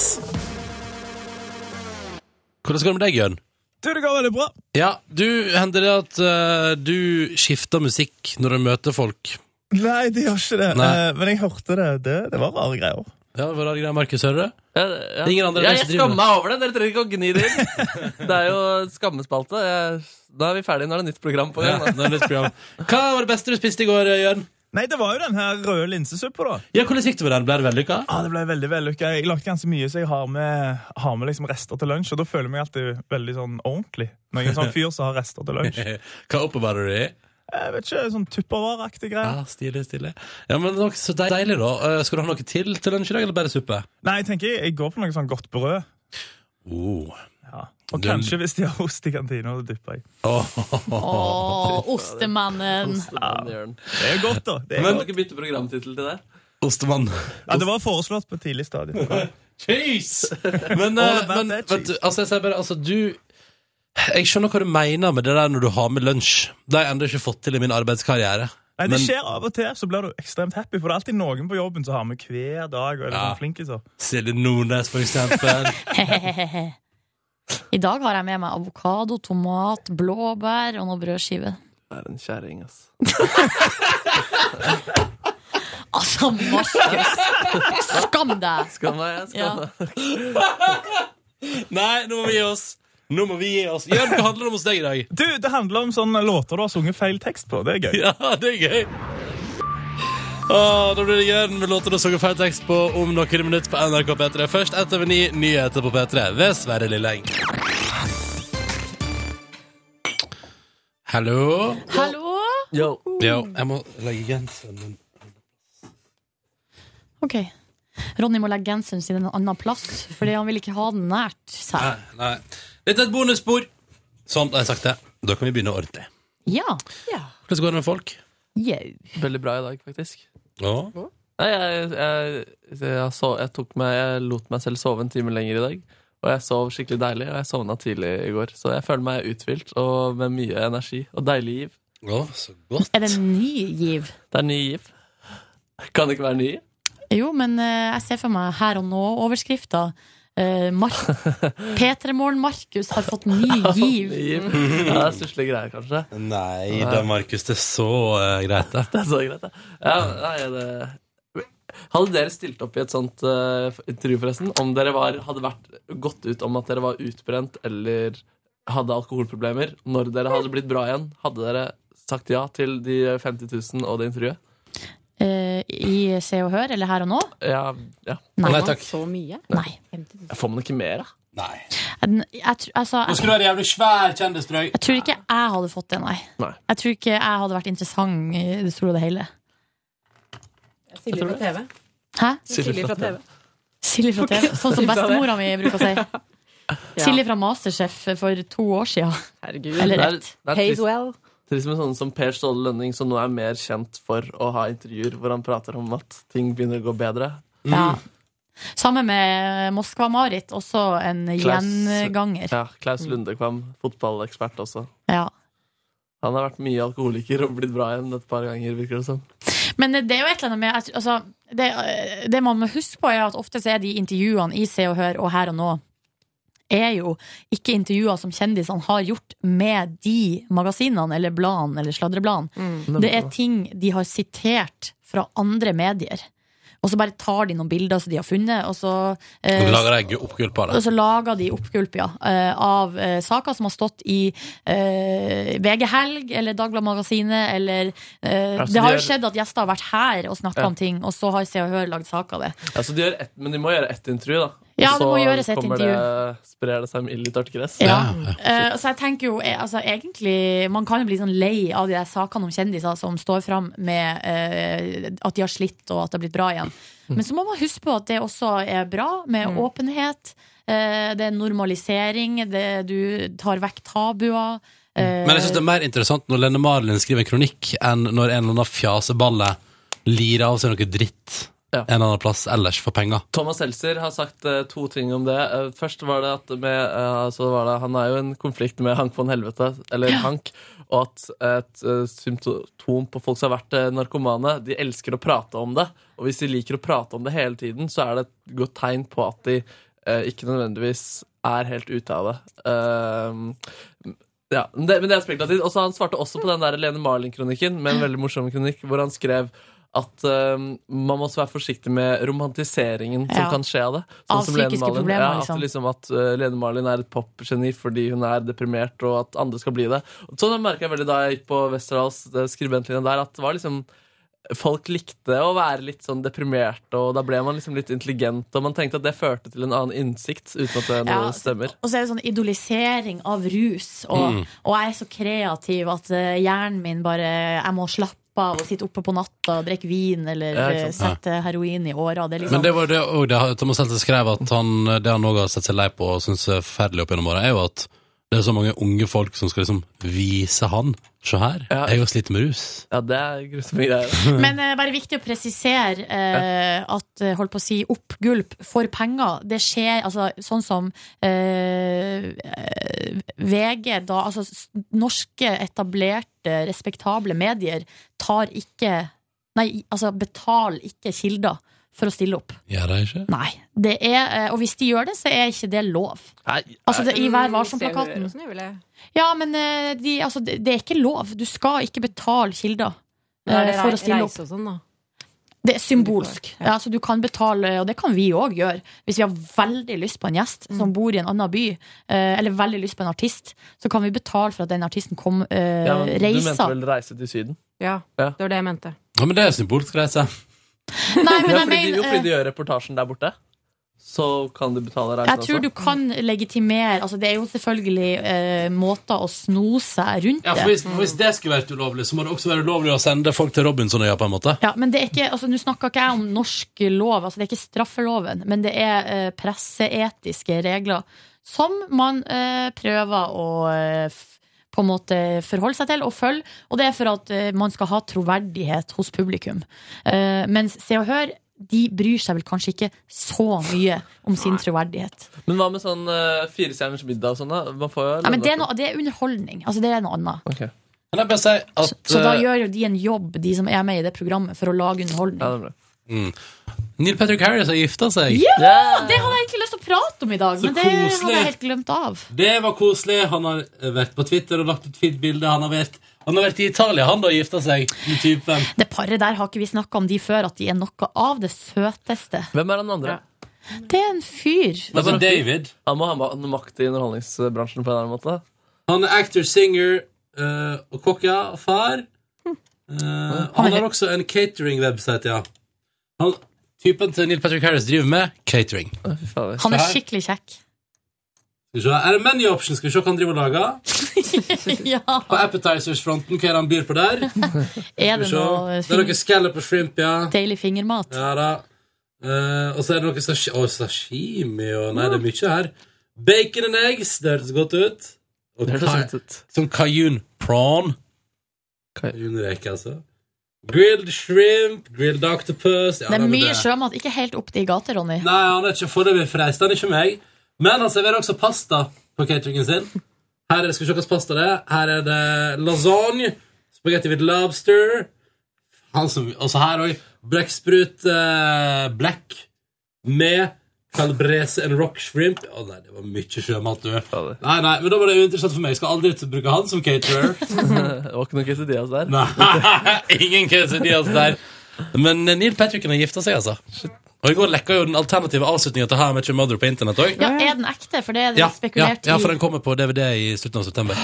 S2: Hvordan går det med deg, Jørn?
S17: Du, det går veldig bra.
S2: Ja, du hender det at eh, du skifter musikk når du møter folk.
S17: Nei, det gjør ikke det.
S2: Nei.
S17: Eh, men jeg hørte det. Det, det var rare greier.
S2: Ja, det var rare greier. Markus, hører du?
S5: Ja, ja.
S2: Ingen andre enn
S5: ja,
S2: dere
S5: jeg
S2: som driver
S5: skammer meg over det, dere trenger ikke å gni det inn. Det er jo skammespalte. Jeg, da er vi ferdige, nå er det nytt program på gang.
S2: Ja, det er nytt program. Hva var det beste du spiste i går, Jørn?
S17: Nei, det var jo den her røde linsesuppa, da.
S2: Ja, Hvordan gikk det med den? Ble det vellykka?
S17: Ja, det ble veldig vellykka. Jeg lagde ganske mye, så jeg har med, har med liksom rester til lunsj. Og da føler jeg meg alltid veldig sånn ordentlig. Når jeg er en sånn fyr som har rester til lunsj.
S2: Hva oppbevarer du i?
S17: Jeg vet ikke, sånn tuppervareaktig greier.
S2: Ja, stilig, stilig. Ja, men nok, Så deil- deilig, da. Eh, Skal du ha noe til til lunsj i dag, eller bare suppe?
S17: Nei, jeg tenker jeg går for noe sånn godt brød.
S2: Oh.
S17: Ja. Og
S2: Den-
S17: kanskje hvis de har ost i kantina, så dypper jeg.
S3: Å, ostemannen.
S17: Det er godt, da. Det er
S5: Men,
S17: godt.
S5: kan ikke bytte programtittel til det?
S2: Ostemann.
S17: Ja, det var foreslått på et tidlig stadium.
S2: Cheese! Men, eh, men vet du, altså, jeg sier bare, altså, du Jeg skjønner hva du mener med det der når du har med lunsj. Det har jeg ennå ikke fått til i min arbeidskarriere.
S17: Nei, Det skjer av og til, så blir du ekstremt happy. For det er alltid noen på jobben som har med hver dag. og er litt
S2: Ja.
S17: sånn flinke, så.
S2: Silje Nordnes, for eksempel.
S3: I dag har jeg med meg avokado, tomat, blåbær og noe brødskive.
S5: Det er en kjerring, ass.
S3: Altså, Markus! Skam deg!
S5: Skam meg, jeg skam meg.
S2: Nei, nå må vi gi oss. Nå må vi gi oss. Jørn, hva handler det om hos deg i dag?
S17: Du, Det handler om sånne låter du har sunget feil tekst på. Det er gøy.
S2: Ja, det er gøy. Åh, da blir det Jørn med låter og sanger feil tekst på om noen minutter på NRK P3. Først ett over ni, nyheter på P3 ved Sverre Lilleng. Hallo?
S3: Hallo?
S2: Yo. Jeg må legge genseren min
S3: Ok. Ronny må legge genseren sin en annen plass, fordi han vil ikke ha den nært seg.
S2: Nei, nei. Dette er et bonusspor. Sånn, da har jeg sagt det. Da kan vi begynne ordentlig.
S3: Ja.
S2: Hvordan går det med folk?
S3: Jau.
S5: Veldig bra i dag, faktisk.
S2: Ja.
S5: Nei, jeg, jeg, jeg, sov, jeg, tok meg, jeg lot meg selv sove en time lenger i dag. Og jeg sov skikkelig deilig, og jeg sovna tidlig i går. Så jeg føler meg uthvilt og med mye energi og deilig giv.
S2: Ja, så godt.
S3: Er det en ny giv?
S5: Det er ny giv. Kan det ikke være ny?
S3: Jo, men eh, jeg ser for meg her og nå-overskrifta. Uh, Mar P3-morgen Markus har fått ny giv.
S5: Giv. Ja, det er stusslige greier, kanskje.
S2: Nei da, Markus. Det er så eh, greit, det.
S5: Det er så greit, det. Ja, nei, det... Hadde dere stilt opp i et sånt eh, intervju, forresten, om dere var, hadde vært, gått ut om at dere var utbrent eller hadde alkoholproblemer, når dere hadde blitt bra igjen, hadde dere sagt ja til de 50 000 og det intervjuet?
S3: Eh, I Se og Hør, eller her og nå?
S5: Ja, ja.
S3: Nei. Nei,
S5: takk.
S3: Så mye? Nei.
S5: Får man ikke mer, da?
S2: Nei.
S3: Jeg, jeg, tr- altså,
S2: Nå
S3: jeg,
S2: skal du ha en jævlig svær kjendisdrøy.
S3: jeg tror ikke jeg hadde fått det, nei.
S5: Nei.
S3: Jeg tror ikke jeg hadde vært interessant i det store og det hele.
S18: Silje fra TV.
S3: Hæ?
S18: Silje fra TV.
S3: Silje fra TV. Sånn som bestemora mi bruker å si.
S18: Ja.
S3: Silje fra Masterchef for to år siden.
S5: Herregud.
S3: Eller
S5: Det er-
S3: rett.
S5: det er trist. Trist med sånne som Per Ståle Lønning, som nå er mer kjent for å ha intervjuer hvor han prater om at ting begynner å gå bedre.
S3: Ja. Sammen med Moskva-Marit, også en
S5: Klaus-
S3: gjenganger. Mm.
S5: Ja, Klaus Lundekvam, fotballekspert også.
S3: Ja.
S5: Han har vært mye alkoholiker og blitt bra igjen et par ganger, virker det som.
S3: Men det er jo et eller annet med jeg tror- altså, det, det man må huske på, er at ofte så er de intervjuene i Se og Hør og Her og Nå er jo ikke intervjuer som kjendisene har gjort med de magasinene eller bladene eller sladrebladene.
S18: Mm.
S3: Det er ting de har sitert fra andre medier. Og så bare tar de noen bilder som de har funnet, og så eh,
S2: Nå lager jeg oppgulp av
S3: og så
S2: det.
S3: lager de oppgulp ja, eh, av eh, saker som har stått i eh, VG Helg eller Dagbladet Magasinet. Eller, eh,
S5: Altså,
S3: det
S5: de
S3: har
S5: er-
S3: jo skjedd at gjester har vært her og snakka
S5: Ja.
S3: om ting, og så har Se og Hør lagd sak av det.
S5: Altså, de gjør ett, men de må gjøre ett intervju, da.
S3: Ja,
S5: Og
S3: det
S5: så
S3: må gjøres ett
S5: kommer Det, sprer det seg med ild i tørt gress.
S3: Ja. Eh, så jeg tenker jo eh, altså, egentlig, Man kan jo bli sånn lei av de der sakene om kjendiser som står fram med eh, at de har slitt, og at det har blitt bra igjen. Men så må man huske på at det også er bra med åpenhet. eh, det er normalisering. Det, du tar vekk tabuer.
S5: Mm.
S3: eh,
S2: Mm. Men jeg syns det er mer interessant når Lene Marlin skriver en kronikk, enn når en eller annen fjaseballe lirer av seg noe dritt en eller annen plass ellers for penger.
S5: Thomas Seltzer har sagt eh, to ting om det. Eh, først var det at med, eh, så var det, han er jo i en konflikt med Hank von Helvete, eller Hank, og at et eh, symptom på folk som har vært eh, narkomane, de elsker å prate om det. Og hvis de liker å prate om det hele tiden, så er det et godt tegn på at de eh, ikke nødvendigvis er helt ute av det. Eh, ja, men det, men det er spekulativt. Og så han svarte også på den der Lene Marlin-kronikken med en veldig morsom kronikk, hvor han skrev at øhm, man må også være forsiktig med romantiseringen som
S16: Ja.
S5: kan skje av det. Sånn
S16: Av psykiske problemer,
S5: ja,
S16: liksom.
S5: At, liksom at øh, Lene Marlin er et popgeni fordi hun er deprimert, og at andre skal bli det. Sånn merka jeg veldig da jeg gikk på Westerdals det skribentlinja der, at det var liksom Folk likte å være litt sånn deprimerte, og da ble man liksom litt intelligent. Og man tenkte at det førte til en annen innsikt, uten at det
S3: Ja,
S5: nødvendigvis stemmer.
S3: Og så er det sånn idolisering av rus, og,
S5: Mm.
S3: og jeg er så kreativ at eh, hjernen min bare Jeg må slappe av og sitte oppe på natta og drikke vin eller
S2: Ja, ikke
S3: eh,
S2: sant.
S3: sette heroin i åra. Det er
S2: Men
S3: liksom
S2: det var det og det, Thomas Seltzer skrev at han, det han òg har sett seg lei på og syns er forferdelig opp gjennom åra, er jo at det er så mange unge folk som skal liksom vise han Se her, jeg har slitt med rus.
S5: Ja, det er grusomme greier.
S2: Mm.
S3: Men eh, bare viktig å presisere eh, at eh, holdt på å si oppgulp for penger. Det skjer altså, sånn som eh, eh, VG, da, altså s- norske etablerte, respektable medier, tar ikke Nei, altså betaler ikke kilder for å stille opp.
S2: Gjør de ikke?
S3: Nei. Det er, eh, og hvis de gjør det, så er ikke det lov. Altså, det, I Vær varsom-plakaten. Ja, men eh, de, altså, det det er ikke lov. Du skal ikke betale kilder
S18: Da er
S3: eh,
S18: det
S3: for
S18: rei-
S3: å stille
S18: reise
S3: opp.
S18: og sånn, da.
S3: Det er symbolsk. Ja, så du kan betale, og det kan vi òg gjøre. Hvis vi har veldig lyst på en gjest
S18: Mm.
S3: som bor i en annen by, eh, eller veldig lyst på en artist, så kan vi betale for at den artisten kom, eh,
S5: Ja, men du mente
S3: reiser.
S5: vel reise til Syden?
S18: Ja,
S5: Ja.
S18: det var det jeg mente.
S2: Ja, men det er symbolsk reise.
S3: Nei, men
S5: ja,
S3: jeg
S5: fordi, de-
S3: mener
S5: jo, fordi
S3: eh,
S5: de gjør reportasjen der borte. så kan du betale reisen
S3: Jeg tror du kan legitimere altså Det er jo selvfølgelig eh, måter å sno seg rundt
S2: Ja,
S3: det.
S2: for hvis, for hvis det skulle vært ulovlig, så må det også være ulovlig å sende folk til Robinsonøya, på en måte.
S3: Ja, men det er ikke, altså Nå snakka ikke jeg om norsk lov, altså det er ikke straffeloven, men det er eh, presseetiske regler som man eh, prøver å eh, f- på en måte forholde seg til og følge, og det er for at eh, man skal ha troverdighet hos publikum. Eh, mens Se og Hør de bryr seg vel kanskje ikke så mye om sin troverdighet.
S5: Men hva med sånn uh, firestjerners middag og sånn? da? Man får jo
S3: Nei, men det er, noe, det er underholdning. Altså Det er noe annet.
S2: Kan jeg bare si at
S3: Så da
S2: eh,
S3: gjør jo de en jobb, de som er med i det programmet, for å lage underholdning.
S2: mm, Neil Patrick Harris har gifta seg.
S3: Ja! Det hadde jeg egentlig lyst til å prate om i dag,
S2: Så
S3: men det hadde
S2: koselig.
S3: jeg helt glemt av.
S2: Det var koselig. Han har vært på Twitter og lagt ut fint bilde. Han har vært, han har vært i Italia, han da, og gifta seg med typen.
S3: Det paret der har ikke vi snakka om de før, at de er noe av det søteste.
S5: Hvem er den andre?
S3: Det er en fyr.
S2: Det er bare Altså, David.
S5: Han må ha ma- makt i underholdningsbransjen på en eller annen måte.
S2: Han er actor, singer eh, og kokk, ja. Og far.
S3: Hm.
S2: Eh, han har også en catering-website, ja. Han, typen til Neil Patrick Harris driver med catering.
S3: Han er
S2: Her.
S3: skikkelig kjekk.
S2: Skal vi se, Er det menu option? Skal vi se hva han driver og lager?
S3: ja.
S2: På appetizers-fronten, hva er det han byr på der?
S3: Er
S2: Skal vi
S3: det
S2: se.
S3: noe
S2: Det er noe
S3: fin,
S2: scallop og shrimp, ja.
S3: deilig fingermat?
S2: Ja da. Eh, og så er det noe sashi å, sashimi og Nei, det er mye her. Bacon and eggs. Det hørtes godt ut. Og
S5: Det hørtes
S2: ka-
S5: godt ut.
S2: Som cajun prawn. Cajunreke, altså. Grilled shrimp, grilled octopus ja,
S3: Det
S2: nei,
S3: er
S2: men
S3: mye sjømat. Ikke helt opp de gater, Ronny.
S2: Nei, han er ikke foreløpig freist. Han er ikke meg. Men han serverer også pasta på cateringen sin. Her er det, skal vi se hva slags pasta det er. Her er det lasagne, spagetti with lobster han som, Også her òg. Blekksprut eh, black med calbrese and rock shrimp. Å nei, det var mye sjømat, du. Nei, nei, men da var det uinteressant for meg. Jeg skal aldri ut og bruke han som caterer.
S5: det var ikke noe Quesadillas der.
S2: Ingen quesadillas altså der. Men eh, Neil Patricken har gifta seg, altså. Og i går lekka jo den alternative avslutninga til How I Met Your Mother på internett òg.
S3: Ja, Er den ekte? For det er det
S2: Ja, ja,
S3: spekulert
S2: ja,
S3: i.
S2: for den kommer på DVD i slutten av september.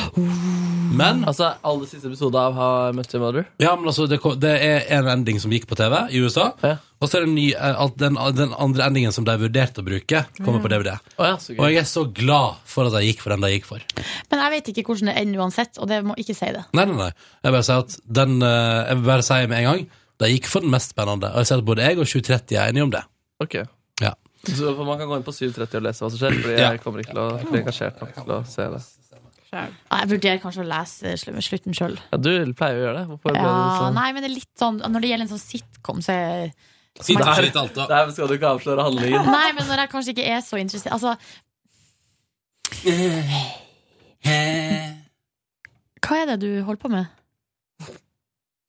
S2: Men
S5: Altså, alle siste episoder av How I Met Your Mother.
S2: Ja, men altså, det, kom- det er en ending som gikk på TV i USA, og så er det en ny, eh, alt- den, den andre endingen som de vurderte å bruke, kommer på DVD.
S5: Å, ja, så gøy.
S2: Og jeg er så glad for at de gikk for den de gikk for.
S3: Men jeg vet ikke hvordan det ender uansett, og det må ikke si det.
S2: Nei, nei, nei. Jeg vil bare si at den, eh, jeg vil bare si med en gang, de gikk for den mest spennende. Og jeg ser at både jeg og 730 er enige om det.
S5: Ok.
S2: Ja.
S5: Så man kan gå inn på 7.30 og lese hva som skjer, Fordi
S2: Ja.
S5: jeg kommer ikke til å bli engasjert nok til å se det.
S3: Ja, Jeg vurderer kanskje å lese slu- slutten sjøl.
S5: Ja, du pleier å gjøre det. Hvorfor ble du
S3: Ja,
S5: sånn?
S3: nei, men det er litt sånn Når det gjelder en sånn sitcom, så er
S5: Sitt
S3: som er-
S5: her. Nei, men skal du ikke avsløre handlingen?
S3: Nei, men når jeg kanskje ikke er så interessert Altså, hva er det du holder på med?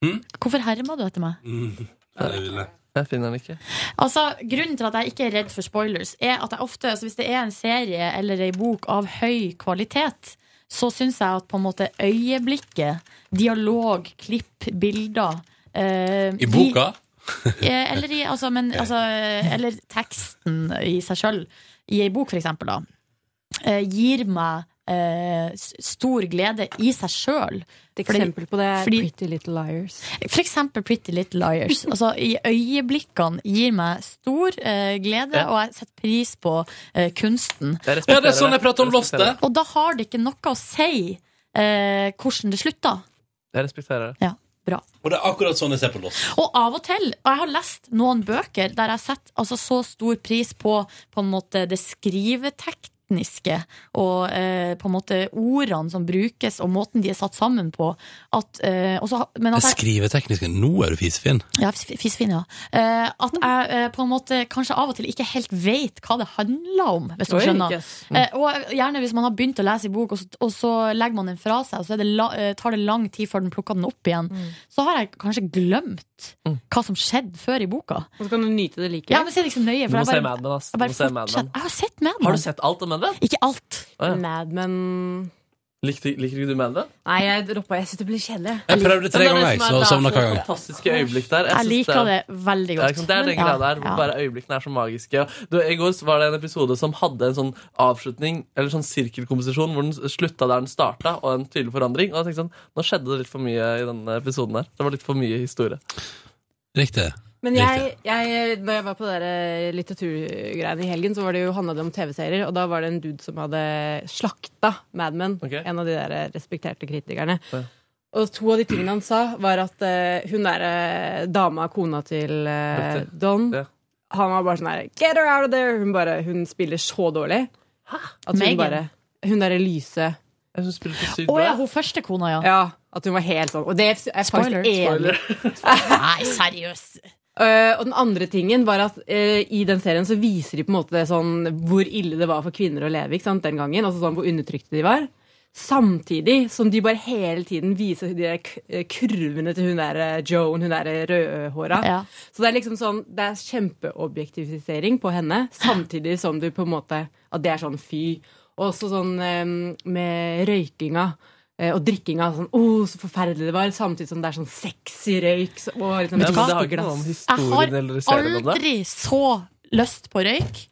S2: Mm?
S3: Hvorfor hermer du etter meg?
S5: Jeg finner den ikke.
S3: Altså, Grunnen til at jeg ikke er redd for spoilers, er at jeg ofte, altså hvis det er en serie eller ei bok av høy kvalitet, så syns jeg at på en måte øyeblikket, dialog, klipp, bilder eh,
S2: I boka?
S3: De, eh, eller, i, altså, men, altså, eh, eller teksten i seg sjøl, i ei bok for eksempel, da, eh, gir meg eh, s- stor glede i seg sjøl.
S18: Et eksempel på det er Pretty Little Liars.
S3: For eksempel Pretty Little Liars. Altså, I øyeblikkene gir meg stor eh, glede,
S5: Ja.
S3: og jeg setter pris på eh, kunsten.
S5: Jeg respekterer Ja, det er sånn jeg prater om det. Jeg Lost, respekterer det.
S3: Og da har det ikke noe å si eh, hvordan det slutter.
S5: Jeg respekterer det.
S3: Ja, bra.
S2: Og det er akkurat sånn jeg ser på Lost.
S3: Og av og til, og jeg har lest noen bøker der jeg setter altså, så stor pris på, på en måte, det skrivetekniske og eh, på en måte ordene som brukes, og måten de er satt sammen på. At, eh, og så ha- men at jeg-
S2: Skriveteknisk, nå er du fisefin.
S3: Ja, fis- fisefin, ja. Eh, at jeg eh, på en måte kanskje av og til ikke helt vet hva det handler om, hvis du
S18: Oi,
S3: skjønner.
S18: yes.
S3: Eh, og gjerne hvis man har begynt å lese i bok, og så, og så legger man den fra seg, og så er det la, eh, tar det lang tid før den plukker den opp igjen, så har jeg kanskje glemt hva som skjedde før i boka.
S18: Og så kan du nyte det likevel.
S3: Ja, men så er det ikke så nøye.
S5: Du må
S3: For
S5: se
S3: jeg
S5: Mad Men,
S3: bare,
S5: ass.
S3: jeg
S5: Du må
S3: bare
S5: se Mad Men.
S3: fortsetter. Jeg har sett Mad Men.
S5: Har du sett alt om Mad Men?
S3: Ikke alt.
S5: Å, ja.
S18: Mad Men
S5: Likte, liker ikke du Mad Men?
S18: Nei, jeg droppa. Jeg syns det blir kjedelig.
S2: Jeg prøvde tre
S5: Men det er
S2: ganger,
S18: liksom
S5: det
S2: jeg,
S5: som
S2: så
S5: er-
S2: sovna hver
S5: Det er så
S2: gang.
S18: sånn-
S5: fantastiske øyeblikk der.
S3: Jeg
S5: synes
S3: liker det veldig
S5: Ja,
S3: godt.
S5: ikke sant? Det er den
S3: Men-
S5: greia der
S3: ja.
S5: hvor bare øyeblikkene er så magiske. Du, I går så var det en episode som hadde en sånn avslutning, eller sånn sirkelkomposisjon, hvor den slutta der den starta, og en tydelig forandring. Og jeg tenkte sånn, Nå skjedde det litt for mye i denne episoden her. Det var litt for mye historie.
S2: Riktig.
S7: Men jeg, jeg, når jeg var på det der eh, litteraturgreiene i helgen, så var det jo, handla det om TV-serier. Og da var det en dude som hadde slakta Mad Men, en av de der eh, respekterte kritikerne. Og to av de tingene han sa, var at eh, hun derre dama, kona til eh,
S5: Dette.
S7: Don Han var bare sånn her Get her out of there! Hun, bare, hun spiller så dårlig. At hun
S3: Megan?
S7: bare Hun derre lyse
S5: Hun spilte så
S3: Å ja, hun første kona, ja.
S7: ja, at hun var helt sånn. Og det er jeg
S3: Spoiler.
S7: faktisk enig
S3: Nei, seriøst.
S7: Eh, og den andre tingen var at eh, i den serien så viser de på en måte sånn hvor ille det var for kvinner å leve ikke sant, den gangen. Altså sånn hvor undertrykte de var. Samtidig som de bare hele tiden viser de der k- eh, kurvene til hun der eh, Joan, hun der eh, rødhåra.
S3: Ja.
S7: Så det er liksom sånn, det er kjempeobjektifisering på henne, samtidig som du på en måte At det er sånn fy. Og også sånn eh, med røykinga eh, og drikkinga. Sånn, oh, så forferdelig det var. Samtidig som det er sånn sexy røyk. så- Og liksom,
S5: Ja, men det
S7: glass
S5: har
S7: på
S5: ikke noe om
S7: glass.
S5: historien Jeg har eller serien om det.
S3: aldri så lyst på røyk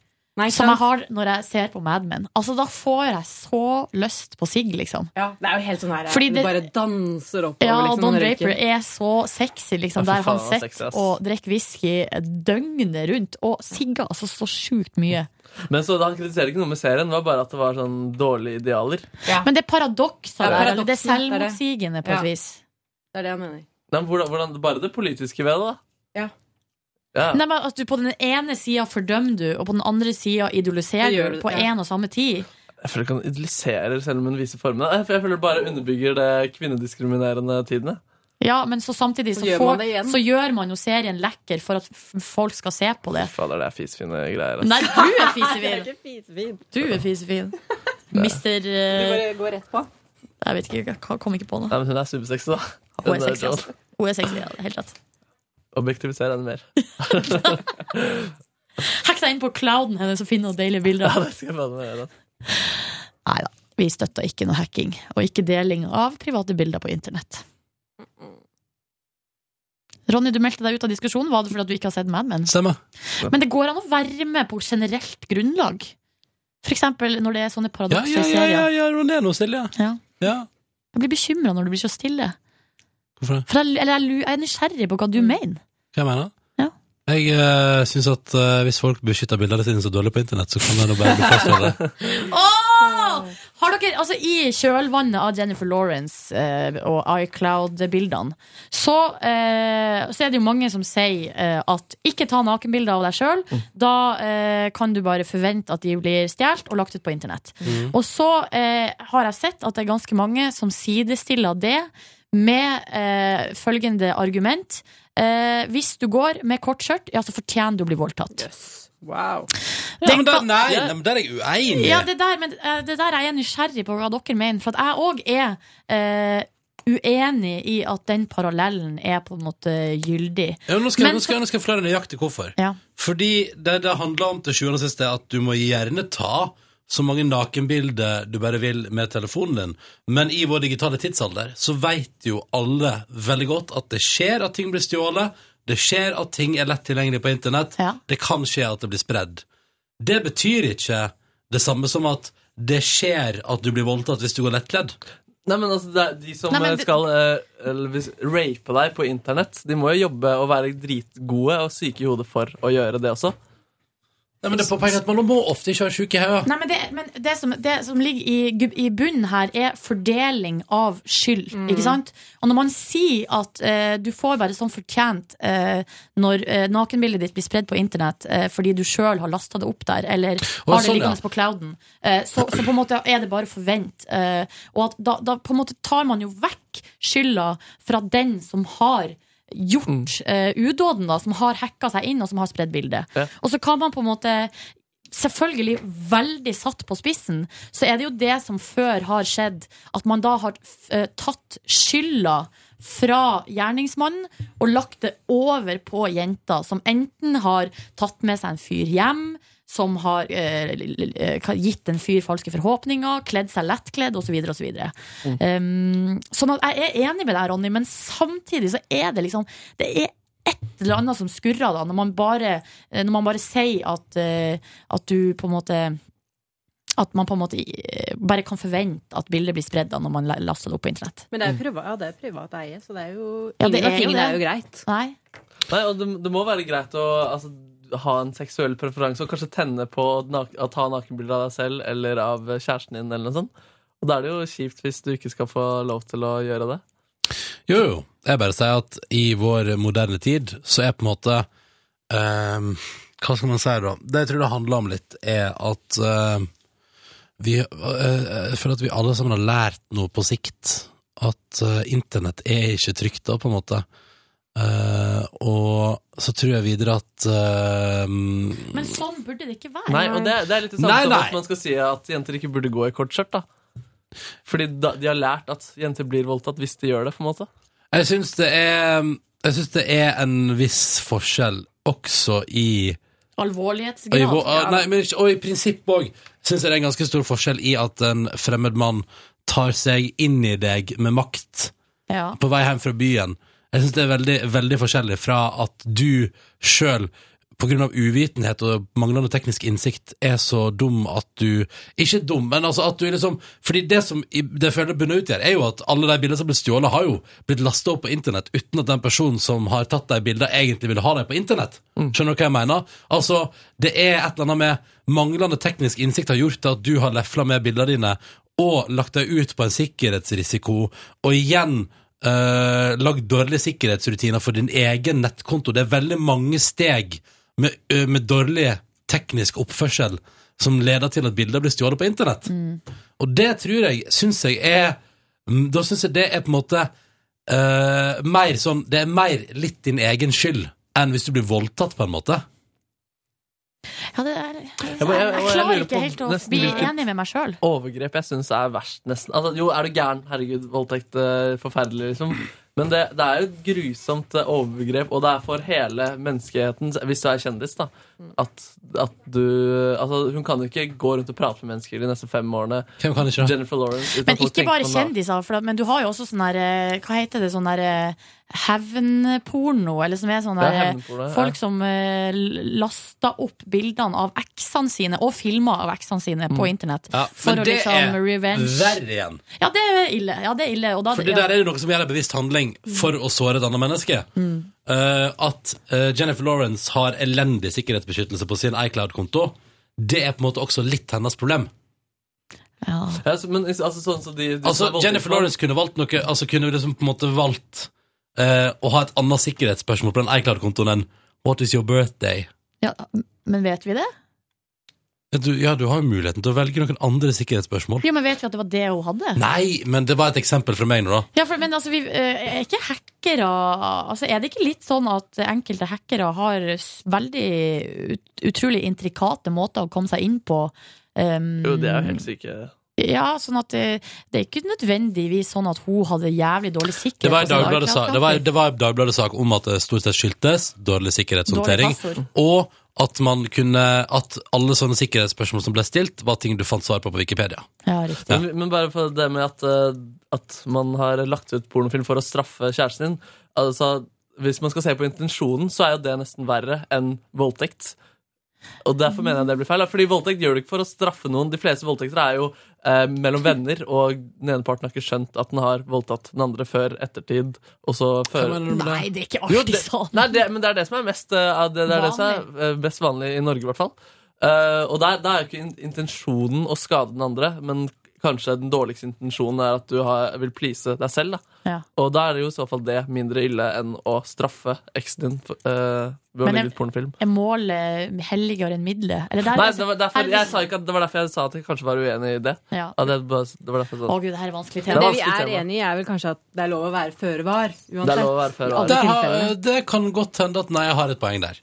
S3: som jeg har når jeg ser på Mad Men. Altså, da får jeg så lyst på sigg, liksom.
S7: Ja, det er jo helt sånn her
S3: Fordi
S7: Du
S3: det-
S7: bare danser oppover
S3: Ja,
S7: liksom,
S3: Don
S7: når du
S3: Draper
S7: røyker.
S3: er så sexy,
S7: Ja,
S3: liksom.
S7: for
S3: der han
S7: faen, han er sexy,
S3: sitter
S7: ass.
S3: og drikker whisky døgnet rundt. Og sigger altså så sjukt mye.
S5: Men så da Han kritiserer ikke noe med serien, det var bare at det var sånn dårlige idealer.
S3: Men det er paradokser
S5: Ja,
S3: der. eller Det
S5: paradoksen,
S3: er
S7: det er det.
S3: selvmotsigende på
S7: Ja.
S3: et vis.
S7: Det er det jeg mener.
S5: Nei, men hvordan, hvordan, bare det politiske ved det, da.
S7: Ja.
S5: Ja.
S3: Nei, men at du På den ene sida fordømmer du, og på den andre sida idoliserer
S5: Det gjør
S3: du
S5: du,
S3: på
S5: ja.
S3: én og samme tid.
S5: Jeg føler ikke han idoliserer selv om hun viser formene. Jeg jeg føler det bare underbygger det kvinnediskriminerende tidene.
S3: Ja, men så samtidig så,
S5: Så gjør
S3: får,
S5: man det igjen.
S3: så gjør man jo serien lekker for at f- folk skal se på det.
S5: Fader, det er fisefine greier. ass.
S3: Nei, du er
S7: Jeg er
S3: fisefin!
S7: ikke fisefin.
S3: Du er fisefin. Mister
S7: Du
S3: eh,
S7: bare går rett på.
S3: Jeg vet ikke, jeg kom ikke på noe.
S5: Nei, men hun er supersexy, da.
S3: Hun er
S5: Hun er
S3: sexy, altså.
S5: sånn.
S3: Hun er sexy, ja, helt rett.
S5: Objektiviser henne mer.
S3: Hack deg inn på clouden hennes og finn noen deilige bilder.
S5: det skal jeg faen meg gjøre.
S3: Nei da. Vi støtter ikke noe hacking, og ikke deling av private bilder på internett. Ronny, du meldte deg ut av diskusjonen. Var det fordi at du ikke har sett Mad Men?
S2: Stemmer.
S3: Men det går an å være med på generelt grunnlag. For eksempel når det er sånne
S2: Ja,
S3: paradokser
S2: ja,
S3: i
S2: ja,
S3: serier.
S2: ja, ja Ronny er nå stille, ja.
S3: Ja.
S2: ja.
S3: Jeg blir bekymra når du blir så stille.
S2: Hvorfor det?
S3: For jeg, eller jeg, lu- jeg er nysgjerrig på hva du mener.
S2: Hva jeg mener? Jeg uh, syns at eh, hvis folk beskytter bildene sine så dårlig på internett, så kan det nå bare bli fastholdt.
S3: Åh! Har dere, altså I kjølvannet av Jennifer Lawrence eh, og iCloud-bildene, så, eh, så er det jo mange som sier eh, at ikke ta nakenbilder av deg sjøl. Da eh, kan du bare forvente at de blir stjålet og lagt ut på internett.
S9: Mhm.
S3: Og så eh, har jeg sett at det er ganske mange som sidestiller det med eh, følgende argument. Eh, hvis du går med kort skjørt, ja, så fortjener du å bli voldtatt.
S7: Wow.
S2: Nei, men der, nei, nei, men der er jeg uenig.
S3: Ja, det der, men eh, det der er jeg nysgjerrig på hva dere mener, for at jeg òg er eh, uenig i at den parallellen er på en måte gyldig.
S2: Ja, nå, skal, jeg-
S3: Men
S2: nå, skal, jeg- nå skal jeg forklare nøyaktig hvorfor.
S3: Ja.
S2: Fordi det det handler om til sjuende og sist, er at du må gjerne ta så mange nakenbilder du bare vil med telefonen din, men i vår digitale tidsalder så veit jo alle veldig godt at det skjer at ting blir stjålet, det skjer at ting er lett tilgjengelig på internett, det kan skje at det blir spredd. Det betyr ikke det samme som at det skjer at du blir voldtatt hvis du går lettkledd.
S5: Nei, men altså, det er de som
S2: Nei, men
S5: eh,
S2: det-
S5: skal eh, eller hvis, rape deg på internett, de må jo jobbe og være dritgode og syke i hodet for å gjøre det også.
S2: Nei, men det er på poenget at Man må ofte ikke være sjuk i hodet.
S3: Nei, men det, men det, som, det som ligger i, gu- i bunnen her, er fordeling av skyld.
S2: Mm.
S3: Ikke sant? Og når man sier at eh, du får bare sånn fortjent eh, når eh, nakenbildet ditt blir spredd på internett eh, fordi du sjøl har lasta det opp der, eller har det
S2: sånn, ja.
S3: liggende på clouden, eh, så, så på en måte er det bare forvent. Eh, og at da, da på en måte tar man jo vekk skylda fra den som har gjort eh, udåden, da, som har hacka seg inn, og som har spredd bildet.
S5: Ja.
S3: Og så kan man på en måte Selvfølgelig veldig satt på spissen, så er det jo det som før har skjedd, at man da har eh, tatt skylda fra gjerningsmannen og lagt det over på jenta, som enten har tatt med seg en fyr hjem, som har eh, l- l- eh, gitt en fyr falske forhåpninger, kledd seg lettkledd osv. osv.
S9: Mm.
S3: Um, sånn at jeg er enig med deg, Ronny, men samtidig så er det liksom Det er et eller annet som skurrer eh, da, når man bare, når man bare sier at, eh, at du på en måte At man på en måte eh, bare kan forvente at bildet blir spredd da når man la- laster det opp på internett.
S7: Men det er jo privat, ja, det er privat eie, så det er jo
S3: Ja, det
S7: ingen av
S3: er jo
S7: tingene er
S3: det.
S7: jo greit.
S3: Nei.
S5: Nei, og det, det må være greit å altså, ha en seksuell preferanse og kanskje tenne på nak å ta nakenbilder av deg selv eller av kjæresten din. eller noe sånt. Og da er det jo kjipt hvis du ikke skal få lov til å gjøre det.
S2: Jo, jo. Jeg bare sier at i vår moderne tid så er på en måte ehm, Hva skal man si da? Det jeg tror det handler om litt, er at ehm, vi, eh, Jeg føler at vi alle sammen har lært noe på sikt. At eh, internett er ikke trygt, da, på en måte. Eh, og så tror jeg videre at ehm,
S3: Men sånn burde det ikke være.
S5: Nei, og det, det er litt det samme
S2: Nei,
S5: som
S2: nei.
S5: at man skal si at jenter ikke burde gå i kortskjørt. da. Fordi da, de har lært at jenter blir voldtatt hvis de gjør det. på en måte.
S2: Jeg syns det er Jeg synes det er en viss forskjell også i
S3: Alvorlighetsgrad.
S2: Og i,
S5: ah.
S2: vår-
S3: ja.
S2: ah, nei, men, ikke- og i prinsippet òg syns jeg det er en ganske stor forskjell i at en fremmed mann tar seg inn i deg med makt
S3: Ja.
S2: på vei hjem fra byen. Jeg syns det er veldig, veldig forskjellig fra at du sjøl pga. uvitenhet og manglende teknisk innsikt er så dum at du Ikke dum, men altså at du liksom Fordi det som i- det føler jeg bunner ut i her, er jo at alle de bildene som blir stjålet, har jo blitt lasta opp på internett uten at den personen som har tatt de bildene, egentlig ville ha dem på internett. Skjønner du hva jeg mener? Altså, det er et eller annet med manglende teknisk innsikt har gjort at du har lefla med bildene dine og lagt deg ut på en sikkerhetsrisiko, og igjen Uh, Lagd dårlige sikkerhetsrutiner for din egen nettkonto. Det er veldig mange steg med, ø, med dårlig teknisk oppførsel som leder til at bilder blir stjålet på internett. Og det tror jeg, syns jeg er mm, Da syns jeg det er på en måte eh, mer sånn Det er mer litt din egen skyld enn hvis du blir voldtatt, på en måte.
S3: Ja, det er, jeg,
S5: men jeg- og jeg
S3: klarer
S5: lurer
S3: ikke
S5: på
S3: helt å
S5: nesten
S3: bli
S5: hvilket-
S3: enig med meg sjøl.
S5: Overgrep jeg syns er verst, nesten. Altså, jo, er du gæren? Herregud, voldtekt. eh, Forferdelig, liksom. Men det, det er jo et grusomt eh, overgrep, og det er for hele menneskeheten, hvis du er kjendis, da, at, at du Altså, hun kan jo ikke gå rundt og prate med mennesker de neste fem årene.
S2: Hvem kan ikke
S5: Jennifer Lawrence. uten
S3: Men
S5: at folk
S3: ikke
S5: tenker
S3: bare
S5: på henne.
S3: kjendiser, for, da- men du har jo også sånn der eh, Hva heter det? Sånn der eh, hevnporno, eller som er sånn
S5: Det er
S3: der eh,
S5: hevnporno, ja.
S3: Folk som eh, l- laster opp bildene av eksene sine, og filmer av eksene sine,
S5: Mm.
S3: på internett.
S2: Ja,
S3: for
S2: men
S3: å
S2: det
S3: liksom
S2: er
S3: revenge.
S2: verre igjen.
S3: Ja, det er ille. Ja, det er ille. Og da,
S2: For det
S3: ja.
S2: der er det noe som gjør en bevisst handling for å såre et annet menneske.
S3: Mm.
S2: Eh, at eh, Jennifer Lawrence har elendig sikkerhetsbeskyttelse på sin iCloud-konto, det er på en måte også litt hennes problem.
S5: Ja, så- men altså, sånn som de, de
S2: Altså,
S5: som er
S2: Jennifer
S5: voldtektsmann-
S2: Lawrence kunne valgt noe Altså kunne liksom på en måte valgt eh, å ha et annet sikkerhetsspørsmål på den iCloud-kontoen enn What is your birthday?
S3: Ja, men vet vi det?
S2: Ja, Du, ja, du har jo muligheten til å velge noen andre sikkerhetsspørsmål.
S3: Jo, men vet vi at det var det hun hadde?
S2: Nei, men det var et eksempel fra meg nå, da.
S3: Ja, for, men altså, vi eh, er ikke hackere altså, Er det ikke litt sånn at enkelte hackere har s- veldig ut, utrolig intrikate måter å komme seg inn på? em,
S5: Jo, det er jo helt syke.
S3: Ja, sånn at det, det er ikke nødvendigvis sånn at hun hadde jævlig dårlig sikkerhet. Altså,
S2: Det var en
S3: på sin iCloud-konto.
S2: Dagbladet-sak det var, det var en Dagbladet-sak om at det stort sett skyldtes dårlig sikkerhetshåndtering.
S3: Dårlig passord.
S2: Og at man kunne At alle sånne sikkerhetsspørsmål som ble stilt, var ting du fant svar på på Wikipedia.
S5: Men, men bare for det med at, eh, at man har lagt ut pornofilm for å straffe kjæresten din altså, Hvis man skal se på intensjonen, så er jo det nesten verre enn voldtekt. Og derfor mener jeg det blir feil. da, Fordi voldtekt gjør du ikke for å straffe noen. De fleste voldtekter er jo eh, mellom venner, og den ene parten har ikke skjønt at den har voldtatt den andre før ettertid. Og så før
S3: mener du med det? Nei, det er ikke
S5: Jo,
S3: alltid
S5: det-
S3: sånn.
S5: Nei, det, men det er det som er mest, eh, av det, det er det som er eh, mest vanlig i Norge, i hvert fall. Eh, og der, der er jo ikke in- intensjonen å skade den andre, men kanskje den dårligste intensjonen er at du har, vil please deg selv. Da.
S3: Ja.
S5: Og da er det jo i så fall det mindre ille enn å straffe eksen din for- eh, ved å
S3: Men
S5: legge
S3: jeg-
S5: ut pornofilm.
S3: Er målet helligere enn middelet? Eller der,
S5: Nei, det var,
S3: her-
S5: derfor, jeg sa ikke at, det var derfor jeg sa at jeg kanskje var uenig i det.
S3: Ja.
S5: At jeg bare- det var derfor jeg sa
S3: Å gud, det her er vanskelig
S5: Det
S18: Men
S5: er
S18: det vi
S5: vanskelig
S18: er
S5: tema.
S18: enig i, er vel kanskje at det er lov å være føre var.
S5: Det er lov å være føre var.
S2: Der har, det kan godt hende at Nei, jeg har et poeng der.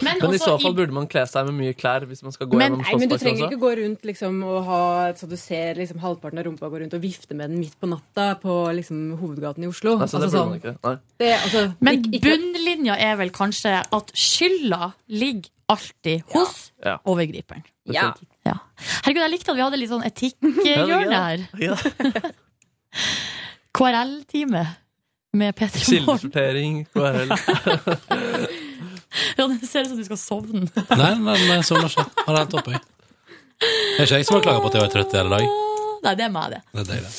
S3: Men,
S5: Men i
S18: også
S5: så
S18: i-
S5: fall burde man kle seg med mye klær hvis man skal gå
S18: Men,
S5: gjennom
S18: nei, men du
S5: Slottsparken
S18: trenger
S5: også.
S18: ikke gå rundt liksom, og ha så du ser liksom, halvparten av rumpa gå rundt og vifte med den midt på natta på liksom, hovedgaten i Oslo.
S5: Nei, så det
S18: Altså,
S5: burde
S18: sånn.
S5: man ikke. Nei.
S18: Det, altså,
S3: Men
S18: ikke- ikke-
S3: bunnlinja er vel kanskje at skylda ligger alltid hos
S5: Ja.
S3: overgriperen.
S5: Ja.
S3: Ja. Herregud, jeg likte at vi hadde litt sånn etikkhjørne her. KRL-time med Peter Morgen.
S5: Kildesortering, KRL.
S3: Ja, det ser ut som du skal sovne.
S2: Nei, nei, nei, sånn ikke. Har det helt oppe, jeg. Det er ikke jeg som har klaga på at jeg var trøtt i hele dag.
S3: Nei, det er meg, det.
S2: Det er deilig.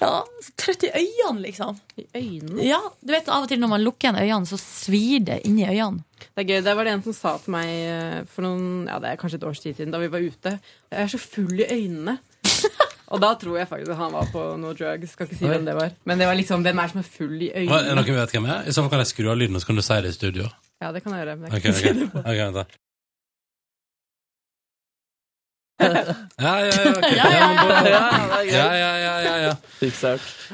S3: Ja, så trøtt i øynene, liksom.
S18: I øynene?
S3: Ja, du vet Av og til når man lukker igjen øynene, så svir det inni øynene.
S18: Det er gøy. Det var det en som sa til meg eh, for noen, ja, det er kanskje et års tid siden, da vi var ute. Jeg er så full i øynene. Og da tror jeg faktisk at han var på noe drugs. Skal ikke si
S2: Oi.
S18: hvem det var. Men det var liksom hvem er som er full i
S2: Hva- Er det
S18: øynene?
S2: noen som vet hvem jeg er? I så fall kan jeg skru av lyden, og så kan du si det i studio.
S18: Ja, det kan jeg gjøre. Men jeg kan
S2: Ok,
S18: ikke
S2: ok.
S18: si det.
S2: Ok, vent da. Ja, ja, ja. ok.
S18: Ja, ja, ja.
S2: men da-
S18: Ja, ja, det er greit.
S2: ja, ja, ja, ja, ja.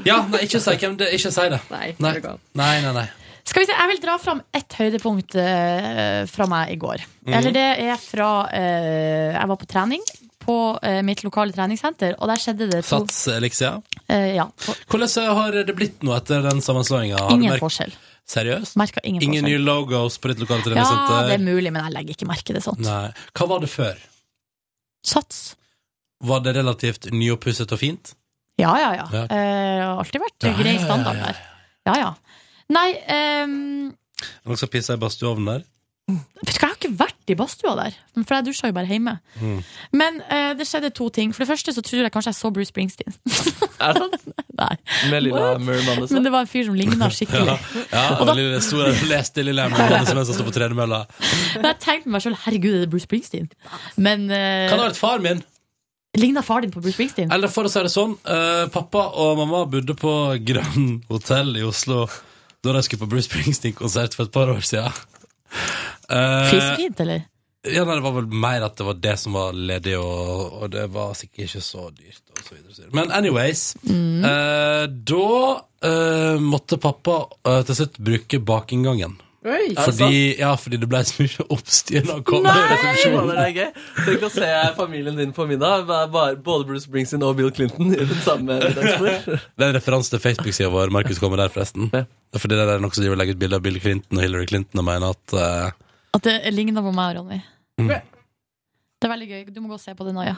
S2: Ja, nei, ikke si hvem det Ikke si det.
S18: Nei,
S2: nei, nei. nei, nei.
S3: Skal vi se, Jeg vil dra fram ett høydepunkt eh, fra meg i går.
S2: Mhm.
S3: Eller det er fra eh, Jeg var på trening på eh, mitt lokale treningssenter, og der skjedde det to
S2: Sats, Elixia.
S3: Eh, ja.
S2: Hvordan eh, har det blitt nå etter den sammenslåinga?
S3: Ingen forskjell.
S2: Seriøst?
S3: Merka ingen forskjell.
S2: nye logos på ditt lokale
S3: ja,
S2: treningssenter?
S3: det er mulig, men jeg legger ikke merke til sånt.
S2: Nei. Hva var det før?
S3: Sats.
S2: Var det relativt nyoppusset og fint?
S3: Ja, ja, ja.
S2: Ja.
S3: Eh, har alltid vært
S2: Ja, ja,
S3: grei
S2: ja,
S3: standard
S2: ja, ja.
S3: der. Ja, ja. Nei, ehm,
S2: Noen som pissa i badstueovnen der?
S3: vet du hva, jeg har ikke vært i badstua der, for jeg dusja jo bare hjemme.
S2: Mm.
S3: Men eh, det skjedde to ting. For det første så tror jeg kanskje jeg så Bruce Springsteen.
S5: Er det sant?
S3: Nei.
S5: Med lilla liksom? Merman
S3: Men det var en fyr som ligna skikkelig.
S2: Ja, ja
S3: Og da-
S2: den lille, store, leste lille Emma som står på tredemølla.
S3: Men jeg tenkte meg selv, herregud, er det Bruce Springsteen? Men
S2: Kan det
S3: uh,
S2: ha vært far min?
S3: ligna far din på Bruce Springsteen?
S2: Eller for å si det sånn, eh, pappa og mamma bodde på Grand Hotell i Oslo da de skulle på Bruce Springsteen-konsert for et par år siden. Eh,
S3: Fisefint, eller?
S2: Ja, nei, det var vel mer at det var det som var ledig, og, og det var sikkert ikke så dyrt. Og så videre, og så videre. Men anyways, eh, da eh, måtte pappa eh, til slutt bruke bakinngangen.
S18: Oi.
S2: Fordi, ja, fordi det ble så mye oppstyr da han kom i resepsjonen.
S5: Det er gøy. Tenk å se familien din på middag. Bare- bare- Både Bruce Springsteen og Bill Clinton i den samme middagsbord.
S2: Det er en referanse til Facebook-sida vår. Markus kommer der, forresten. Det er fordi det er noen som driver og legger ut bilder av Bill Clinton og Hillary Clinton og mener at eh,
S3: At det ligna på meg og Ronny.
S2: Mm.
S3: Det er veldig gøy. Du må gå og se på det nå, ja.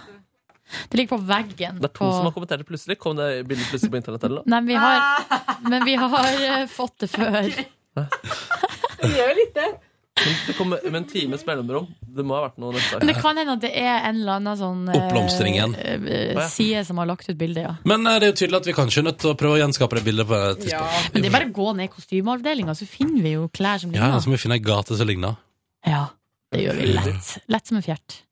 S3: Det ligger på veggen.
S5: Det er to
S3: på...
S5: som har kommentert det plutselig. Kom det bildet plutselig på internett? eller noe?
S3: Nei, men vi har, men vi har eh, fått det før.
S18: Det gjør litt det.
S5: Men det kom med med en times mellomrom. Det må ha vært noe neste
S3: Men det
S5: dag.
S3: kan hende at det er en eller annen sånn eh,
S2: Oppblomstring igjen.
S3: eh, eh, Side som har lagt ut bildet, ja.
S2: Men eh, det er jo tydelig at vi kanskje er nødt til å prøve å gjenskape det bildet på et tidspunkt.
S3: Men det er bare å gå ned i kostymeavdelinga, så finner vi jo klær som
S2: Ja, altså.
S3: ligner.
S2: så må vi finne ei gate som ligner.
S3: Ja, det gjør vi lett. Lett som en fjert.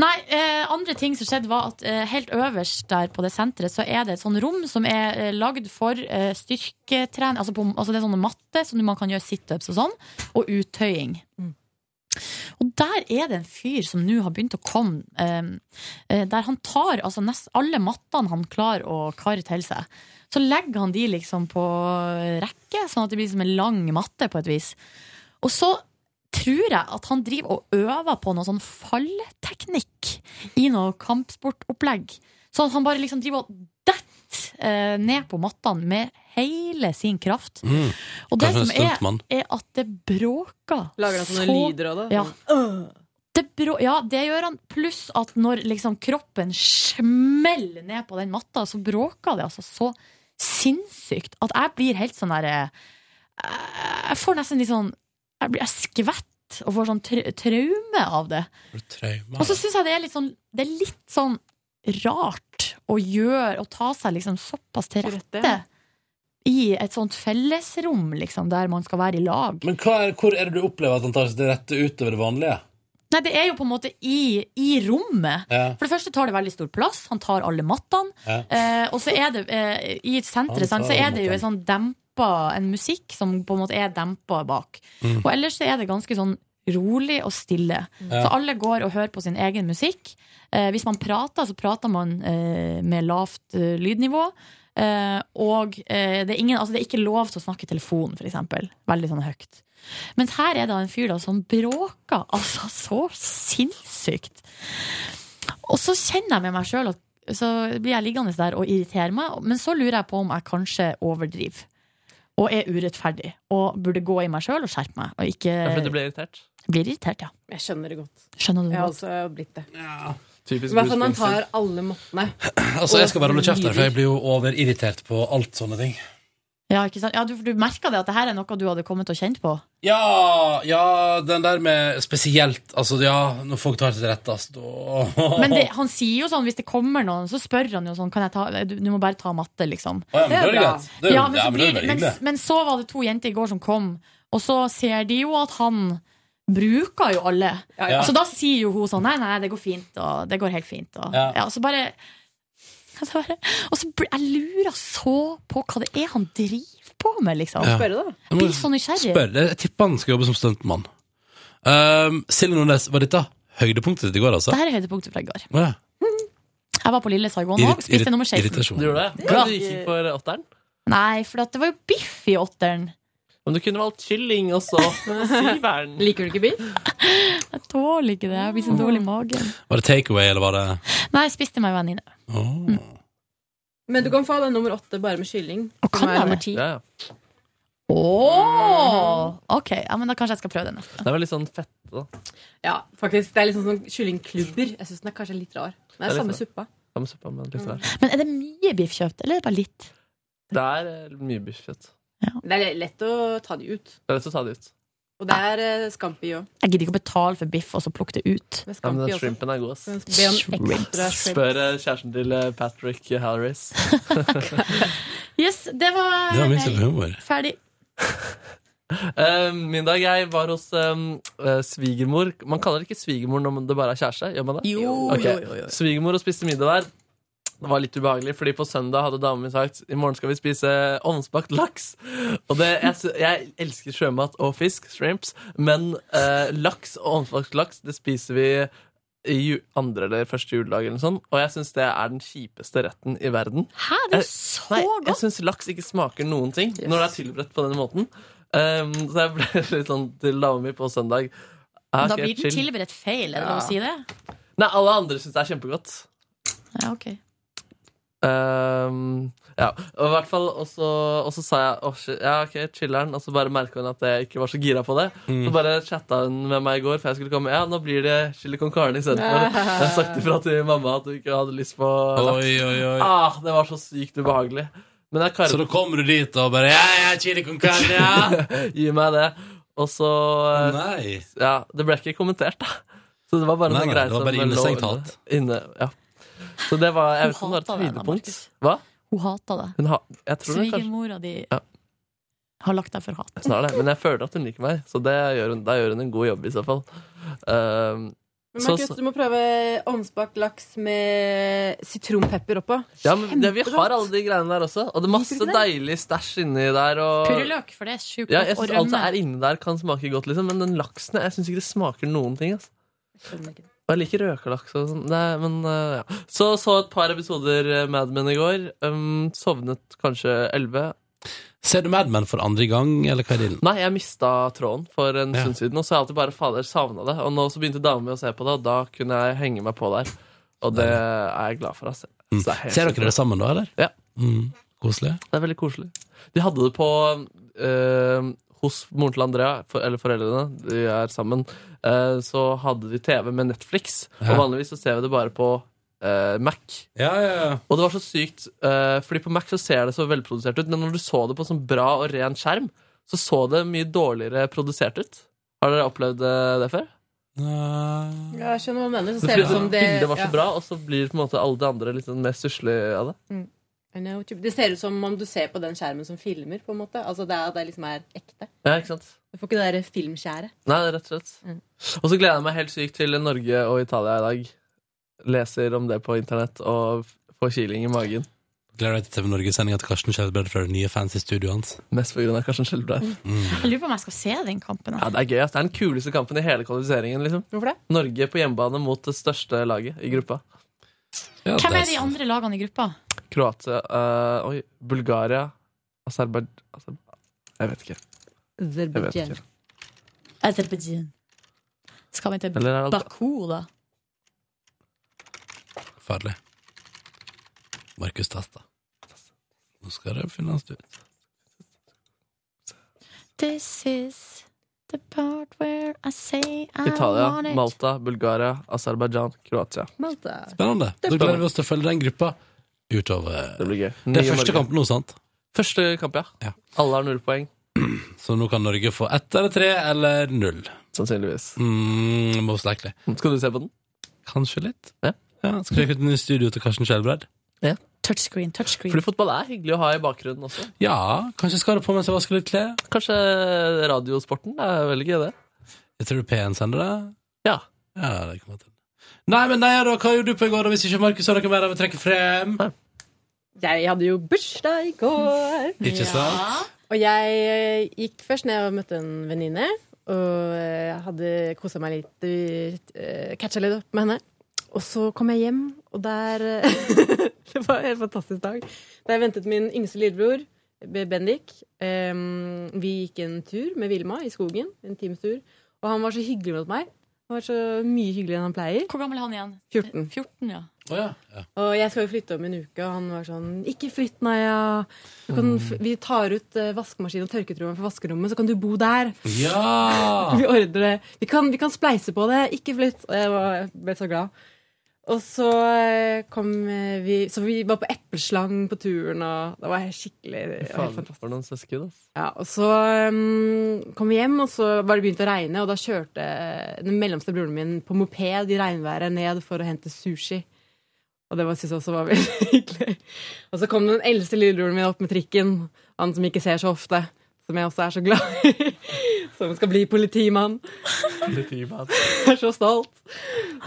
S3: Nei, eh, andre ting som skjedde var at eh, helt øverst der på det senteret så er det et sånn rom som er eh, lagd for eh, styrketrening. Altså, på, altså det er sånne matte som man kan gjøre situps og sånn, og uttøying. Og der er det en fyr som nå har begynt å komme, eh, eh, der han tar altså nest, alle mattene han klarer å karre til seg. Så legger han de liksom på rekke, sånn at det blir som en lang matte på et vis. Og så tror jeg at han driver og øver på noe sånn fallteknikk i noe kampsportopplegg. Sånn at han bare liksom driver og detter eh, ned på mattene med hele sin kraft.
S2: Mm.
S3: Og det
S2: Kanskje en
S3: som er,
S2: stuntmann.
S3: er at det bråker
S18: Lager han sånne lyder av det? Mm.
S3: Ja. Øh. Det brå, ja, det gjør han. Pluss at når liksom kroppen smeller ned på den matta, så bråker det altså så sinnssykt at jeg blir helt sånn derre Jeg får nesten litt sånn Jeg, blir, jeg skvetter og får sånn tra traume av det. Og så syns jeg det er litt sånn Det er litt sånn rart å gjøre Å ta seg liksom såpass til rette i et sånt fellesrom, liksom, der man skal være i lag.
S2: Men hva er, hvor er det du opplever at han tar seg til rette utover det vanlige?
S3: Nei, det er jo på en måte i, i rommet.
S2: Ja.
S3: For det første tar det veldig stor plass. Han tar alle mattene.
S2: Ja.
S3: Eh, og så er det eh, i et
S2: Han
S3: senter
S2: tar
S3: sant, så er
S2: alle
S3: det jo en sånn dempa En musikk som på en måte er dempa bak.
S2: Mm.
S3: Og ellers så er det ganske sånn rolig og stille.
S2: Ja.
S3: Så alle går og hører på sin egen musikk. Eh, hvis man prater, så prater man eh, med lavt eh, lydnivå. Eh, og eh, det, er ingen, altså det er ikke lov til å snakke i telefonen, for eksempel. Veldig sånn høyt. Mens her er det en fyr da som bråker altså så sinnssykt. Og så kjenner jeg med meg sjøl at så blir jeg liggende der og irritere meg, men så lurer jeg på om jeg kanskje overdriver. Og er urettferdig. Og burde gå i meg sjøl og skjerpe meg. Og ikke
S5: Ja, fordi du ble irritert?
S3: blir irritert, ja.
S18: Jeg skjønner det godt.
S3: Skjønner du
S18: Jeg har
S7: altså,
S3: godt?
S18: også blitt det. I
S5: Typisk
S18: hvert fall når han
S5: Bruce
S18: tar
S5: Springsteen.
S18: alle måttene.
S2: Altså, Jeg skal bare holde kjeft, der, for jeg blir jo overirritert på alt sånne ting.
S3: Ja, ikke sant? Ja, du, for du merka det at det her er noe du hadde kommet og kjent på?
S2: Ja, ja, den der med spesielt Altså, ja, når folk tar seg til rette, altså da
S3: Men det, han sier jo sånn, hvis det kommer noen, så spør han jo sånn Kan jeg ta, du, du må bare ta matte, liksom.
S2: Å, ja, men da er det
S3: jo bra.
S2: greit. Det er jo-
S3: Ja, men, så
S2: ja, men det er
S3: blir,
S2: veldig
S3: men,
S2: hyggelig.
S3: men så var det to jenter i går som kom, og så ser de jo at han bruker jo alle.
S2: Ja, ja.
S3: Så da sier jo hun sånn Nei, nei, det går fint, og det går helt fint. Og, ja.
S2: Ja.
S3: så bare, så bare Og så blir- jeg lurer så på hva det er han driver på med, liksom.
S2: Ja. Spørre,
S3: da. Jeg blir så
S5: sånn
S3: nysgjerrig.
S2: Spør, jeg tipper han skal jobbe som stuntmann. Um, Silje Nordnes, var dette høydepunktet ditt i går, altså?
S3: Dette er høydepunktet fra i går.
S2: Ja.
S3: Jeg var på Lille Saigon
S2: Irrit-
S3: òg. Spiste
S2: irrit-
S3: nummer 16.
S2: irritasjon.
S5: Du gjorde det?
S3: Ja.
S5: Men du gikk ikke for åtteren?
S3: Nei, for at det var jo biff i åtteren.
S5: Men du kunne valgt kylling også. Syveren.
S18: Liker du ikke biff?
S3: Jeg tåler ikke det. Jeg blir så dårlig i magen.
S2: Var det takeaway, eller var det
S3: Nei, jeg spiste Mm. meg en venninne.
S5: Ah.
S2: Åh.
S18: Men du kan få den nummer åtte bare med kylling.
S3: kan
S18: som er
S3: jeg
S18: nummer
S3: det?
S18: ti.
S3: Åh, ok, ja, men da kanskje jeg skal prøve det neste.
S5: Det var litt sånn fett, da.
S18: Ja, faktisk. Det er litt sånn sånn kyllingklubber. Jeg syns den er kanskje litt rar. Men det
S5: Det
S18: er
S5: er
S18: samme
S5: litt sånn-
S18: suppa.
S5: Samme suppa, men
S7: Mm.
S5: litt sånn der.
S3: Mm. Men er det mye biff kjøpt, eller er det bare litt?
S5: Det er eh, mye biffkjøtt.
S18: Det er lett å ta de ut.
S5: Det er lett å ta det ut.
S18: Og det er eh, scampi òg.
S3: Jeg gidder ikke å betale for biff og så plukke det ut.
S18: Det er
S5: Ja,
S18: scampi
S5: men den
S18: også.
S5: shrimpen er god, ass.
S18: Men Be om ekstra shrimp.
S5: Spør eh, kjæresten til eh, Patrick Halleris.
S3: Yes, det var,
S5: Det var min
S3: meg.
S5: type humor.
S3: Ferdig.
S5: Eh, Min dag, jeg var hos eh, eh, svigermor. Man kaller det ikke svigermor når det bare er kjæreste? Gjør man det?
S16: Jo,
S5: Ok.
S16: jo, jo, jo.
S5: Svigermor og spiste middag der. Det var litt ubehagelig, fordi på søndag hadde damen min sagt i morgen skal vi spise ovnsbakt laks. Og det, jeg, sy- jeg elsker sjømat og fisk, shrimps, men eh, laks og ovnsbakt laks det spiser vi i ju- andre eller første juledag, eller noe sånt. Og jeg syns det er den kjipeste retten i verden.
S3: Hæ, det er jo så
S5: Nei,
S3: godt!
S5: jeg syns laks ikke smaker noen ting når det er tilberedt på denne måten. Um, så jeg ble litt sånn til dama mi på søndag. Ah,
S3: Da
S5: ok,
S3: blir den
S5: chill.
S3: tilberedt feil, er det
S5: Ja.
S3: lov å si det?
S5: Nei, alle andre syns det er kjempegodt.
S3: Ja, ok.
S5: Um, ja, og i hvert fall Og så og så sa jeg «Åh, shit, ja, ok, chiller'n, og så bare merka hun at jeg ikke var så gira på det.
S16: Mm.
S5: Så bare chatta hun med meg i går, for jeg skulle komme. Ja, nå blir det chili con carne istedenfor. Jeg har sagt ifra til mamma at du ikke hadde lyst på laks.
S2: Oi, oi, oi.
S5: Ah, det var så sykt ubehagelig. Men jeg
S2: Så da kommer du dit og bare Ja, ja, chili con carne, ja!
S5: Gi meg det. Og så eh,
S2: Å, nei.
S5: Ja, det ble ikke kommentert, da. Så det var bare
S2: Nei, nei,
S5: en sånn greie
S2: det var
S5: som
S2: bare innestengt
S5: lå
S2: hat.
S5: Inne, ja. Så det var Jeg
S3: Hun
S5: vet ikke om
S3: hater det,
S5: det var et
S3: Anna
S5: høydepunkt.
S3: Markus.
S5: Hva?
S3: Hun hata det.
S5: Hun har Jeg tror det kanskje
S3: Svigermora di
S5: Ja.
S3: har lagt deg for hat.
S5: Snart det. Men jeg føler at hun liker meg, så det gjør hun, da gjør hun en god jobb i så fall. Ehm,
S18: Men
S5: så,
S18: Markus, du må prøve ovnsbakt laks med sitronpepper oppå.
S5: ja, men det, vi har alle de greiene der også, og det er
S18: Liker du
S5: masse
S18: ikke
S5: deilig stæsj inni der. Og,
S3: Purreløk, for det er sjukt
S5: Ja, jeg
S3: godt. Og
S5: synes alt som
S3: rømme.
S5: er inni der, kan smake godt, liksom, men den laksen Jeg syns ikke det smaker noen ting. Altså. Og jeg liker røkelaks og sånn. Nei, men eh, ja. Så så et par episoder eh, Mad Men i går. Um, sovnet kanskje elleve.
S2: Ser du Mad Men for andre gang, eller hva er det?
S5: Nei, jeg mista tråden for en stund siden, og så har jeg alltid bare fader savna det. Og nå så begynte dama mi å se på det, og da kunne jeg henge meg på der. Og det er jeg glad for. Altså.
S2: Mm.
S5: Så det er helt
S2: Ser
S5: sykt
S2: dere det sammen da, eller?
S5: Ja.
S2: Mm. Koselig.
S5: Det er veldig koselig. De hadde det på eh, Hos moren til Andrea, for, eller foreldrene, de er sammen, eh, så hadde de TV med Netflix.
S2: Ja.
S5: Og vanligvis så ser vi det bare på eh, Mac. Og det var så sykt, eh, fordi på Mac så ser det så velprodusert ut, men når du så det på sånn bra og ren skjerm, så så det mye dårligere produsert ut. Har dere opplevd eh, det før?
S18: Ja, jeg skjønner hva du mener. Så
S5: Det
S18: ser det ut
S5: fordi
S18: som det
S5: Bildet var så
S18: ja.
S5: bra, og så blir på en måte alle de andre litt sånn mer stusslige av det.
S18: Mm. I know, typ. Det ser ut som om du ser på den skjermen som filmer, på en måte. Altså det er at det liksom er ekte.
S5: Ja, ikke sant?
S18: Du får ikke det derre filmskjæret.
S5: Nei, rett og slett. Og så gleder jeg meg helt sykt til Norge og Italia i dag. Leser om det på internett og f- får kiling i magen.
S2: Gleder deg til TV Norge-sendinga til Karsten Skjelbred fra det nye fancy studioet hans.
S5: Mest på grunn av Karsten Skjelbred.
S2: Mm.
S3: Jeg lurer på om jeg skal se den kampen.
S5: Ja, det er gøy, ass. Det er den kuleste kampen i hele kvalifiseringen. Liksom.
S18: Hvorfor det?
S5: Norge på hjemmebane mot det største laget i gruppa.
S3: Hvem er de andre lagene i gruppa?
S5: Kroatia, eh, oi, Bulgaria, Aserbaj... Aser- Jeg vet ikke. Jeg vet ikke.
S3: Aserbajdsjan. Skal vi til
S5: Eller er det-
S3: Baku, da?
S2: Farlig. Markus Tasta. Nå skal det finnes ut.
S3: This is the part where I say I want
S5: Italia,
S3: it.
S5: Malta, Bulgaria, Aserbajdsjan, Kroatia.
S18: Malta.
S2: Spennende. Da gleder vi oss til å følge den gruppa utover.
S5: Det blir gøy.
S2: Det
S5: Nye
S2: er første
S5: Norge.
S2: kamp nå, sant?
S5: Første kamp, ja. Alle har null poeng.
S2: Så nå kan Norge få ett eller tre eller null.
S5: Sannsynligvis.
S2: Mm, most likely.
S5: Skal du se på den?
S2: Kanskje litt. Ja. skal jeg kutte den i studio til Karsten Skjelbred?
S3: Touchscreen, touchscreen.
S5: Fordi fotball er hyggelig å ha i bakgrunnen også.
S2: Ja, kanskje jeg skal ha det på mens jeg vasker litt klær.
S5: Kanskje radiosporten er veldig gøy, det.
S2: Jeg tror P1 sender det.
S5: Ja.
S2: ja det kommer til. Nei, men nei, da, hva gjorde du på i går, da, hvis ikke Markus har noe mer jeg vil trekke frem?
S7: Jeg hadde jo bursdag i går.
S2: Ikke sant?
S7: Og jeg eh, gikk først ned og møtte en venninne. Og eh, hadde kosa meg litt, uh, catcha litt opp med henne. Og så kom jeg hjem, og der eh, Det var en fantastisk dag. Der ventet min yngste lillebror, B- Bendik. Em, vi gikk en tur med Vilma i skogen. En times tur. Og han var så hyggelig mot meg. Han var så mye hyggeligere enn han pleier.
S3: Hvor gammel er han igjen?
S7: 14.
S3: 14 ja.
S7: Og jeg skal jo flytte om en uke, og han var sånn Ikke flytt, Naja. Du kan, f- vi tar ut eh, vaskemaskinen og tørketrommelen fra vaskerommet, så kan du bo der.
S2: Ja!
S7: vi ordner det. Vi kan, vi kan spleise på det. Ikke flytt. Og jeg var, jeg ble så glad. Og så eh, kom eh, vi Så vi var på epleslang på turen, og det var helt skikkelig det var helt
S5: Faen, for noen søsken, ass.
S7: ja, og så um, kom vi hjem, og så var det begynt å regne, og da kjørte den mellomste broren min på moped i regnværet ned for å hente sushi. Og det var- synes jeg også var veldig hyggelig. Og så kom den eldste lillebroren min opp med trikken, han som ikke ser så ofte, som jeg også er så glad i, som skal bli politimann. Jeg er så stolt.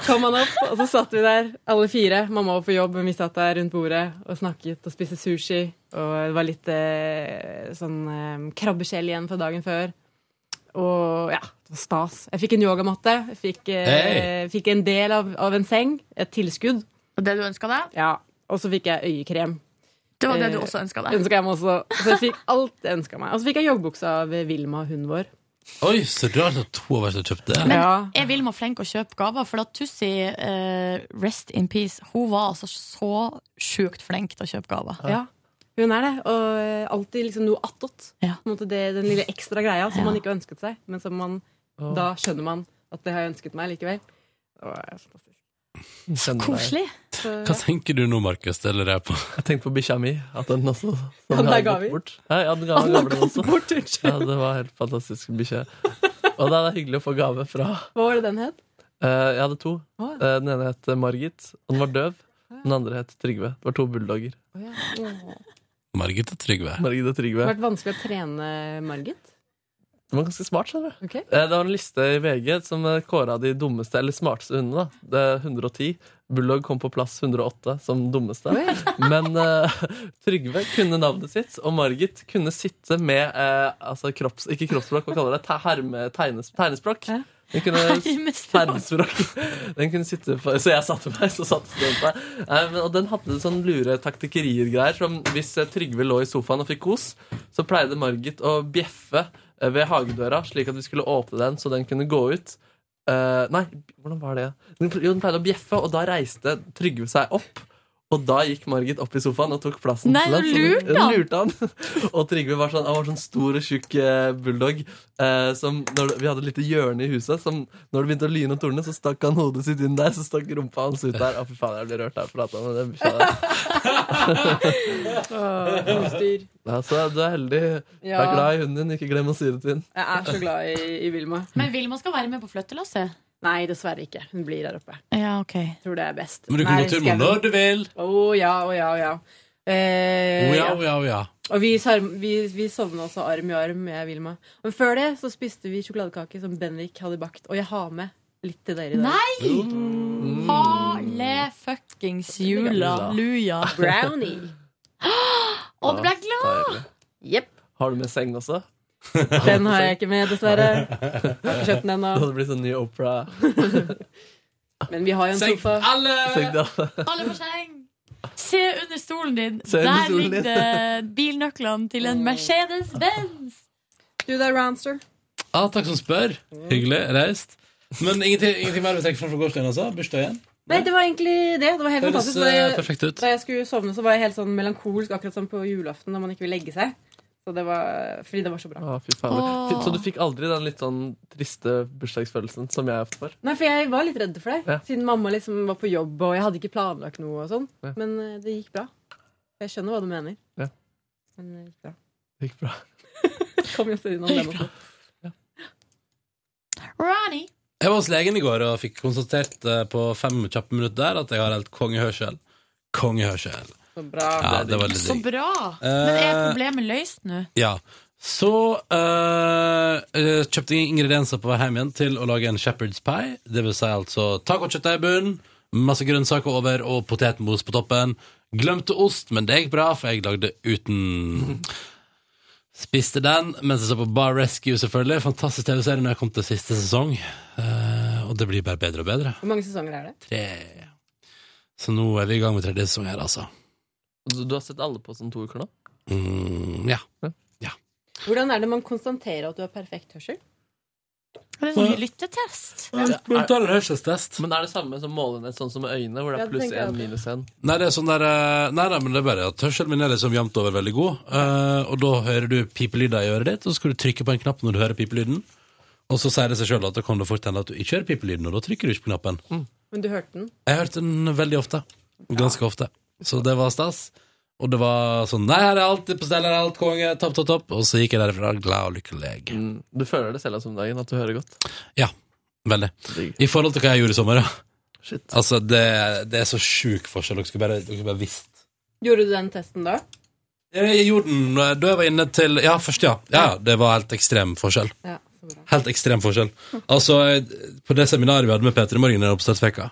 S7: Kom han opp, og så satt vi der, alle fire. Mamma var på jobb, men vi satt der rundt bordet og snakket og spiste sushi. Og det var litt eh, sånn eh, krabbeskjell igjen fra dagen før. Og ja, det var stas. Jeg fikk en yogamatte. Jeg fikk, eh, fikk en del av, av en seng. Et tilskudd.
S3: Det du ønska deg?
S7: Ja. Og så fikk jeg øyekrem.
S3: Det var det du også ønsket deg.
S7: Ønska jeg meg også. Så jeg fikk alt jeg ønska meg. Og så fikk jeg joggebukse av Vilma, hunden vår.
S2: Oi, så du har altså to av oss som har kjøpt det?
S3: Men er Vilma flink å kjøpe gaver? For at Tussi, eh, rest in peace, hun var altså så sjukt flink til å kjøpe gaver.
S7: Ja. Hun er det. Og eh, alltid liksom noe attåt. På en måte det, den lille ekstra greia som man ikke ønsket seg, men som man
S5: Åh.
S7: Da skjønner man at det har jeg ønsket meg likevel. Det var fantastisk.
S3: Koselig.
S7: Så,
S2: Hva tenker du nå, Markus? Det lurer jeg på.
S5: Jeg tenker på bikkja mi. At den også
S7: Ja,
S5: den
S7: der
S5: har
S7: ga
S5: gått
S7: vi.
S5: bort. Ja, ja, den ga,
S7: At den
S5: ga
S7: har
S5: den
S7: gått
S5: også.
S7: bort, unnskyld.
S5: ja, det var helt fantastisk bikkje. Og da er det hyggelig å få gave fra
S7: Hva var det den het?
S5: Eh, Jeg hadde to.
S7: Å, ja.
S5: Eh, Den ene het Margit, og den var døv. Den andre het Trygve. Det var to bulldogger.
S7: Åh.
S2: Margit og Trygve.
S5: Margit og
S7: Det
S5: Trygve.
S7: har vært vanskelig å trene Margit.
S5: Den var ganske smart, skjønner du.
S7: Ok.
S5: Eh, Det var en liste i VG som eh, kåra de dummeste, eller smarteste hundene. da. Det er 110. Bulldog kom på plass 108 som dummeste.
S7: Oi.
S5: Men eh, Trygve kunne navnet sitt, og Margit kunne sitte med eh, altså kropps, Ikke kroppsspråk, hva kaller det? Te- Herme, tegnes, tegnespråk. Den kunne, tegnespråk. Den kunne sitte på, Så jeg satte meg, så satte den seg. Eh, men- Og den hadde sånn lure taktikkerier-greier. Som hvis eh, Trygve lå i sofaen og fikk kos, så pleide Margit å bjeffe eh, ved hagedøra, slik at vi skulle åpne den så den kunne gå ut. Eh, nei, hvordan var det? Den, ple- jo, den pleide å bjeffe, og da reiste Trygve seg opp. Og da gikk Margit opp i sofaen og tok plassen.
S3: Nei,
S5: til
S3: hun
S5: så
S3: lurte han.
S5: Hun lurte han. Og Trygve var sånn, han var sånn stor og tjukk eh, bulldog. Eh, som når, det- vi hadde et lite hjørne i huset. Som når det begynte å lyne og torne, så stakk han hodet sitt inn der. Så stakk rumpa hans ut der. Å, fy faen, jeg ble rørt av å prate med den bikkja der.
S7: Åh, styr.
S5: Ja, så Altså, du er heldig. Du
S7: Ja.
S5: er glad i hunden din. Ikke glem å si det til den.
S7: Jeg er så glad i, i Vilma.
S3: Men Vilma skal være med på flyttelasset?
S7: Nei, dessverre ikke. Hun blir her oppe.
S3: Ja, ok.
S7: Tror det er best.
S2: Men du kan
S7: Nei,
S2: gå tur
S7: skauen.
S2: med når du vil.
S7: Å ja, å ja, å ja.
S2: Å
S7: Eh,
S2: ja, å ja, å ja.
S7: Og vi, sarm- vi, vi sovna også arm i arm med Vilma. Men før det så spiste vi sjokoladekake som Benrik hadde bakt. Og jeg har med litt til dere i dag.
S3: Nei!
S5: Mm.
S3: Hale-fuckings jula. Luja.
S7: Brownie.
S3: Å, du ble jeg glad!
S7: Jepp.
S5: Har du med seng også?
S7: Den har jeg ikke med, dessverre.
S5: Har
S7: ikke kjøpt den ennå.
S5: Det hadde blitt sånn ny Opera.
S7: Men vi har jo en
S5: Seng
S7: sofa.
S5: Seng til alle.
S3: Alle for seg! Se under stolen din.
S5: Se under
S3: Der
S5: stolen
S3: ligger
S5: din.
S3: det bilnøklene til en Mercedes-Benz.
S7: Du der, Ranster.
S2: Ah, takk som spør. Hyggelig. Reist. Men ingenting, ingenting mer vi trekker fram fra gårsdagen, altså? Bursdag igjen?
S7: Nei, det var egentlig det. Det var helt
S2: Høres,
S7: fantastisk.
S2: eh,
S7: Da
S2: perfekt
S7: jeg,
S2: ut.
S7: da jeg skulle sovne, så var jeg helt sånn melankolsk, akkurat som på julaften når man ikke vil legge seg. Så det var, fordi det var så bra.
S5: Å, fy faen.
S7: Åh.
S5: Så du fikk aldri den litt sånn triste bursdagsfølelsen som jeg ofte får?
S7: Nei, for jeg var litt redd for deg,
S5: Ja.
S7: siden mamma liksom var på jobb, og jeg hadde ikke planlagt noe og sånn.
S5: Ja.
S7: Men eh, det gikk bra. Jeg skjønner hva du mener.
S18: Men det gikk bra.
S5: Det gikk bra.
S18: Kom jo seg
S3: Det
S18: unna
S3: gikk
S18: dem også.
S3: Ronny!
S2: Jeg var hos legen i går og fikk konstatert eh, på fem kjappe minutter der at jeg har helt kongehørsel. Kongehørsel.
S18: Så bra.
S2: Ja, det var litt
S3: Så
S2: digg.
S3: bra!
S2: Eh,
S3: Men er problemet løst nå?
S2: Ja. Så eh, eh, kjøpte jeg ingredienser på vei hjem igjen til å lage en shepherd's pie. Det vil si altså tacokjøttdeig i bunnen, masse grønnsaker over og potetmos på toppen. Glemte ost, men det gikk bra, for jeg lagde uten. Spiste den mens jeg så på Bar Rescue, selvfølgelig. Fantastisk TV-serie når jeg kom til siste sesong. Eh, og det blir bare bedre og bedre.
S18: Hvor mange sesonger er det?
S2: Tre. Så nå er vi i gang med tredje sesong her, altså.
S5: Du, du har sett alle på sånn to uker nå?
S2: Mm, ja.
S18: Hvordan er det man konstaterer at du har perfekt hørsel?
S3: Det
S5: er sånn
S3: lyttetest.
S2: Man tar en hørselstest.
S5: Men er det samme som målenett, sånn som med øynene, hvor det
S18: Ja,
S5: er
S18: det
S5: pluss
S18: tenker jeg
S5: én,
S18: også.
S5: minus én?
S2: Nei, det er sånn der eh, Nei, nei, men det er bare at hørselen min er liksom jevnt over veldig god. eh, og da hører du pipelyder i øret ditt, og så skal du trykke på en knapp når du hører pipelyden. Og så sier det seg sjøl at da kan det fort hende at du ikke hører pipelyden, og da trykker du ikke på knappen.
S5: Mm.
S18: Men du hørte den?
S2: Jeg hørte den veldig ofte. Ganske ofte. Så det var stas. Og det var sånn Nei, her er alt på stell, her er alt konge, topp, topp, topp. Og så gikk jeg derfra glad og lykkelig.
S5: Du føler det selv altså om dagen, at du hører godt?
S2: Ja, veldig. I forhold til hva jeg gjorde i sommer, ja.
S5: Shit.
S2: Altså, det, det er så sjuk forskjell. Dere skulle bare, dere skulle bare visst
S18: Gjorde du den testen da?
S2: Jeg jeg gjorde den eh, da jeg var inne til Ja, først, ja. ja det var helt ekstrem forskjell.
S18: Ja,
S2: Helt ekstrem forskjell. Altså, eh, på det seminaret vi hadde med Peter i morgen i oppstartsveka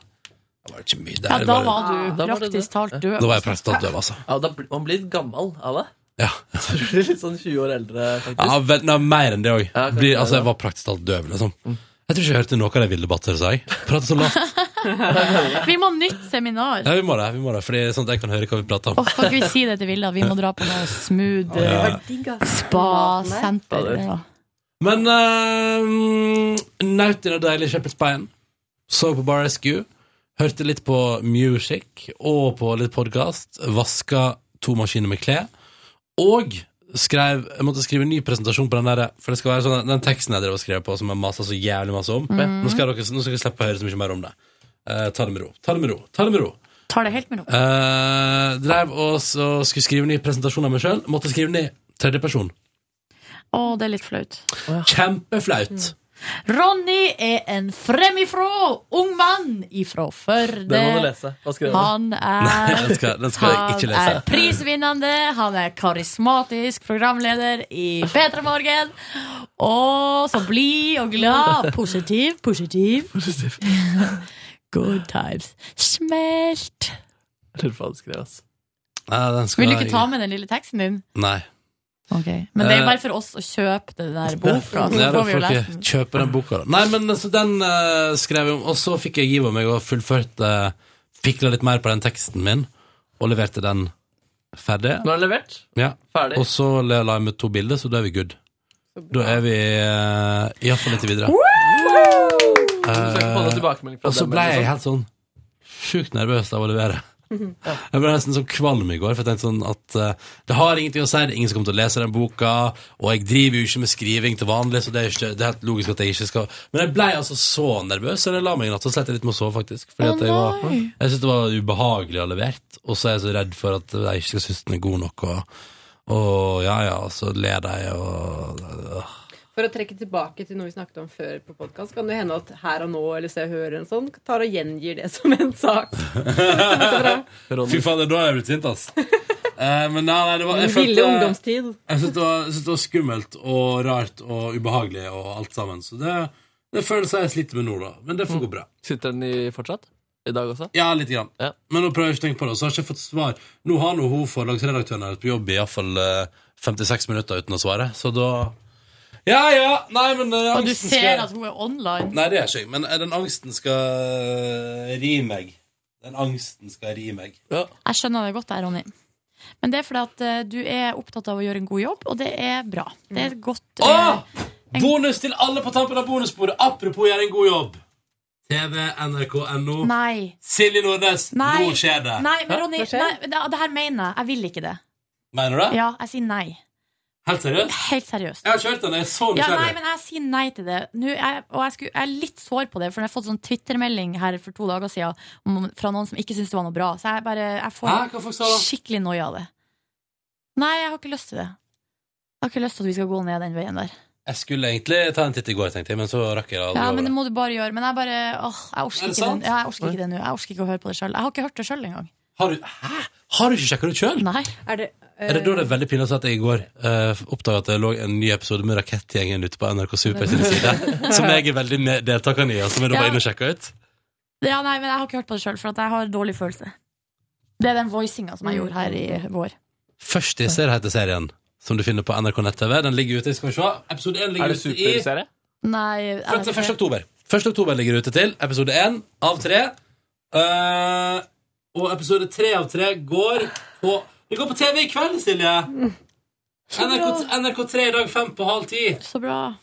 S2: Det var ikke mye der.
S3: Ja, da
S2: det
S3: var du
S5: Da var det
S3: praktisk talt død.
S2: da var jeg prestet døv, altså.
S5: Ja, da, blir- man blir litt gammel av det.
S2: Ja.
S5: Så du blir litt sånn 20 år eldre, faktisk.
S2: Ja, vel, nei, mer enn det òg.
S5: kanskje det, Mm.
S2: altså, jeg
S5: da.
S2: var praktisk talt døv, liksom. Jeg tror ikke jeg hørte noe av det Vilde Batter sa. jeg. Prater så lavt.
S3: Vi må ha nytt seminar.
S2: Ja, vi må det, vi må det, fordi sånn at jeg kan høre hva vi prater om.
S3: Åh, kan ikke vi si det til Vilda? Vi må dra på noe smooth
S2: Ja.
S3: eh, spa-senter. Ja.
S2: Men uh, naut i den deilige Shepherd's Pie-en. Så på Bar Rescue. Hørte litt på music og på litt podkast. Vaska to maskiner med klær. Og skrev, jeg måtte skrive en ny presentasjon på den der, for det skal være sånn, den teksten jeg drev og skrev på, som jeg masa så jævlig masse om.
S3: Mm.
S2: Nå, skal dere, nå skal dere slippe å høre så mye mer om det. Eh, ta det med ro. Ta det med ro. Ta det med ro.
S3: Tar det helt med ro.
S2: Eh, drev og så skulle skrive en ny presentasjon av meg sjøl. Måtte skrive den i tredjeperson.
S3: Å, det er litt flaut.
S2: Kjempeflaut.
S3: Ronny er en fremifrå ung mann ifra Førde.
S5: Det må du lese. Hva skrev du?
S3: Han
S2: Nei,
S3: er
S2: den skal, den skal jeg ikke lese.
S3: Han er prisvinnende, han er karismatisk programleder i P3 Morgen. Og så blid og glad. Positiv, positiv. Good times. Smelt.
S5: Jeg lurer på hva han skrev, altså. ass.
S2: Nei, den skal
S3: Vil du ikke
S2: jeg-
S3: ta med den lille teksten din?
S2: Nei.
S3: Men det er jo
S2: Eh,
S3: bare for oss å kjøpe den der boka. Så
S2: Ja, da
S3: får vi jo
S2: får
S3: lese
S2: ikke
S3: den.
S2: kjøpe den boka, da. Nei, men så den eh, skrev jeg om, og så fikk jeg giv av meg og fullførte uh, Fikla litt mer på den teksten min, og leverte den ferdig.
S5: Nå er den levert.
S2: Ja.
S5: Ferdig.
S2: Og så la la jeg med to bilder, så da er vi good. Da er vi uh, iallfall litt videre.
S5: Du skal få noen tilbakemelding fra
S2: og så
S5: dem,
S2: ble
S5: eller
S2: jeg
S5: sånn.
S2: helt sånn sjukt nervøs av å levere.
S1: Mhm.
S2: Jeg ble nesten sånn kvalm i går, for jeg tenkte sånn at eh, det har ingenting å si, det er ingen som kommer til å lese den boka, og jeg driver jo ikke med skriving til vanlig, så det er, ikke, det er helt logisk at jeg ikke skal Men jeg ble altså så nervøs, så jeg la meg i natt og slet jeg litt med å sove, faktisk.
S1: Å,
S2: Fordi at jeg var
S1: nei.
S2: Jeg syns det var ubehagelig å ha levert, og så er jeg så redd for at jeg ikke skal synes den er god nok, og, og ja ja, og så ler de, og øh.
S18: For å trekke tilbake til noe vi snakket om før på podcast, kan det hende at Her og Nå eller Se og Hør eller sånn tar og gjengir det som en sak.
S2: Fy fader, da er jeg blitt sint, ass. Eh, men nei, nei, det var
S18: Min
S2: følte-
S18: ville ungdomstid.
S2: Jeg syntes det, var- jeg syntes det var skummelt og rart og ubehagelig og alt sammen. Så det, det føles jeg sliter med nå, da. Men
S3: Mm.
S2: det får gå bra.
S5: Sitter den i fortsatt? I dag også?
S2: Ja, litt grann. Men nå prøver jeg ikke å tenke på det. og Så har jeg ikke fått svar. Nå har nå hun forlagsredaktøren her på jobb i iallfall 56 minutter uten å svare, så da Ja, ja! Nei, men eh,
S3: Og du
S2: angsten
S3: ser altså-
S2: skal-
S3: at hun er online.
S2: Nei, det gjør ikke jeg. Men eh, den angsten skal ri meg. Den angsten skal ri meg.
S3: Jeg skjønner det godt, der, Ronny. Men det er fordi at eh, du er opptatt av å gjøre en god jobb, og det er bra. Det er godt eh,
S2: Bonus til alle på tampen av bonusbordet. Apropos gjøre en god jobb. TV, nrk.no.
S3: eh, Nei.
S2: Silje Nordnes,
S3: Nei,
S2: nå skjer det.
S3: nei men
S2: Hæ?
S3: Ronny, nei, det, det her mener jeg. Jeg vil ikke det.
S2: Mener du det?
S3: Ja, jeg sier nei.
S2: Helt seriøst?
S3: Helt seriøst.
S2: Jeg har kjørt den, jeg er så
S3: Ja,
S2: nysgjerrig.
S3: nei, men jeg sier nei til det. Nå, jeg, og jeg, skulle, jeg er litt sår på det, for jeg har fått sånn Twitter-melding her for to dager siden om, fra noen som ikke syntes det var noe bra. Så jeg bare jeg får
S2: Hæ? Hva folk sa da?
S3: skikkelig noia av det. Nei, jeg har ikke lyst til det. Jeg har ikke lyst til at vi skal gå ned den veien der.
S2: Jeg skulle egentlig ta en titt i går, tenkte jeg, men så rakk jeg aldri
S3: Ja, men
S2: over.
S3: det må du bare gjøre. Men jeg bare åh, jeg
S2: Er
S3: orker ikke,
S2: det
S3: den.
S2: sant?
S3: Ja, jeg orker ikke det nå. Jeg orker ikke å høre på det sjøl. Jeg har ikke hørt det sjøl engang.
S2: Har du, hæ? Har du ikke sjekka det ut sjøl?
S3: Nei.
S7: Er det,
S2: Er det da det er veldig pinlig å si at jeg i går uh, oppdaga at det lå en ny episode med Rakettgjengen ute på NRK Super sin side, som jeg er veldig med- deltakende i, og som jeg da var
S3: Ja.
S2: inne og sjekka ut?
S3: Ja, nei, men jeg har ikke hørt på det sjøl, for at jeg har dårlig følelse. Det er den voicinga som jeg gjorde her i vår.
S2: Førstiser heter serien, som du finner på NRK nett-TV. Den ligger ute, skal vi se. Episode 1
S16: Er
S2: ligger
S16: det
S2: ute i
S16: superserie?
S3: Nei, jeg
S2: Fram
S3: vet
S2: til 1.
S3: ikke.
S2: oktober. 1. oktober ligger det ute til. Episode 1 av 3. og episode 3 av 3 går på Det går på TV i kveld, Silje! NRK, NRK3 i dag fem på halv ti.
S3: Så bra.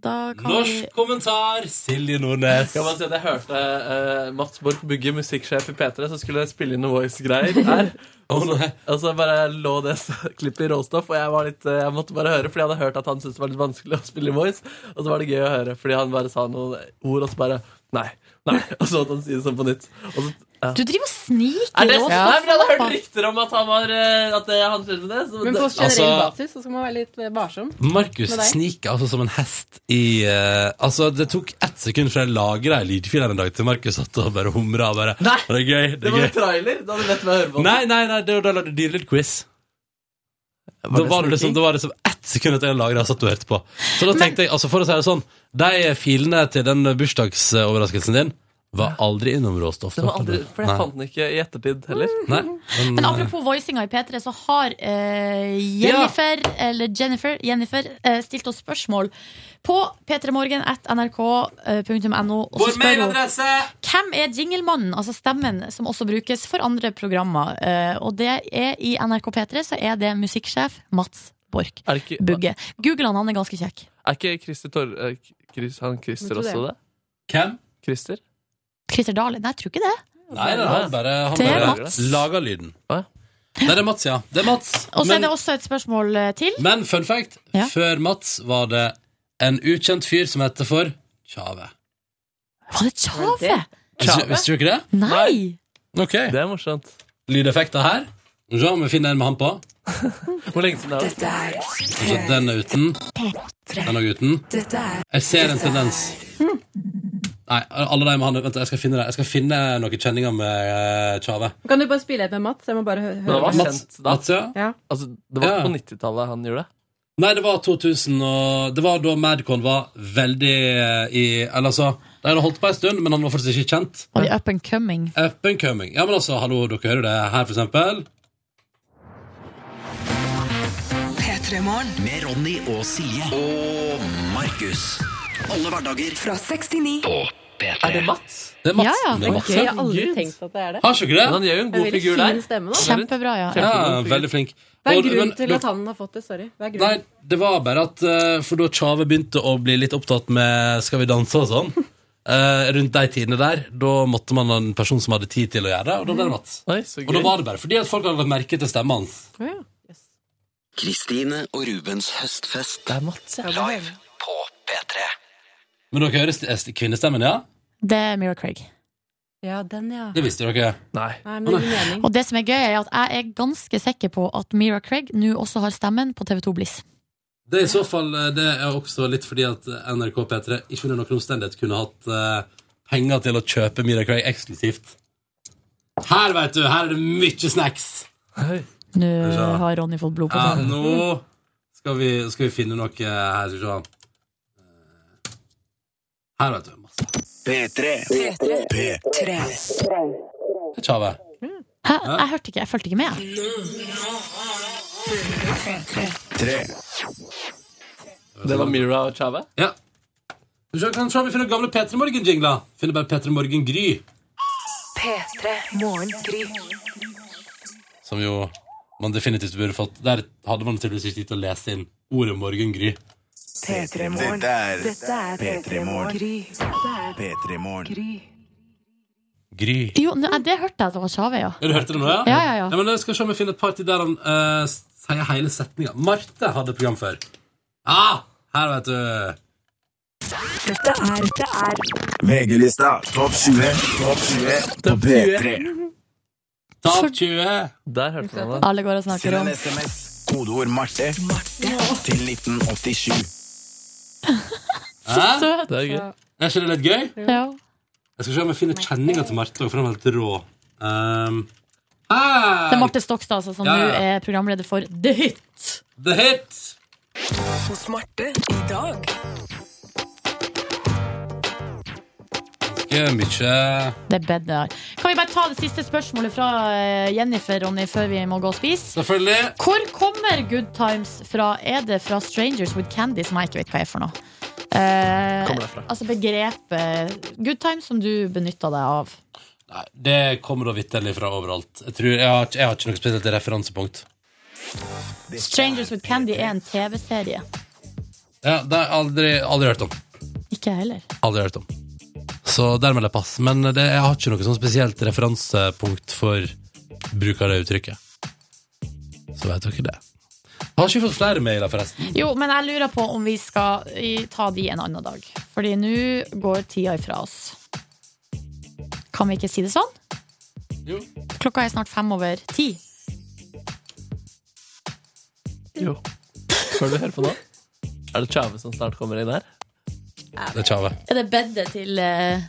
S3: Da kan vi
S2: Norsk kommentar, Silje Nordnes.
S5: Skal bare si at jeg hørte eh, Mats Borch Bugge, musikksjef i P3, så skulle jeg spille inn noe voice-greier her. Og så, og så bare lå det s- klippet i råstoff, og jeg, var litt, eh, jeg måtte bare høre, fordi jeg hadde hørt at han syntes det var litt vanskelig å spille i voice. Og så var det gøy å høre, fordi han bare sa noen ord, og så bare Nei. Nei. Og så at han sier det sånn på nytt. Og så, ja.
S3: Du driver og sniker
S5: er det
S3: råstoff
S5: ja. Nei, men Jeg hadde
S3: opp
S5: hørt
S3: av-
S5: rykter om at han var eh, At eh, han skjedde det. Så
S7: Men på
S5: det-
S7: generell basis så skal man være litt eh, varsom.
S2: Altså- Markus
S7: Med deg.
S2: sniker altså som en hest i eh, Altså, det tok ett sekund fra jeg lagra ei lydfil her en dag, til Markus satt og bare humra og bare Det er gøy.
S5: det
S2: Det
S5: var
S2: er
S5: en
S2: gøy.
S5: trailer. Da hadde du lett meg å høre på.
S2: Nei, nei, nei, det var da lagde du dyrelydquiz. Da
S5: det
S2: var det liksom,
S5: sniking?
S2: da var det liksom ett sekund etter jeg lagra, satt og hørte på. Så da tenkte jeg, altså for å si det sånn, de filene til den bursdagsoverraskelsen din var aldri innom råstoff.
S5: Det var aldri, for jeg
S2: Nei.
S5: fant den ikke i ettertid heller.
S3: Mm.
S2: Nei.
S3: Men apropos voicinga i P3, så har eh, Jennifer, eller Jennifer, Jennifer eh, stilt oss spørsmål på p3morgen at eh, nrk.no. og så
S2: Vår
S3: spør hun,
S2: mailadresse!
S3: Hvem er jinglemannen, altså stemmen, som også brukes for andre programmer? Eh, og det er i NRK P3 så er det musikksjef Mats Borch
S5: Er, det ikke,
S3: Bugge. Google han, han er ganske kjekk.
S5: er ikke Christer Tor... eh, Chris, han
S3: Vet
S5: Christer
S3: du
S5: også
S3: det?
S5: det?
S2: Hvem?
S5: Christer?
S3: Christer Dahlin, nei, jeg tror ikke det.
S2: Nei, nei, han bare, han
S3: Det er
S2: bare
S3: Mats.
S2: laga lyden. Nei, det er Mats, ja. Det er Mats.
S3: Og så er
S2: Men-
S3: det også et spørsmål eh, til.
S2: Men fun fact, før Mats var det en ukjent fyr som hette for Tjave.
S3: Var det Tjave?
S2: Visste visste du ikke det?
S3: Nei!
S2: Ok. Det
S5: er morsomt.
S2: Lydeffekter her. Skal vi se om vi finner en med han på.
S5: Hvor lenge siden er det?
S2: Så den er uten. Den er også uten. Jeg ser en tendens. Nei, alle de med han Vent, jeg skal finne, det. jeg skal finne noen kjenninger med eh, Tjave.
S7: Kan du bare spille et med Mats? Jeg må bare hø-
S5: Men han
S7: høre.
S5: var kjent da?
S2: Mats, ja.
S5: Altså, det var
S2: Ja.
S5: ikke på 90-tallet han gjorde det?
S2: Nei, det var 2000 og Det var da Madcon var veldig eh, i Eller altså, de hadde holdt på en stund, men han var fortsatt ikke kjent.
S3: Og de up and coming.
S2: Up and coming. Ja, men altså, hallo, dere hører det her, for eksempel.
S19: Med Ronny og Silje. Og Markus. Alle hverdager fra 69 på P3.
S5: Er det Mats?
S2: Det er Mats.
S7: Ja,
S2: Det
S7: ja.
S2: er
S7: Ok,
S2: Mats,
S7: jeg
S2: ja.
S7: har aldri tenkt at det er det.
S2: Har ikke du det?
S5: Men han gjør jo en
S7: Det er
S5: god
S7: veldig
S5: figur
S7: fin
S5: der.
S7: stemme, da.
S3: Kjempebra, ja.
S2: Ja, veldig flink.
S7: Hva er
S2: Og- men-
S7: grunnen til at han har fått det? Sorry. Hva er grunnen?
S2: Nei, det var bare at eh, For da Tjave begynte å bli litt opptatt med Skal vi danse og sånn eh, Rundt de tidene der Da måtte man ha en person som hadde tid til å gjøre det Og da ble det Mats Og da var det bare fordi at folk hadde lagt merke til stemmen hans
S19: Kristine og Rubens høstfest.
S5: Det er Mats,
S19: ja. Live på P3.
S2: Men dere hører st- st- kvinnestemmen, ja?
S3: Det er Mira Craig.
S7: Ja, den, ja.
S2: Det visste dere
S5: Nei
S7: Nei, men det gir mening.
S3: Og det som er gøy, er at jeg er ganske sikker på at Mira Craig nå også har stemmen på TV2 Bliss.
S2: Det er i så fall eh, Det er også litt fordi at eh, NRK P3 Ikke under noen omstendighet kunne hatt eh, Penger til å kjøpe Mira Craig eksklusivt Her vet du, her er det mye snacks
S3: Nå
S2: Ja.
S3: har Ronny fått blod på
S2: Ja,
S3: seg.
S2: nå skal vi, skal vi finne noe eh, her. Skal vi se. Eh, Her, vet du. Masse.
S19: P3. P3.
S2: Det er Tjave.
S3: Hæ? Jeg hørte ikke, jeg fulgte ikke med.
S5: Det var Mira og Chave?
S2: Ja. Skal vi se, kan se om vi finner gamle P3 Morgen-jingler. Finner bare P3 Morgen Gry,
S6: P3 Morgengry.
S2: som jo man definitivt burde fått. Der hadde man tydeligvis ikke tid til å lese inn ordet Morgengry.
S6: P3
S19: Morgen. Dette er- Dette er P3 Morgen. Gry. P3 Morgen.
S2: Gry.
S3: Jo, nå- ja, det hørte jeg at det var Tjave, ja.
S2: Ja, du hørte det nå, ja?
S3: Ja, ja, ja.
S2: men da skal vi se om vi finner et par til der han eh, sier hele setninga. Marte hadde program før. Ah, her, vet du.
S6: Dette er, det er
S20: VG-lista topp 20 topp 20 på P3.
S2: Topp 20.
S5: Der hørte man det.
S3: Alle går og snakker om
S20: SMS Kodeord Marte til 1987.
S2: Hæ?
S3: søt.
S2: Det er gøy.
S3: Ja.
S2: Er ikke det litt gøy?
S3: Ja.
S2: Jeg skal se om jeg finner kjenninga til Marte, for den var helt rå. Um, ah,
S3: Det er Marte Stokstad altså, som
S2: Ja, ja.
S3: nå er programleder for The Hit.
S2: The hit!
S6: Hos Marte i dag.
S2: Ganske mye
S3: Det er bedre. Kan vi bare ta det siste spørsmålet fra eh, Jennifer, Ronny, før vi må gå og spise?
S2: Selvfølgelig.
S3: Hvor kommer Good Times fra? Er det fra Strangers with Candy, som jeg ikke vet hva er for noe? Eh,
S2: Kommer det fra?
S3: altså begrepet Good Times som du benytta deg av.
S2: Det kommer da vitterlig fra overalt. Jeg, tror, jeg, har, ikke- jeg har ikke noe spesielt referansepunkt.
S3: Strangers with Candy er en TV-serie.
S2: Ja, det har jeg aldri, aldri hørt om.
S3: Ikke jeg heller.
S2: Aldri hørt om. Så dermed er det pass. Men det, jeg har ikke noe sånn spesielt referansepunkt for bruk av det uttrykket. Så vet dere det. Har ikke vi fått flere mailer, forresten?
S3: Jo, men jeg lurer på om vi skal eh, ta de en annen dag. Fordi nå går tida ifra oss. Kan vi ikke si det sånn?
S2: Jo.
S3: Klokka er snart fem over ti.
S5: Jo. Hva er det du hører på nå? Er det Tjave som snart kommer inn her?
S2: Det er Tjave.
S3: Er det bedet til eh,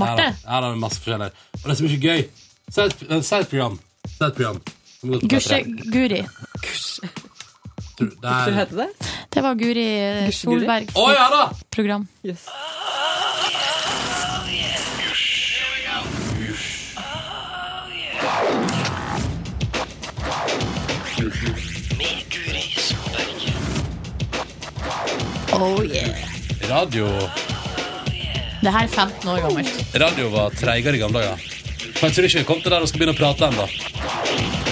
S3: Marte?
S2: Her har- Her har vi masse forskjellig. Og det som er så gøy Si et eh, si et program. Si et program. Som går på
S3: Gusje
S2: P3.
S3: Guri.
S2: Tror- Der.
S7: det?
S3: Det var Guri eh, Solberg
S2: Å, ja da!
S3: program. Oh yeah.
S2: Radio,
S3: Det her er 15 år gammelt.
S2: radio var treigere i gamle dager. Men jeg tror ikke vi kom til der og skal begynne å prate ennå.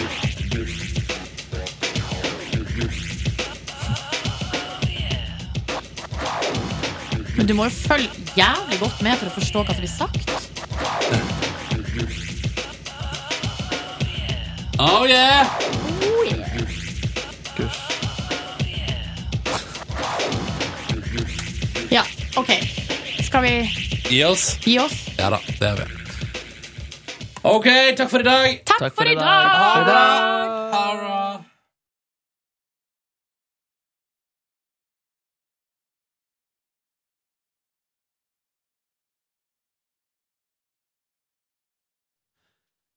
S3: Men du må jo følge jævlig godt med for å forstå hva som blir sagt.
S2: Oh yeah!
S3: Ja, OK. Skal vi
S2: Gi oss.
S3: gi oss?
S2: Ja da, det gjør vi. OK, takk for i dag.
S3: Takk, for, i dag!
S2: Ha det.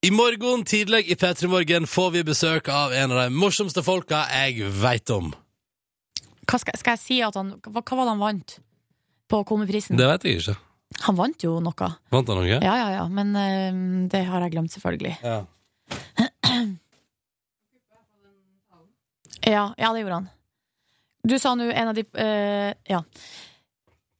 S2: I morgen tidlig i P3 Morgen får vi besøk av en av de morsomste folka jeg veit om.
S3: Hva skal, skal jeg si at han Hva, hva var det han vant på Komiprisen?
S2: Det veit jeg ikke.
S3: Han vant jo noe.
S2: Vant han noe?
S3: Ja, ja, ja. Men eh, det har jeg glemt, selvfølgelig.
S2: Ja.
S3: Ja, ja det gjorde han. Du sa nå en av de eh, Ja.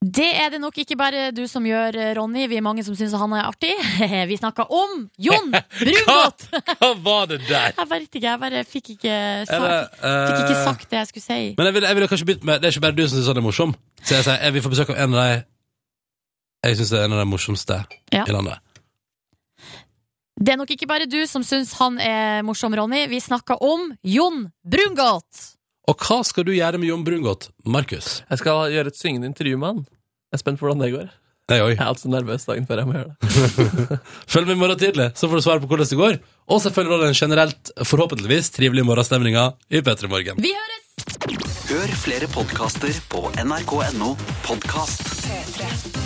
S3: Det er det nok ikke bare du som gjør, eh, Ronny. Vi er mange som syns han er artig. Vi snakka om Jon Brungot!
S2: Hva var det der?
S3: Jeg vet ikke, jeg bare fikk ikke, sa,
S2: Er det,
S3: fikk ikke
S2: eh,
S3: sagt det jeg skulle si.
S2: Men jeg ville, jeg ville kanskje begynt med Det er ikke bare du som syns han er morsom. Så jeg sier, jeg vil få besøk av en av de Jeg syns det er en av de morsomste
S3: Ja.
S2: i landet.
S3: Det er nok ikke bare du som syns han er morsom, Ronny. Vi snakka om Jon Brungot.
S2: Og hva skal du gjøre med Jon Brungot, Markus?
S5: Jeg skal gjøre et syngende intervju med han. Jeg er spent på hvordan det går.
S2: Jeg
S5: er alltid nervøs dagen før jeg må gjøre det.
S2: Følg med i morgen tidlig, så får du svar på hvordan det går. Og selvfølgelig den generelt, forhåpentligvis, trivelige morgenstemninga i P3 Morgen.
S3: Vi høres!
S19: Hør flere podkaster på nrk.no podkast.
S6: P3.